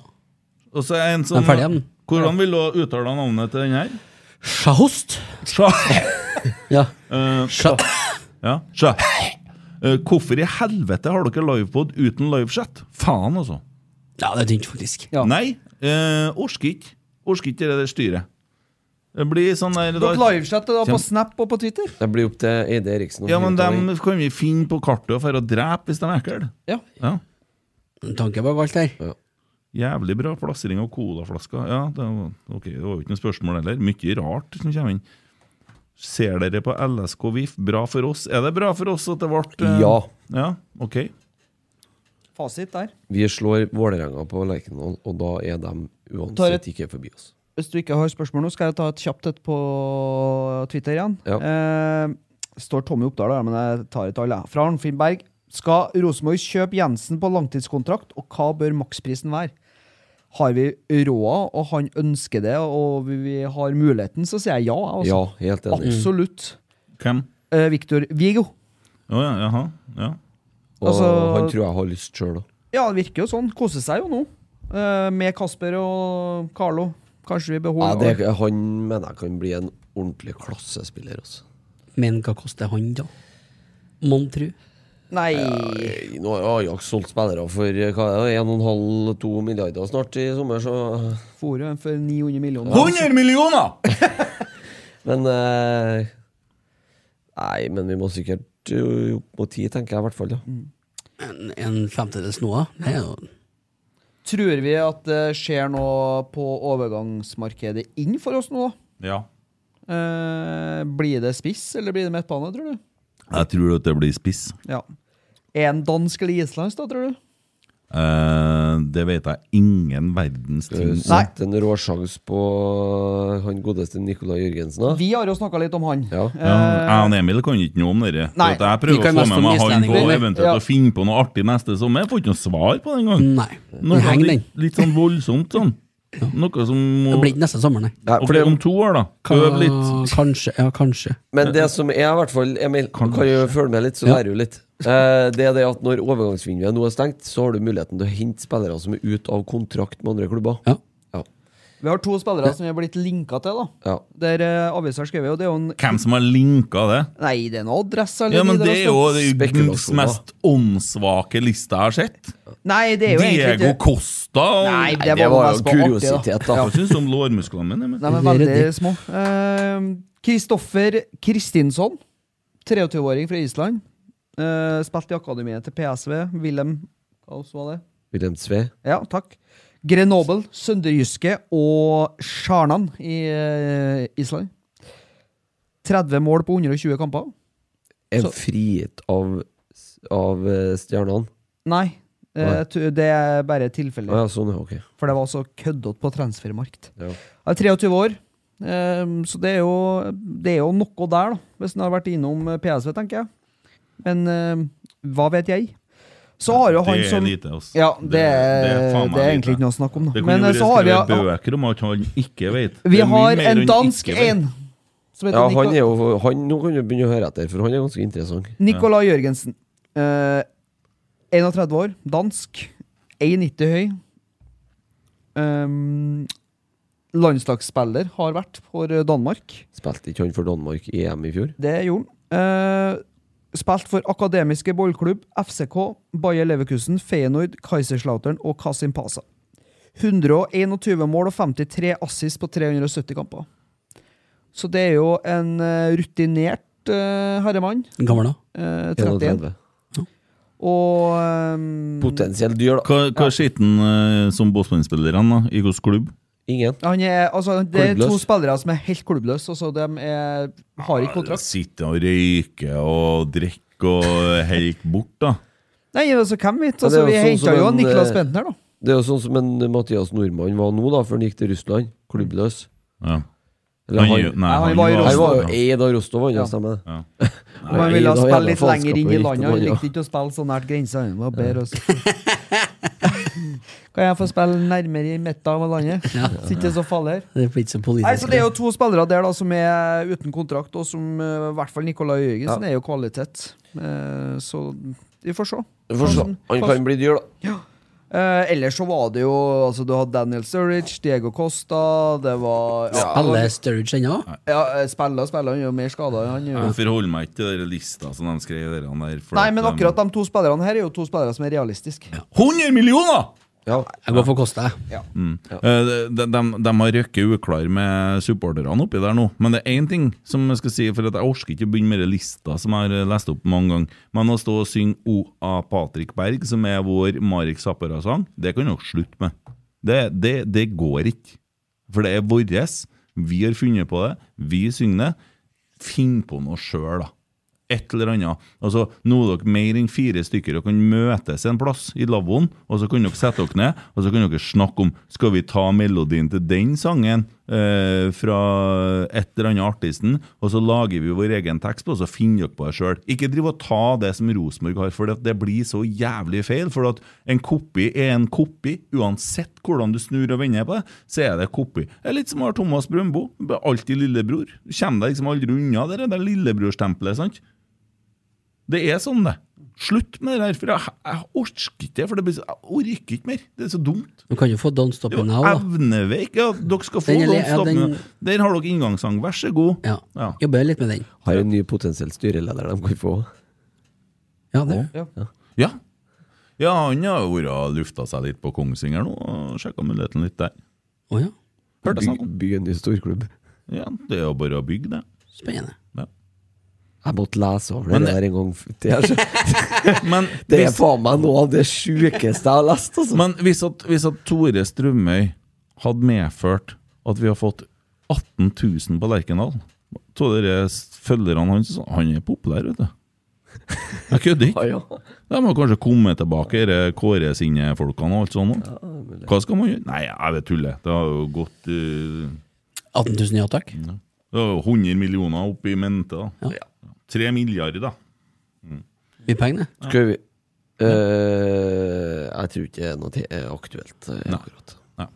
[SPEAKER 3] Og så er en
[SPEAKER 5] Den
[SPEAKER 3] som
[SPEAKER 5] er ferdig, den.
[SPEAKER 3] Hvordan vil du uttale navnet til den her?
[SPEAKER 5] Sjahost?
[SPEAKER 3] Sja.
[SPEAKER 5] Ja.
[SPEAKER 3] Eh,
[SPEAKER 5] Sja.
[SPEAKER 3] ja. Sja. Eh, hvorfor i helvete har dere livepod uten livechat? Faen, altså.
[SPEAKER 5] ja, det er tynt, faktisk.
[SPEAKER 6] Ja.
[SPEAKER 3] Nei, uh, orker ikke. Orker ikke det der styret. Det blir sånn der
[SPEAKER 6] Dere
[SPEAKER 3] da,
[SPEAKER 6] livechatter da på Snap og på Twitter?
[SPEAKER 4] Det blir opp til Eide Eriksen. å
[SPEAKER 3] Ja, men
[SPEAKER 4] finne ut av
[SPEAKER 3] dem kan vi finne på kartet og dra og drepe hvis de er ekle.
[SPEAKER 6] Ja.
[SPEAKER 3] Ja.
[SPEAKER 5] En tanke bak alt her.
[SPEAKER 3] Jævlig bra plassering av colaflasker. Ja, det var, ok, det var jo ikke noe spørsmål heller. Mye rart som kommer inn. Ser dere på LSK VIF? Bra for oss. Er det bra for oss at det ble
[SPEAKER 4] det.
[SPEAKER 3] eh,
[SPEAKER 4] Ja.
[SPEAKER 3] ja, ok.
[SPEAKER 6] Fasit der.
[SPEAKER 4] Vi slår Vålerenga på Lerkendal, og da er de
[SPEAKER 6] Tar et-
[SPEAKER 4] uansett ikke forbi oss.
[SPEAKER 6] Hvis du ikke har spørsmål nå, skal jeg ta et kjapt et på Twitter igjen.
[SPEAKER 4] Ja.
[SPEAKER 6] Eh, står Tommy Oppdal der, men jeg tar et alle. Fra Arnfinn Berg. Skal Rosenborg kjøpe Jensen på langtidskontrakt, og hva bør maksprisen være? Har vi råd, og han ønsker det, og vi- vi har muligheten, så sier jeg ja. jeg, Altså.
[SPEAKER 4] Ja, helt enig.
[SPEAKER 6] Absolutt.
[SPEAKER 3] Hvem?
[SPEAKER 6] Eh, Victor Viggo.
[SPEAKER 3] Å ja, jaha. Ja.
[SPEAKER 4] Og
[SPEAKER 6] altså-
[SPEAKER 4] han tror jeg har lyst sjøl òg.
[SPEAKER 6] Ja, det virker jo sånn. Koser seg jo nå. Eh, med Kasper og Carlo. Kanskje vi
[SPEAKER 4] Ja,
[SPEAKER 6] beholder
[SPEAKER 4] det- han mener jeg kan bli en ordentlig klassespiller. Altså.
[SPEAKER 5] Men hva koster han, da? Mon tru?
[SPEAKER 6] Nei,
[SPEAKER 4] Nei, Nå har Ajax solgt spillere for eh, hva er det, 1,5-2 milliarder snart i sommer, så
[SPEAKER 6] Fòret en for 900 millioner.
[SPEAKER 3] 100 millioner!
[SPEAKER 4] Men eh, Nei, men vi må sikkert eh, opp mot ti, tenker jeg i hvert fall. Ja.
[SPEAKER 5] En, en femtedels noe? Det er jo
[SPEAKER 6] Tror vi at det skjer noe på overgangsmarkedet inn for oss nå, da?
[SPEAKER 3] Ja.
[SPEAKER 6] Eh, blir det spiss, eller blir det midtbane, tror du?
[SPEAKER 3] Jeg tror at det blir spiss.
[SPEAKER 6] Ja. En dansk eller islandsk, da, tror du?
[SPEAKER 3] Eh, det vet jeg ingen verdens ting om.
[SPEAKER 6] Nei.
[SPEAKER 4] Sett en råsjans på eh, han godeste Nicolai Jørgensen. Da.
[SPEAKER 6] Vi har jo snakka litt om han.
[SPEAKER 4] Ja.
[SPEAKER 3] Ja, jeg og Emil kan ikke noe om dette.
[SPEAKER 6] Nei.
[SPEAKER 3] Jeg prøver
[SPEAKER 5] Vi kan
[SPEAKER 3] å få
[SPEAKER 5] mest
[SPEAKER 3] med
[SPEAKER 5] om
[SPEAKER 3] meg han på
[SPEAKER 5] islendinger, vi.
[SPEAKER 3] eventuelt
[SPEAKER 6] Ja.
[SPEAKER 3] å finne på noe artig neste sommer. Jeg får ikke noe svar på det engang.
[SPEAKER 5] Nei.
[SPEAKER 3] Noe
[SPEAKER 5] Den henger, Mm. den.
[SPEAKER 3] litt, litt sånn voldsomt sånn. Noe som må
[SPEAKER 5] Det blir ikke neste sommer, nei. Ah,
[SPEAKER 4] Nei,
[SPEAKER 3] Ok,
[SPEAKER 4] for det,
[SPEAKER 3] om to år, da. Øv litt.
[SPEAKER 5] Kanskje. Ja, kanskje.
[SPEAKER 4] men det som er, i hvert fall Emil, kan jo følge med litt, så lærer du litt. Eh, det er det at når overgangsvinduet nå er stengt, så har du muligheten til å hente spillere som er ute av kontrakt med andre klubber.
[SPEAKER 5] Ja.
[SPEAKER 4] Ja.
[SPEAKER 6] Vi har to spillere som vi har blitt linka til, da.
[SPEAKER 4] Ja.
[SPEAKER 6] Der eh, avisa har skrevet, og det er jo en
[SPEAKER 3] Hvem som har linka det?
[SPEAKER 6] Nei, det er noe adresse eller
[SPEAKER 3] Ja, men
[SPEAKER 6] videre,
[SPEAKER 3] Det er jo
[SPEAKER 6] altså.
[SPEAKER 3] det er jo den
[SPEAKER 4] Spekulasjoner.
[SPEAKER 3] mest åndssvake lista jeg har sett.
[SPEAKER 6] Nei, det er jo egentlig
[SPEAKER 3] Diego
[SPEAKER 6] ikke
[SPEAKER 3] Costa. og-
[SPEAKER 6] Nei,
[SPEAKER 4] Det,
[SPEAKER 6] det var,
[SPEAKER 4] var
[SPEAKER 6] mest
[SPEAKER 4] jo
[SPEAKER 6] på artig, da.
[SPEAKER 4] kuriositet, da.
[SPEAKER 3] Hva syns du om lårmusklene mine? men?
[SPEAKER 6] Nei, men
[SPEAKER 5] Det er
[SPEAKER 6] veldig
[SPEAKER 5] det.
[SPEAKER 6] små. Eh, Kristoffer Kristinsson, 23-åring fra Island. Eh, spilte i akademiet til PSV. Wilhelm Hva også var det?
[SPEAKER 4] Wilhelm Sve.
[SPEAKER 6] Ja, takk. Grenoble, Sønderjyske og Sjarnan i eh, Island. 30 mål på 120 kamper.
[SPEAKER 4] Er
[SPEAKER 6] Så-
[SPEAKER 4] frigitt av, av eh, stjernene.
[SPEAKER 6] Nei, eh,
[SPEAKER 4] Nei.
[SPEAKER 6] jeg tror det er bare tilfeldig.
[SPEAKER 4] Å ja, sånn, ja, ok.
[SPEAKER 6] For det var så køddete på transfermarkt.
[SPEAKER 4] Ja.
[SPEAKER 6] Jeg er 23 år, ehm, så det er, jo, det er jo noe der, da. Hvis en har vært innom eh, PSV, tenker jeg. Men ehm, hva vet jeg? Så har jo han
[SPEAKER 3] Det er
[SPEAKER 6] som
[SPEAKER 3] lite, altså.
[SPEAKER 6] Ja, det, er-
[SPEAKER 3] faen meg
[SPEAKER 6] det er
[SPEAKER 3] lite.
[SPEAKER 6] egentlig ikke noe å snakke om, da.
[SPEAKER 3] Det kunne
[SPEAKER 6] Men eh,
[SPEAKER 3] jo
[SPEAKER 6] så har
[SPEAKER 3] vært
[SPEAKER 6] vi
[SPEAKER 3] skrevet bøker om at han ikke vet.
[SPEAKER 6] Vi
[SPEAKER 3] Det er mye
[SPEAKER 6] har
[SPEAKER 3] mer
[SPEAKER 6] en
[SPEAKER 3] han
[SPEAKER 6] dansk
[SPEAKER 3] ikke vet.
[SPEAKER 6] en som heter
[SPEAKER 4] Ja,
[SPEAKER 6] Nico-
[SPEAKER 4] han er jo han, Nå kan du begynne å høre etter, for han er ganske interessant.
[SPEAKER 6] Nicolai Jørgensen. Eh, 31 år, dansk. 1,90 høy. Um, landslagsspiller har vært for Danmark.
[SPEAKER 4] Spilte ikke han for Danmark i EM i fjor?
[SPEAKER 6] Det gjorde han. Eh, spilt for akademiske bollklubb, FCK, Bayer Leverkusen, Feyenoord, Kaiserslautern og Kasim Pasa. 121 mål og 53 assist på 370 kamper. Så det er jo en eh, rutinert eh, herremann.
[SPEAKER 5] Gammel, da?
[SPEAKER 6] eh, 31.
[SPEAKER 4] 31.
[SPEAKER 6] Og ehm,
[SPEAKER 4] Potensielt dyr, da.
[SPEAKER 3] Hva, hva sitter han eh, som bossmannspillerne da, i hvilken klubb?
[SPEAKER 4] Ingen.
[SPEAKER 6] han er, altså, det er to
[SPEAKER 4] Klubbløs.
[SPEAKER 6] spillere som er helt klubbløse. Altså, de er, har ikke kontrakt.
[SPEAKER 3] Sitter og røyker og drikker og helt bort, da.
[SPEAKER 6] Nei, altså, hvem vet?
[SPEAKER 4] Ja, det
[SPEAKER 6] Altså,
[SPEAKER 4] er jo
[SPEAKER 6] vi
[SPEAKER 4] sånn
[SPEAKER 6] henta
[SPEAKER 4] som
[SPEAKER 6] jo
[SPEAKER 4] en,
[SPEAKER 6] Niklas
[SPEAKER 4] eh,
[SPEAKER 6] Bentner, da.
[SPEAKER 4] Det er jo sånn som en Mathias Nordmann var nå, da, før han gikk til Russland. Klubbløs.
[SPEAKER 3] Ja.
[SPEAKER 4] Eller
[SPEAKER 3] Han,
[SPEAKER 4] han,
[SPEAKER 3] nei,
[SPEAKER 6] han
[SPEAKER 3] han altså-
[SPEAKER 6] var i
[SPEAKER 4] han
[SPEAKER 6] Rosenborg.
[SPEAKER 4] var jo
[SPEAKER 3] ja.
[SPEAKER 4] eid av Rostov, han,
[SPEAKER 6] Ja.
[SPEAKER 4] ja. stemmer det.
[SPEAKER 6] Om han ville
[SPEAKER 4] Nei, da
[SPEAKER 6] spille
[SPEAKER 4] gjelder
[SPEAKER 6] litt lenger inn i landet.
[SPEAKER 4] faenskapet riktig,
[SPEAKER 6] Han
[SPEAKER 4] ja.
[SPEAKER 6] likte ikke å spille så nært grensa. Han var bedre også. Kan jeg få spille nærmere i midten av landet? Så ikke det er så farlig her.
[SPEAKER 5] Det blir ikke så
[SPEAKER 6] Nei,
[SPEAKER 5] politisk.
[SPEAKER 6] så Det er jo to spillere der da som er eh, uten kontrakt, og som eh, i hvert fall Nicolai Jørgensen er jo kvalitet. Eh, Så vi får se.
[SPEAKER 4] Vi får se. Han kan bli dyr, da.
[SPEAKER 6] Eh, ellers så var det jo altså, Du hadde Daniel Sturridge, Diego Costa Det var ja,
[SPEAKER 5] Alle Sturridge ennå?
[SPEAKER 6] ja, eh, Spiller og spiller, han er jo mer skada.
[SPEAKER 3] Jeg forholder meg ikke til den lista som de skrev der. han der for
[SPEAKER 6] Nei,
[SPEAKER 3] at
[SPEAKER 6] men
[SPEAKER 3] de-
[SPEAKER 6] akkurat de to spillerne her er jo to spillere som er realistiske.
[SPEAKER 3] 100 millioner!
[SPEAKER 4] Ja.
[SPEAKER 5] Jeg går for Kosta, jeg.
[SPEAKER 3] Eh, De, de, de har røkket uklar med supporterne oppi der nå. Men det er én ting som jeg skal si, for at jeg orker ikke å begynne med den lista som jeg har lest opp mange ganger. Men å stå og synge O.A. Patrik Berg, som er vår Marek Zappara-sang, det kan dere slutte med. Det, det, det går ikke. For det er vårt. Vi har funnet på det. Vi synger det. Finn på noe sjøl, da. Et eller annet. Altså, nå er dere mer enn fire stykker og kan møtes en plass i lavvoen, og så kan dere sette dere ned og så kan dere snakke om Skal vi ta melodien til den sangen, eh, fra et eller annet artisten, og så lager vi vår egen tekst på, og så finner dere på det sjøl. Ikke driv og ta det som Rosenborg har, for det- det blir så jævlig feil. For at en kopi er en kopi, uansett hvordan du snur og vender på det, så er det kopi. Det er litt som å ha Thomas Brøndbo, alltid lillebror. Du kommer deg liksom aldri unna det der lillebrorstempelet, sant? Det er sånn, det. Slutt med det der, for jeg, jeg orker ikke det. For det blir så, jeg orker ikke mer. Det er så dumt.
[SPEAKER 5] Du kan jo få Don't Stop Me Now, da.
[SPEAKER 3] Evner vi ikke at dere skal få
[SPEAKER 5] Den er
[SPEAKER 3] noen
[SPEAKER 5] li- ja,
[SPEAKER 3] stoppende?
[SPEAKER 5] den-
[SPEAKER 3] Der har dere inngangssang, vær så god.
[SPEAKER 5] Ja.
[SPEAKER 3] Ja.
[SPEAKER 5] Jobber litt med den.
[SPEAKER 4] Har en ny potensiell styreleder de kan få.
[SPEAKER 5] Ja, det.
[SPEAKER 3] Ja, ja han har jo vært og lufta seg litt på Kongsvinger nå, og sjekka muligheten litt der.
[SPEAKER 5] Å ja.
[SPEAKER 3] Hørte jeg
[SPEAKER 4] By,
[SPEAKER 3] snakk
[SPEAKER 6] sånn.
[SPEAKER 3] om.
[SPEAKER 4] by en ny storklubb.
[SPEAKER 3] Ja, det er jo bare å bygge, det.
[SPEAKER 5] Spennende.
[SPEAKER 3] Ja.
[SPEAKER 4] Jeg måtte lese over
[SPEAKER 3] Men
[SPEAKER 4] det der en gang. Det er, så-
[SPEAKER 3] Men
[SPEAKER 4] det er
[SPEAKER 3] hvis,
[SPEAKER 4] faen meg noe av det sjukeste jeg har lest, altså.
[SPEAKER 3] men hvis, at, hvis at Tore Strømøy hadde medført at vi har fått 18 000 på Lerkendal Av dere følgerne hans Han er populær, vet du. Jeg kødder ikke.
[SPEAKER 4] Ja, ja.
[SPEAKER 3] De har kanskje kommet tilbake, dere Kåre sine folkene og alt sånt. Hva skal man gjøre? Nei, jeg vet tulle. Det har jo gått eh,
[SPEAKER 5] 18 000 ja takk.
[SPEAKER 3] det har jo 100 millioner opp i mente. da. Tre milliarder, da.
[SPEAKER 5] Mye penger, det.
[SPEAKER 4] Skal vi Eh, Jeg tror ikke det er noe te- eh, aktuelt. eh,
[SPEAKER 3] Nei.
[SPEAKER 4] akkurat.
[SPEAKER 3] Nei.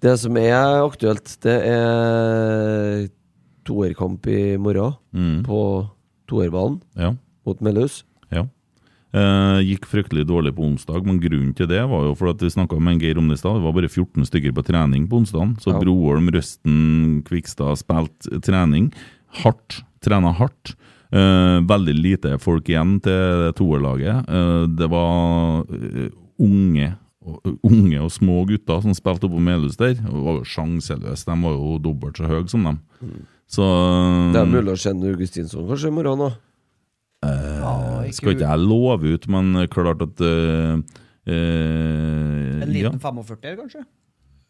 [SPEAKER 4] Det som er aktuelt, det er toerkamp i morgen
[SPEAKER 3] Mm.
[SPEAKER 4] på toerbanen
[SPEAKER 3] Ja,
[SPEAKER 4] mot Melhus.
[SPEAKER 3] ja. Eh, gikk fryktelig dårlig på onsdag, men grunnen til det var jo for at vi snakka med en Geir om det i stad. Det var bare 14 stykker på trening på onsdagen, så
[SPEAKER 4] Ja.
[SPEAKER 3] Broholm, Røsten, Kvikstad spilte trening. Hardt. Trena hardt. Eh, veldig lite folk igjen til toerlaget. Eh, det var eh, unge og- unge og små gutter som spilte oppe på Melhus der. Det var jo sjanseløst. De var jo dobbelt så høye som dem. Så
[SPEAKER 4] Mm.
[SPEAKER 3] eh,
[SPEAKER 4] Det
[SPEAKER 3] Mm.
[SPEAKER 4] er mulig å sende Augustinsson kanskje i morgen òg.
[SPEAKER 3] Skal ikke jeg love ut, men klart at eh, eh,
[SPEAKER 6] En
[SPEAKER 3] ja.
[SPEAKER 6] liten 45, kanskje?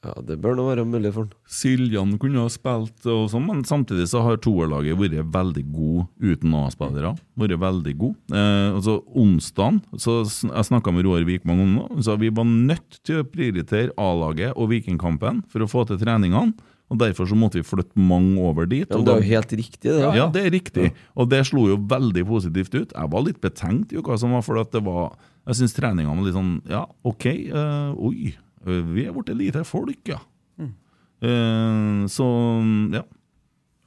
[SPEAKER 4] Ja, det bør nå være mulig for han.
[SPEAKER 3] Siljan kunne ha spilt, og sånn, men samtidig så har toerlaget vært veldig god uten A-spillere. Vært veldig god. Eh, altså, onsdagen, så sn jeg snakka med Roar Vikman om det, så vi var nødt til å prioritere A-laget og Vikingkampen for å få til treningene. og Derfor så måtte vi flytte mange over dit.
[SPEAKER 4] Ja,
[SPEAKER 3] og
[SPEAKER 4] men det er
[SPEAKER 3] da-
[SPEAKER 4] jo helt riktig, det. da.
[SPEAKER 3] Ja, det er riktig. Og det slo jo veldig positivt ut. Jeg var litt betenkt i hva som var, for at det var Jeg syns treninga var litt sånn Ja, OK. eh, oi. eh, Vi er blitt lite folk, ja.
[SPEAKER 4] Mm.
[SPEAKER 3] Eh, så ja.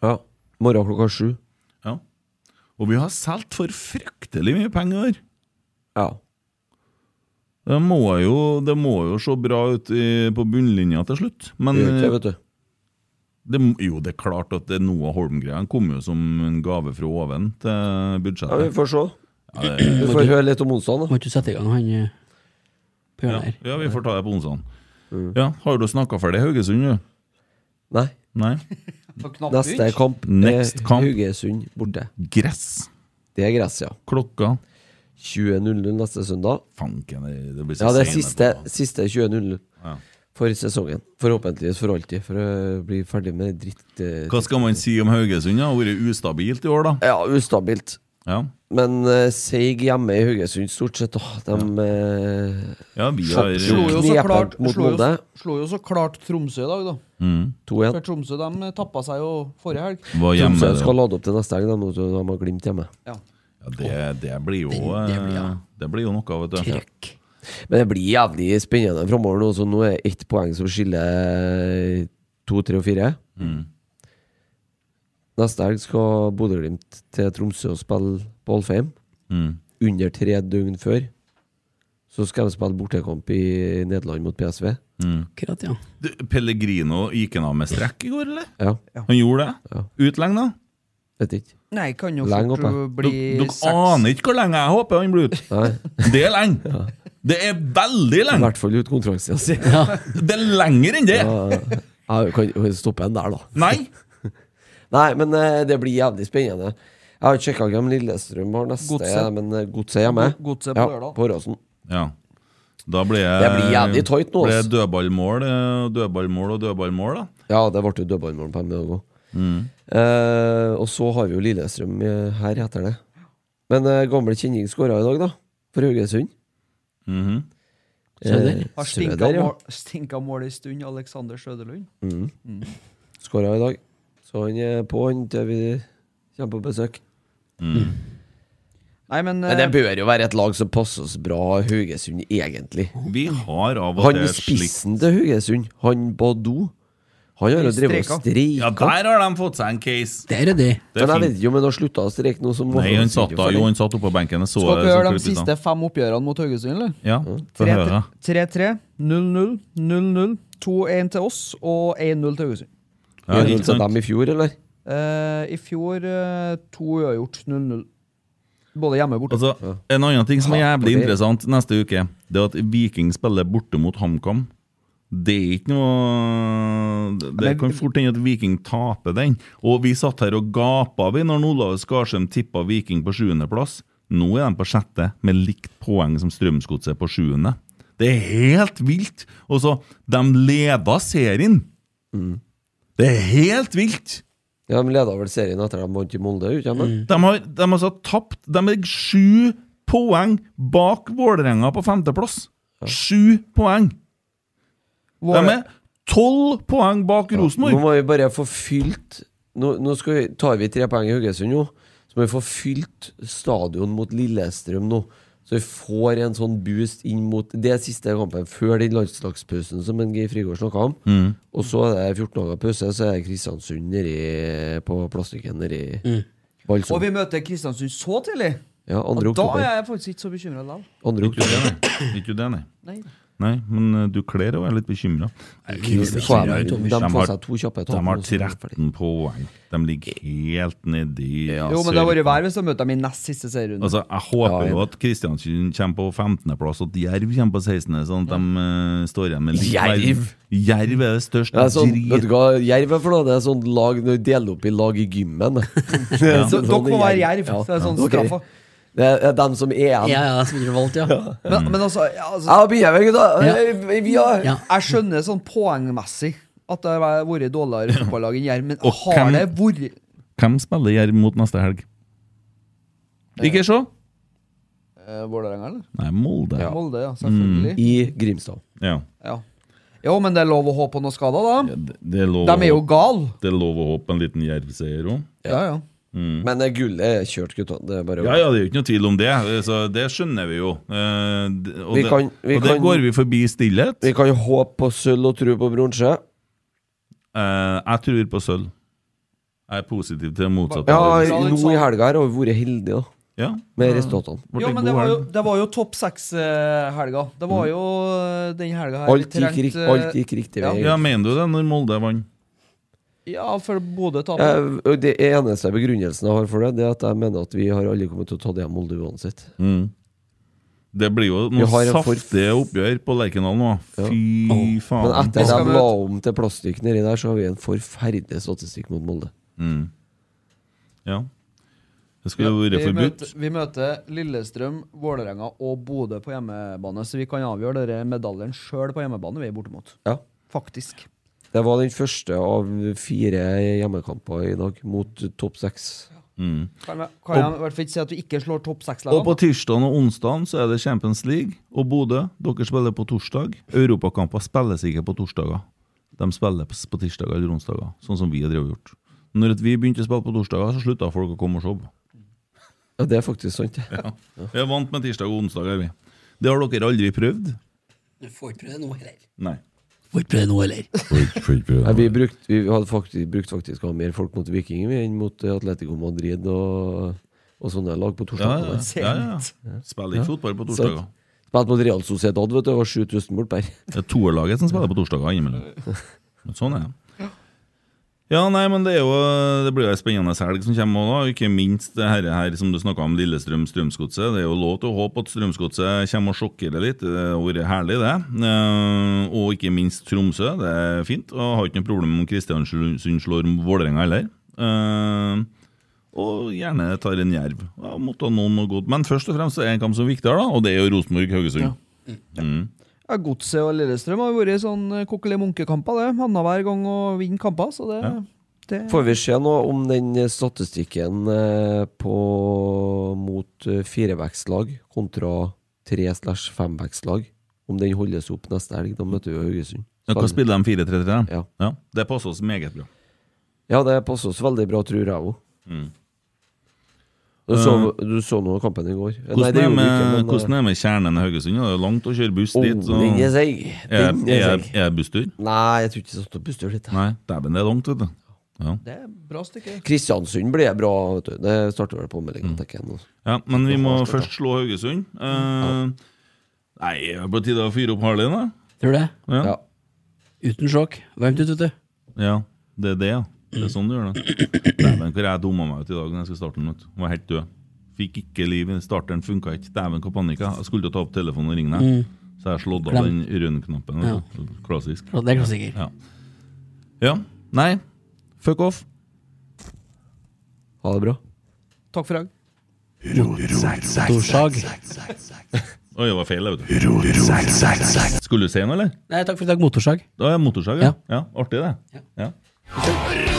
[SPEAKER 4] Ja. Morgen klokka sju.
[SPEAKER 3] ja. Og vi har solgt for fryktelig mye penger.
[SPEAKER 4] Ja.
[SPEAKER 3] Det må jo, det må jo se bra ut i, på bunnlinja til slutt. Men
[SPEAKER 4] Det gjør ikke
[SPEAKER 3] eh,
[SPEAKER 4] det, vet du.
[SPEAKER 3] det, jo, det er klart at det Noah Holmgren kom jo som en gave fra oven til
[SPEAKER 4] Ja, vi
[SPEAKER 3] budsjettet.
[SPEAKER 4] får se. Vi får høre litt om onsdagen, da.
[SPEAKER 5] Må ikke du sette i gang han eh, på
[SPEAKER 3] Ja,
[SPEAKER 5] hjørnet her?
[SPEAKER 3] ja, vi får ta det på onsdag.
[SPEAKER 4] Mm.
[SPEAKER 3] Ja, har du snakka ferdig Haugesund, du?
[SPEAKER 4] Nei.
[SPEAKER 3] Nei.
[SPEAKER 6] På knapp
[SPEAKER 4] Neste
[SPEAKER 6] ut.
[SPEAKER 4] kamp
[SPEAKER 3] Next
[SPEAKER 4] er
[SPEAKER 3] kamp.
[SPEAKER 4] Haugesund borte.
[SPEAKER 3] Gress.
[SPEAKER 4] Det er gress, ja.
[SPEAKER 3] Klokka
[SPEAKER 4] 20.00 neste søndag.
[SPEAKER 3] Fanken, det det blir så
[SPEAKER 4] Ja, det er
[SPEAKER 3] sent
[SPEAKER 4] siste,
[SPEAKER 3] etterpå.
[SPEAKER 4] siste 20.00
[SPEAKER 3] Ja.
[SPEAKER 4] for sesongen. Forhåpentligvis for alltid, for å bli ferdig med dritt. eh,
[SPEAKER 3] Hva skal man si om Haugesund? Det har vært ustabilt i år, da.
[SPEAKER 4] Ja, ustabilt.
[SPEAKER 3] Ja,
[SPEAKER 4] Men eh, seig hjemme i Haugesund, stort sett. Da. De eh,
[SPEAKER 3] ja vi har
[SPEAKER 6] Slo jo så
[SPEAKER 4] Knepet
[SPEAKER 6] klart,
[SPEAKER 4] mot
[SPEAKER 6] slo jo,
[SPEAKER 4] Molde.
[SPEAKER 6] slo jo så klart Tromsø i dag, da.
[SPEAKER 4] 2-1.
[SPEAKER 6] For Tromsø de tappa seg jo forrige helg.
[SPEAKER 3] var hjemme.
[SPEAKER 4] Tromsø skal
[SPEAKER 3] det.
[SPEAKER 4] lade opp til neste helg, de, vet du, de har Glimt hjemme.
[SPEAKER 6] Ja.
[SPEAKER 3] Ja, det, det blir jo
[SPEAKER 5] Den- det blir, ja.
[SPEAKER 3] eh, Det blir jo noe, vet du.
[SPEAKER 5] Trøkk.
[SPEAKER 4] Men det blir jævlig spennende framover nå, så nå er det ett poeng som skiller to, tre og fire.
[SPEAKER 3] Mm.
[SPEAKER 4] Neste helg skal Bodø-Glimt til Tromsø og spille på Alfheim.
[SPEAKER 3] Mm.
[SPEAKER 4] Under tre døgn før. Så skal de spille bortekamp i Nederland mot PSV.
[SPEAKER 5] Akkurat, ja.
[SPEAKER 3] Du, Pellegrino gikk han av med strekk i går, eller?
[SPEAKER 4] Ja,
[SPEAKER 3] Han gjorde det?
[SPEAKER 4] Ja.
[SPEAKER 3] Ut lenge, da?
[SPEAKER 4] vet ikke.
[SPEAKER 6] Nei, kan jo
[SPEAKER 4] Lenge
[SPEAKER 6] fort
[SPEAKER 4] oppe.
[SPEAKER 6] uh, bli
[SPEAKER 3] Dere dere
[SPEAKER 6] seks.
[SPEAKER 3] aner ikke hvor lenge jeg håper han blir ute.
[SPEAKER 4] Nei,
[SPEAKER 3] Det er lenge! Det er veldig
[SPEAKER 4] I
[SPEAKER 3] lenge!
[SPEAKER 4] hvert fall ut kontraktstida si.
[SPEAKER 3] Det er lenger enn det!
[SPEAKER 4] Jeg kan jo stoppe en der, da.
[SPEAKER 3] Nei!
[SPEAKER 4] Nei, men eh, det blir jævlig spennende. Jeg har ikke sjekka hvem Lillestrøm har neste,
[SPEAKER 6] Godset.
[SPEAKER 4] men eh, Godset er hjemme.
[SPEAKER 6] Go- Godset på
[SPEAKER 4] ja,
[SPEAKER 6] lørdag.
[SPEAKER 4] på Åråsen.
[SPEAKER 3] Ja. Da ble jeg,
[SPEAKER 4] Det blir jævlig tight nå,
[SPEAKER 3] Ble
[SPEAKER 4] ass.
[SPEAKER 3] dødballmål, eh, dødballmål og dødballmål, da.
[SPEAKER 4] Ja, det ble jo dødballmål på MDG òg. Eh, og så har vi jo Lillestrøm eh, her etter det. Men eh, gamle kjenning skåra i dag, da. For Haugesund.
[SPEAKER 3] Mhm.
[SPEAKER 5] Søder.
[SPEAKER 4] Eh,
[SPEAKER 6] Har stinka
[SPEAKER 4] Søder, ja.
[SPEAKER 6] mål, stinka mål i stund, Alexander Søderlund.
[SPEAKER 4] Skåra i dag. Så han er på, han, til vi kommer på besøk.
[SPEAKER 6] Nei, men,
[SPEAKER 4] Men det
[SPEAKER 6] eh,
[SPEAKER 4] bør jo være et lag som passer oss bra, Haugesund, egentlig.
[SPEAKER 3] Vi har av og
[SPEAKER 4] Han
[SPEAKER 3] til slikt
[SPEAKER 4] spissen til Haugesund, han Badou, han har jo drevet og
[SPEAKER 6] Streika.
[SPEAKER 3] Ja,
[SPEAKER 4] streika.
[SPEAKER 3] der har de fått seg en case!
[SPEAKER 5] Det er jo det.
[SPEAKER 3] Det
[SPEAKER 4] Men jeg
[SPEAKER 3] er
[SPEAKER 4] vet
[SPEAKER 3] fint.
[SPEAKER 4] ikke om han har slutta å streike nå. Som
[SPEAKER 3] Nei, han satt, da, jo, han satt oppe på benken. Jeg så
[SPEAKER 6] Skal
[SPEAKER 3] det,
[SPEAKER 6] dere
[SPEAKER 3] så
[SPEAKER 6] høre de
[SPEAKER 3] klippet ut
[SPEAKER 6] siste fem oppgjørene mot Haugesund, eller?
[SPEAKER 3] han. Ja, få høre.
[SPEAKER 6] 3-3, 0-0, 0-0, 2-1 til oss og 1-0 til Haugesund.
[SPEAKER 3] Ja, ikke
[SPEAKER 4] til
[SPEAKER 3] sant?
[SPEAKER 4] dem i fjor, eller?
[SPEAKER 6] Eh, I fjor eh, to uavgjort, 0-0. Både hjemme og borte.
[SPEAKER 3] Altså, en annen ting som er jævlig
[SPEAKER 4] det-
[SPEAKER 3] interessant neste uke, det er at Viking spiller borte mot HamKam. Det er ikke noe Det det kan fort hende at Viking taper den. Og vi satt her og gapa vi når Olav Skarsheim tippa Viking på sjuendeplass. Nå er de på sjette, med likt poeng som Strømsgodset på sjuende. Det er helt vilt! Og så, de leda serien! Det er helt vilt!
[SPEAKER 4] Ja, De leda vel serien etter at de vant i Molde, gjorde de ikke?
[SPEAKER 3] De har, de har altså tapt De er sju poeng bak Vålerenga på femteplass. Sju poeng! De er tolv poeng bak
[SPEAKER 4] Nå
[SPEAKER 3] Rosenborg!
[SPEAKER 4] må vi bare få fylt Nå, nå skal vi, tar vi tre poeng i Haugesund nå. Så må vi få fylt stadion mot Lillestrøm nå. Så vi får en sånn boost inn mot Det er siste kampen før den landslagspausen som en Geir Frigård snakka om.
[SPEAKER 6] Mm.
[SPEAKER 4] Og så er det 14 dager pause, så er det Kristiansund nedi på plastikken nedi
[SPEAKER 6] Mm. og
[SPEAKER 4] Balsam.
[SPEAKER 6] vi møter Kristiansund så tidlig!
[SPEAKER 4] Ja,
[SPEAKER 6] Og
[SPEAKER 4] 2.
[SPEAKER 6] da
[SPEAKER 4] oktober.
[SPEAKER 6] er jeg faktisk ikke så bekymra likevel.
[SPEAKER 3] Ikke
[SPEAKER 4] 2. oktober.
[SPEAKER 3] det, nei. Ikke det, nei.
[SPEAKER 6] Nei.
[SPEAKER 3] Nei, men eh, du kler og er litt bekymra.
[SPEAKER 4] De får de
[SPEAKER 3] har-
[SPEAKER 4] får seg to
[SPEAKER 3] De
[SPEAKER 4] kjappe tap.
[SPEAKER 3] har
[SPEAKER 4] nå, så er det ferdig.
[SPEAKER 3] 13 poeng. De ligger helt nedi
[SPEAKER 6] Jo, men det har vært vær hvis de møter dem i nest siste serierunde.
[SPEAKER 3] Altså, Jeg håper
[SPEAKER 4] Ja, jeg-
[SPEAKER 3] jo at Kristiansund kommer på 15.-plass, og at Jerv kommer på 16., sånn at de eh, står igjen med litt
[SPEAKER 4] Jerv?
[SPEAKER 3] mer- Jerv er det største
[SPEAKER 4] Det er sånn,
[SPEAKER 3] drit-
[SPEAKER 4] vet du hva jerv er for noe? Det er sånn lag når du deler opp i lag i gymmen. Ja.
[SPEAKER 6] Så dere må være jerv. Så det er sånn
[SPEAKER 4] Ok.
[SPEAKER 6] straffa.
[SPEAKER 4] Det er- det er dem som er igjen.
[SPEAKER 5] Ja, ja, som du valgte, ja.
[SPEAKER 6] Men, men altså, ja, altså
[SPEAKER 4] Jeg begynner med gutta. Eh,
[SPEAKER 5] Ja.
[SPEAKER 4] Vi- Vi har
[SPEAKER 5] Ja.
[SPEAKER 6] Jeg skjønner sånn poengmessig at det har vært dårligere fotballag enn Jerv, men
[SPEAKER 3] Og
[SPEAKER 6] har
[SPEAKER 3] hvem-
[SPEAKER 6] det vært
[SPEAKER 3] Hvem spiller Jerv mot neste helg? Ikke se!
[SPEAKER 6] eh, Vålerenga, eller?
[SPEAKER 3] Nei, Molde. Ja.
[SPEAKER 6] Molde, ja. Selvfølgelig.
[SPEAKER 4] i Grimstad.
[SPEAKER 6] Ja. Jo, men det er lov å håpe på noen skader, da.
[SPEAKER 3] Det, det, er lov,
[SPEAKER 6] De er jo
[SPEAKER 3] å-
[SPEAKER 6] gale.
[SPEAKER 3] det er lov å håpe en liten Jerv-seier òg.
[SPEAKER 6] Ja, ja.
[SPEAKER 4] Men det gullet er kjørt, gutta. Det er bare å-
[SPEAKER 3] Ja, ja, det er jo ikke noe tvil om det. Så det skjønner vi jo. Eh, d- og
[SPEAKER 4] Vi
[SPEAKER 3] det,
[SPEAKER 4] kan- vi
[SPEAKER 3] og det
[SPEAKER 4] kan-
[SPEAKER 3] går vi forbi stillhet.
[SPEAKER 4] Vi kan jo håpe på sølv og tro på bronse.
[SPEAKER 3] Eh, jeg tror på sølv. Jeg er positiv til det motsatte.
[SPEAKER 4] Ja,
[SPEAKER 6] Ja,
[SPEAKER 4] nå
[SPEAKER 6] liksom.
[SPEAKER 4] i helga her har vi vært heldige, da.
[SPEAKER 3] ja.
[SPEAKER 4] Med resultatene.
[SPEAKER 3] ble
[SPEAKER 6] Jo,
[SPEAKER 3] en
[SPEAKER 6] men
[SPEAKER 3] god
[SPEAKER 6] det var jo,
[SPEAKER 3] helg.
[SPEAKER 6] det var jo topp seks-helga. Det var jo eh, den helga her vi
[SPEAKER 4] Alt gikk, rikt,
[SPEAKER 6] trengte, eh,
[SPEAKER 4] alt gikk riktig vei.
[SPEAKER 3] ja, mener du det, når Molde vant?
[SPEAKER 6] Ja, for Bodø tapte.
[SPEAKER 4] Ja, Eh, og Det eneste begrunnelsen jeg har for det, Det er at jeg mener at vi har aldri kommet til å ta det av Molde uansett.
[SPEAKER 3] Det blir jo
[SPEAKER 4] Mm. Vi
[SPEAKER 3] noen
[SPEAKER 4] har en for-
[SPEAKER 3] saftige oppgjør på Lerkendal nå. Fy
[SPEAKER 4] Men
[SPEAKER 3] faen.
[SPEAKER 4] etter
[SPEAKER 6] skal
[SPEAKER 4] at de
[SPEAKER 6] vi-
[SPEAKER 4] la om til plastikk nedi der, så har vi en forferdelig statistikk mot Molde.
[SPEAKER 3] Mm. Ja. Det skulle jo vært
[SPEAKER 6] vi,
[SPEAKER 3] forbudt.
[SPEAKER 6] møter, vi møter Lillestrøm, Vålerenga og Bodø på hjemmebane, så vi kan avgjøre dere medaljen sjøl på hjemmebane. Vi er bortimot.
[SPEAKER 4] Ja.
[SPEAKER 6] Faktisk.
[SPEAKER 4] Det var den første av fire hjemmekamper i dag mot topp seks.
[SPEAKER 6] Kan jeg, kan jeg i hvert fall ikke si at vi ikke slår topp
[SPEAKER 3] Og på
[SPEAKER 6] seks-lagene?
[SPEAKER 3] tirsdag og onsdag så er det Champions League og Bodø. Dere spiller på torsdag. Europakamper spilles ikke på torsdager. De spilles på tirsdager eller onsdager, sånn som vi har drevet og gjort. Når at vi begynte å spille på torsdager, så slutta folk å komme og se. på.
[SPEAKER 4] Ja, det er faktisk sant. det.
[SPEAKER 3] Vi er vant med tirsdag og onsdag, er vi. Det har dere aldri prøvd?
[SPEAKER 5] Du får ikke prøve det nå heller.
[SPEAKER 3] Nei.
[SPEAKER 5] Får ikke prøve det nå heller.
[SPEAKER 4] Nei, vi, brukt, vi hadde faktisk, brukt faktisk å ha mer folk mot Viking vi, enn mot eh, Atletico Madrid og, og sånne lag på
[SPEAKER 3] Ja,
[SPEAKER 4] torsdag.
[SPEAKER 3] ja, ja, ja. Spiller ikke fotball på torsdager.
[SPEAKER 4] Spilte mot Real Sociedad, vet du. Det var 7000 bort der.
[SPEAKER 3] Det er toerlaget som spiller på torsdager innimellom. Men Sånn er det. Ja, nei, men det, er jo, det blir jo ei spennende helg som kommer også, da. Ikke minst det her, her som du snakka om, Lillestrøm-Strømsgodset. Det er jo lov til å håpe at Strømsgodset kommer og sjokkerer litt. Det har vært herlig, det. Eh, og ikke minst Tromsø. Det er fint. Og jeg har ikke noe problem om Kristiansund slår Vålerenga heller. Eh, og gjerne tar en jerv. Ja, måtte ha noen noe godt. Men først og fremst er det en kamp som er viktigere, da, og det er jo Rosenborg-Haugesund.
[SPEAKER 6] Ja, Godset og Lillestrøm har vært sånn eh, kokkeli munkekamper, det. Annenhver gang å vinne kamper, så det, det
[SPEAKER 4] Får vi se nå om den eh, statistikken eh, på, mot eh, firevektslag kontra tre- slash femvektslag, om den holdes opp neste helg. Da møter vi Haugesund.
[SPEAKER 3] Ja, hva
[SPEAKER 4] Spennende.
[SPEAKER 3] spiller de 4-3-3?
[SPEAKER 4] Ja.
[SPEAKER 3] ja. Det passer oss meget bra.
[SPEAKER 4] Ja, det passer oss veldig bra, tror jeg òg.
[SPEAKER 3] Mm.
[SPEAKER 4] Du, så- du så nå kampen i går? Nei,
[SPEAKER 3] Eh. Hvordan
[SPEAKER 4] det
[SPEAKER 3] er
[SPEAKER 4] gjorde du
[SPEAKER 3] med,
[SPEAKER 4] ikke, men,
[SPEAKER 3] hvordan er med kjernen i Haugesund? Det er jo langt å kjøre buss
[SPEAKER 4] eh,
[SPEAKER 3] dit.
[SPEAKER 4] oh,
[SPEAKER 3] Så
[SPEAKER 4] den er
[SPEAKER 3] er,
[SPEAKER 4] seig. Den er
[SPEAKER 3] er,
[SPEAKER 4] seig.
[SPEAKER 3] er det busstur?
[SPEAKER 4] Nei, jeg tror ikke det satt opp busstur dit.
[SPEAKER 3] Nei, dæven, det er langt, vet du. Ja.
[SPEAKER 6] Det er bra stykke.
[SPEAKER 4] Kristiansund blir bra, vet du. Det starter vel på ommeldinga, tenker jeg nå.
[SPEAKER 3] Ja, men vi må først slå Haugesund. Eh, nei, det er på tide å fyre opp Harley, da.
[SPEAKER 5] Tror du det?
[SPEAKER 3] Ja.
[SPEAKER 4] Ja.
[SPEAKER 5] Uten sjokk. Varmt ut, vet du.
[SPEAKER 3] Ja, det er det, ja. Det er sånn du gjør det. Dæven, hvor jeg dumma meg ut i dag når jeg skulle starte den. vet du. Var helt død. Fikk ikke liv. i- Starteren funka ikke. Dæven, hva panikk jeg Jeg skulle til å ta opp telefonen og ringe deg,
[SPEAKER 4] Mm.
[SPEAKER 3] så jeg slått av den
[SPEAKER 5] Glem.
[SPEAKER 3] røde knappen. vet du. Klassisk.
[SPEAKER 5] Og Det er klassiker.
[SPEAKER 3] Ja. Nei, fuck off.
[SPEAKER 4] Ha det bra.
[SPEAKER 6] Takk for i dag.
[SPEAKER 5] Torsdag.
[SPEAKER 3] Oi, det var feil, det, vet du. Skulle du si noe, eller?
[SPEAKER 5] Nei, takk for i dag. Motorsag.
[SPEAKER 3] Da er motorsag, ja. ja. Artig, det. Ja.
[SPEAKER 9] Rosenborg,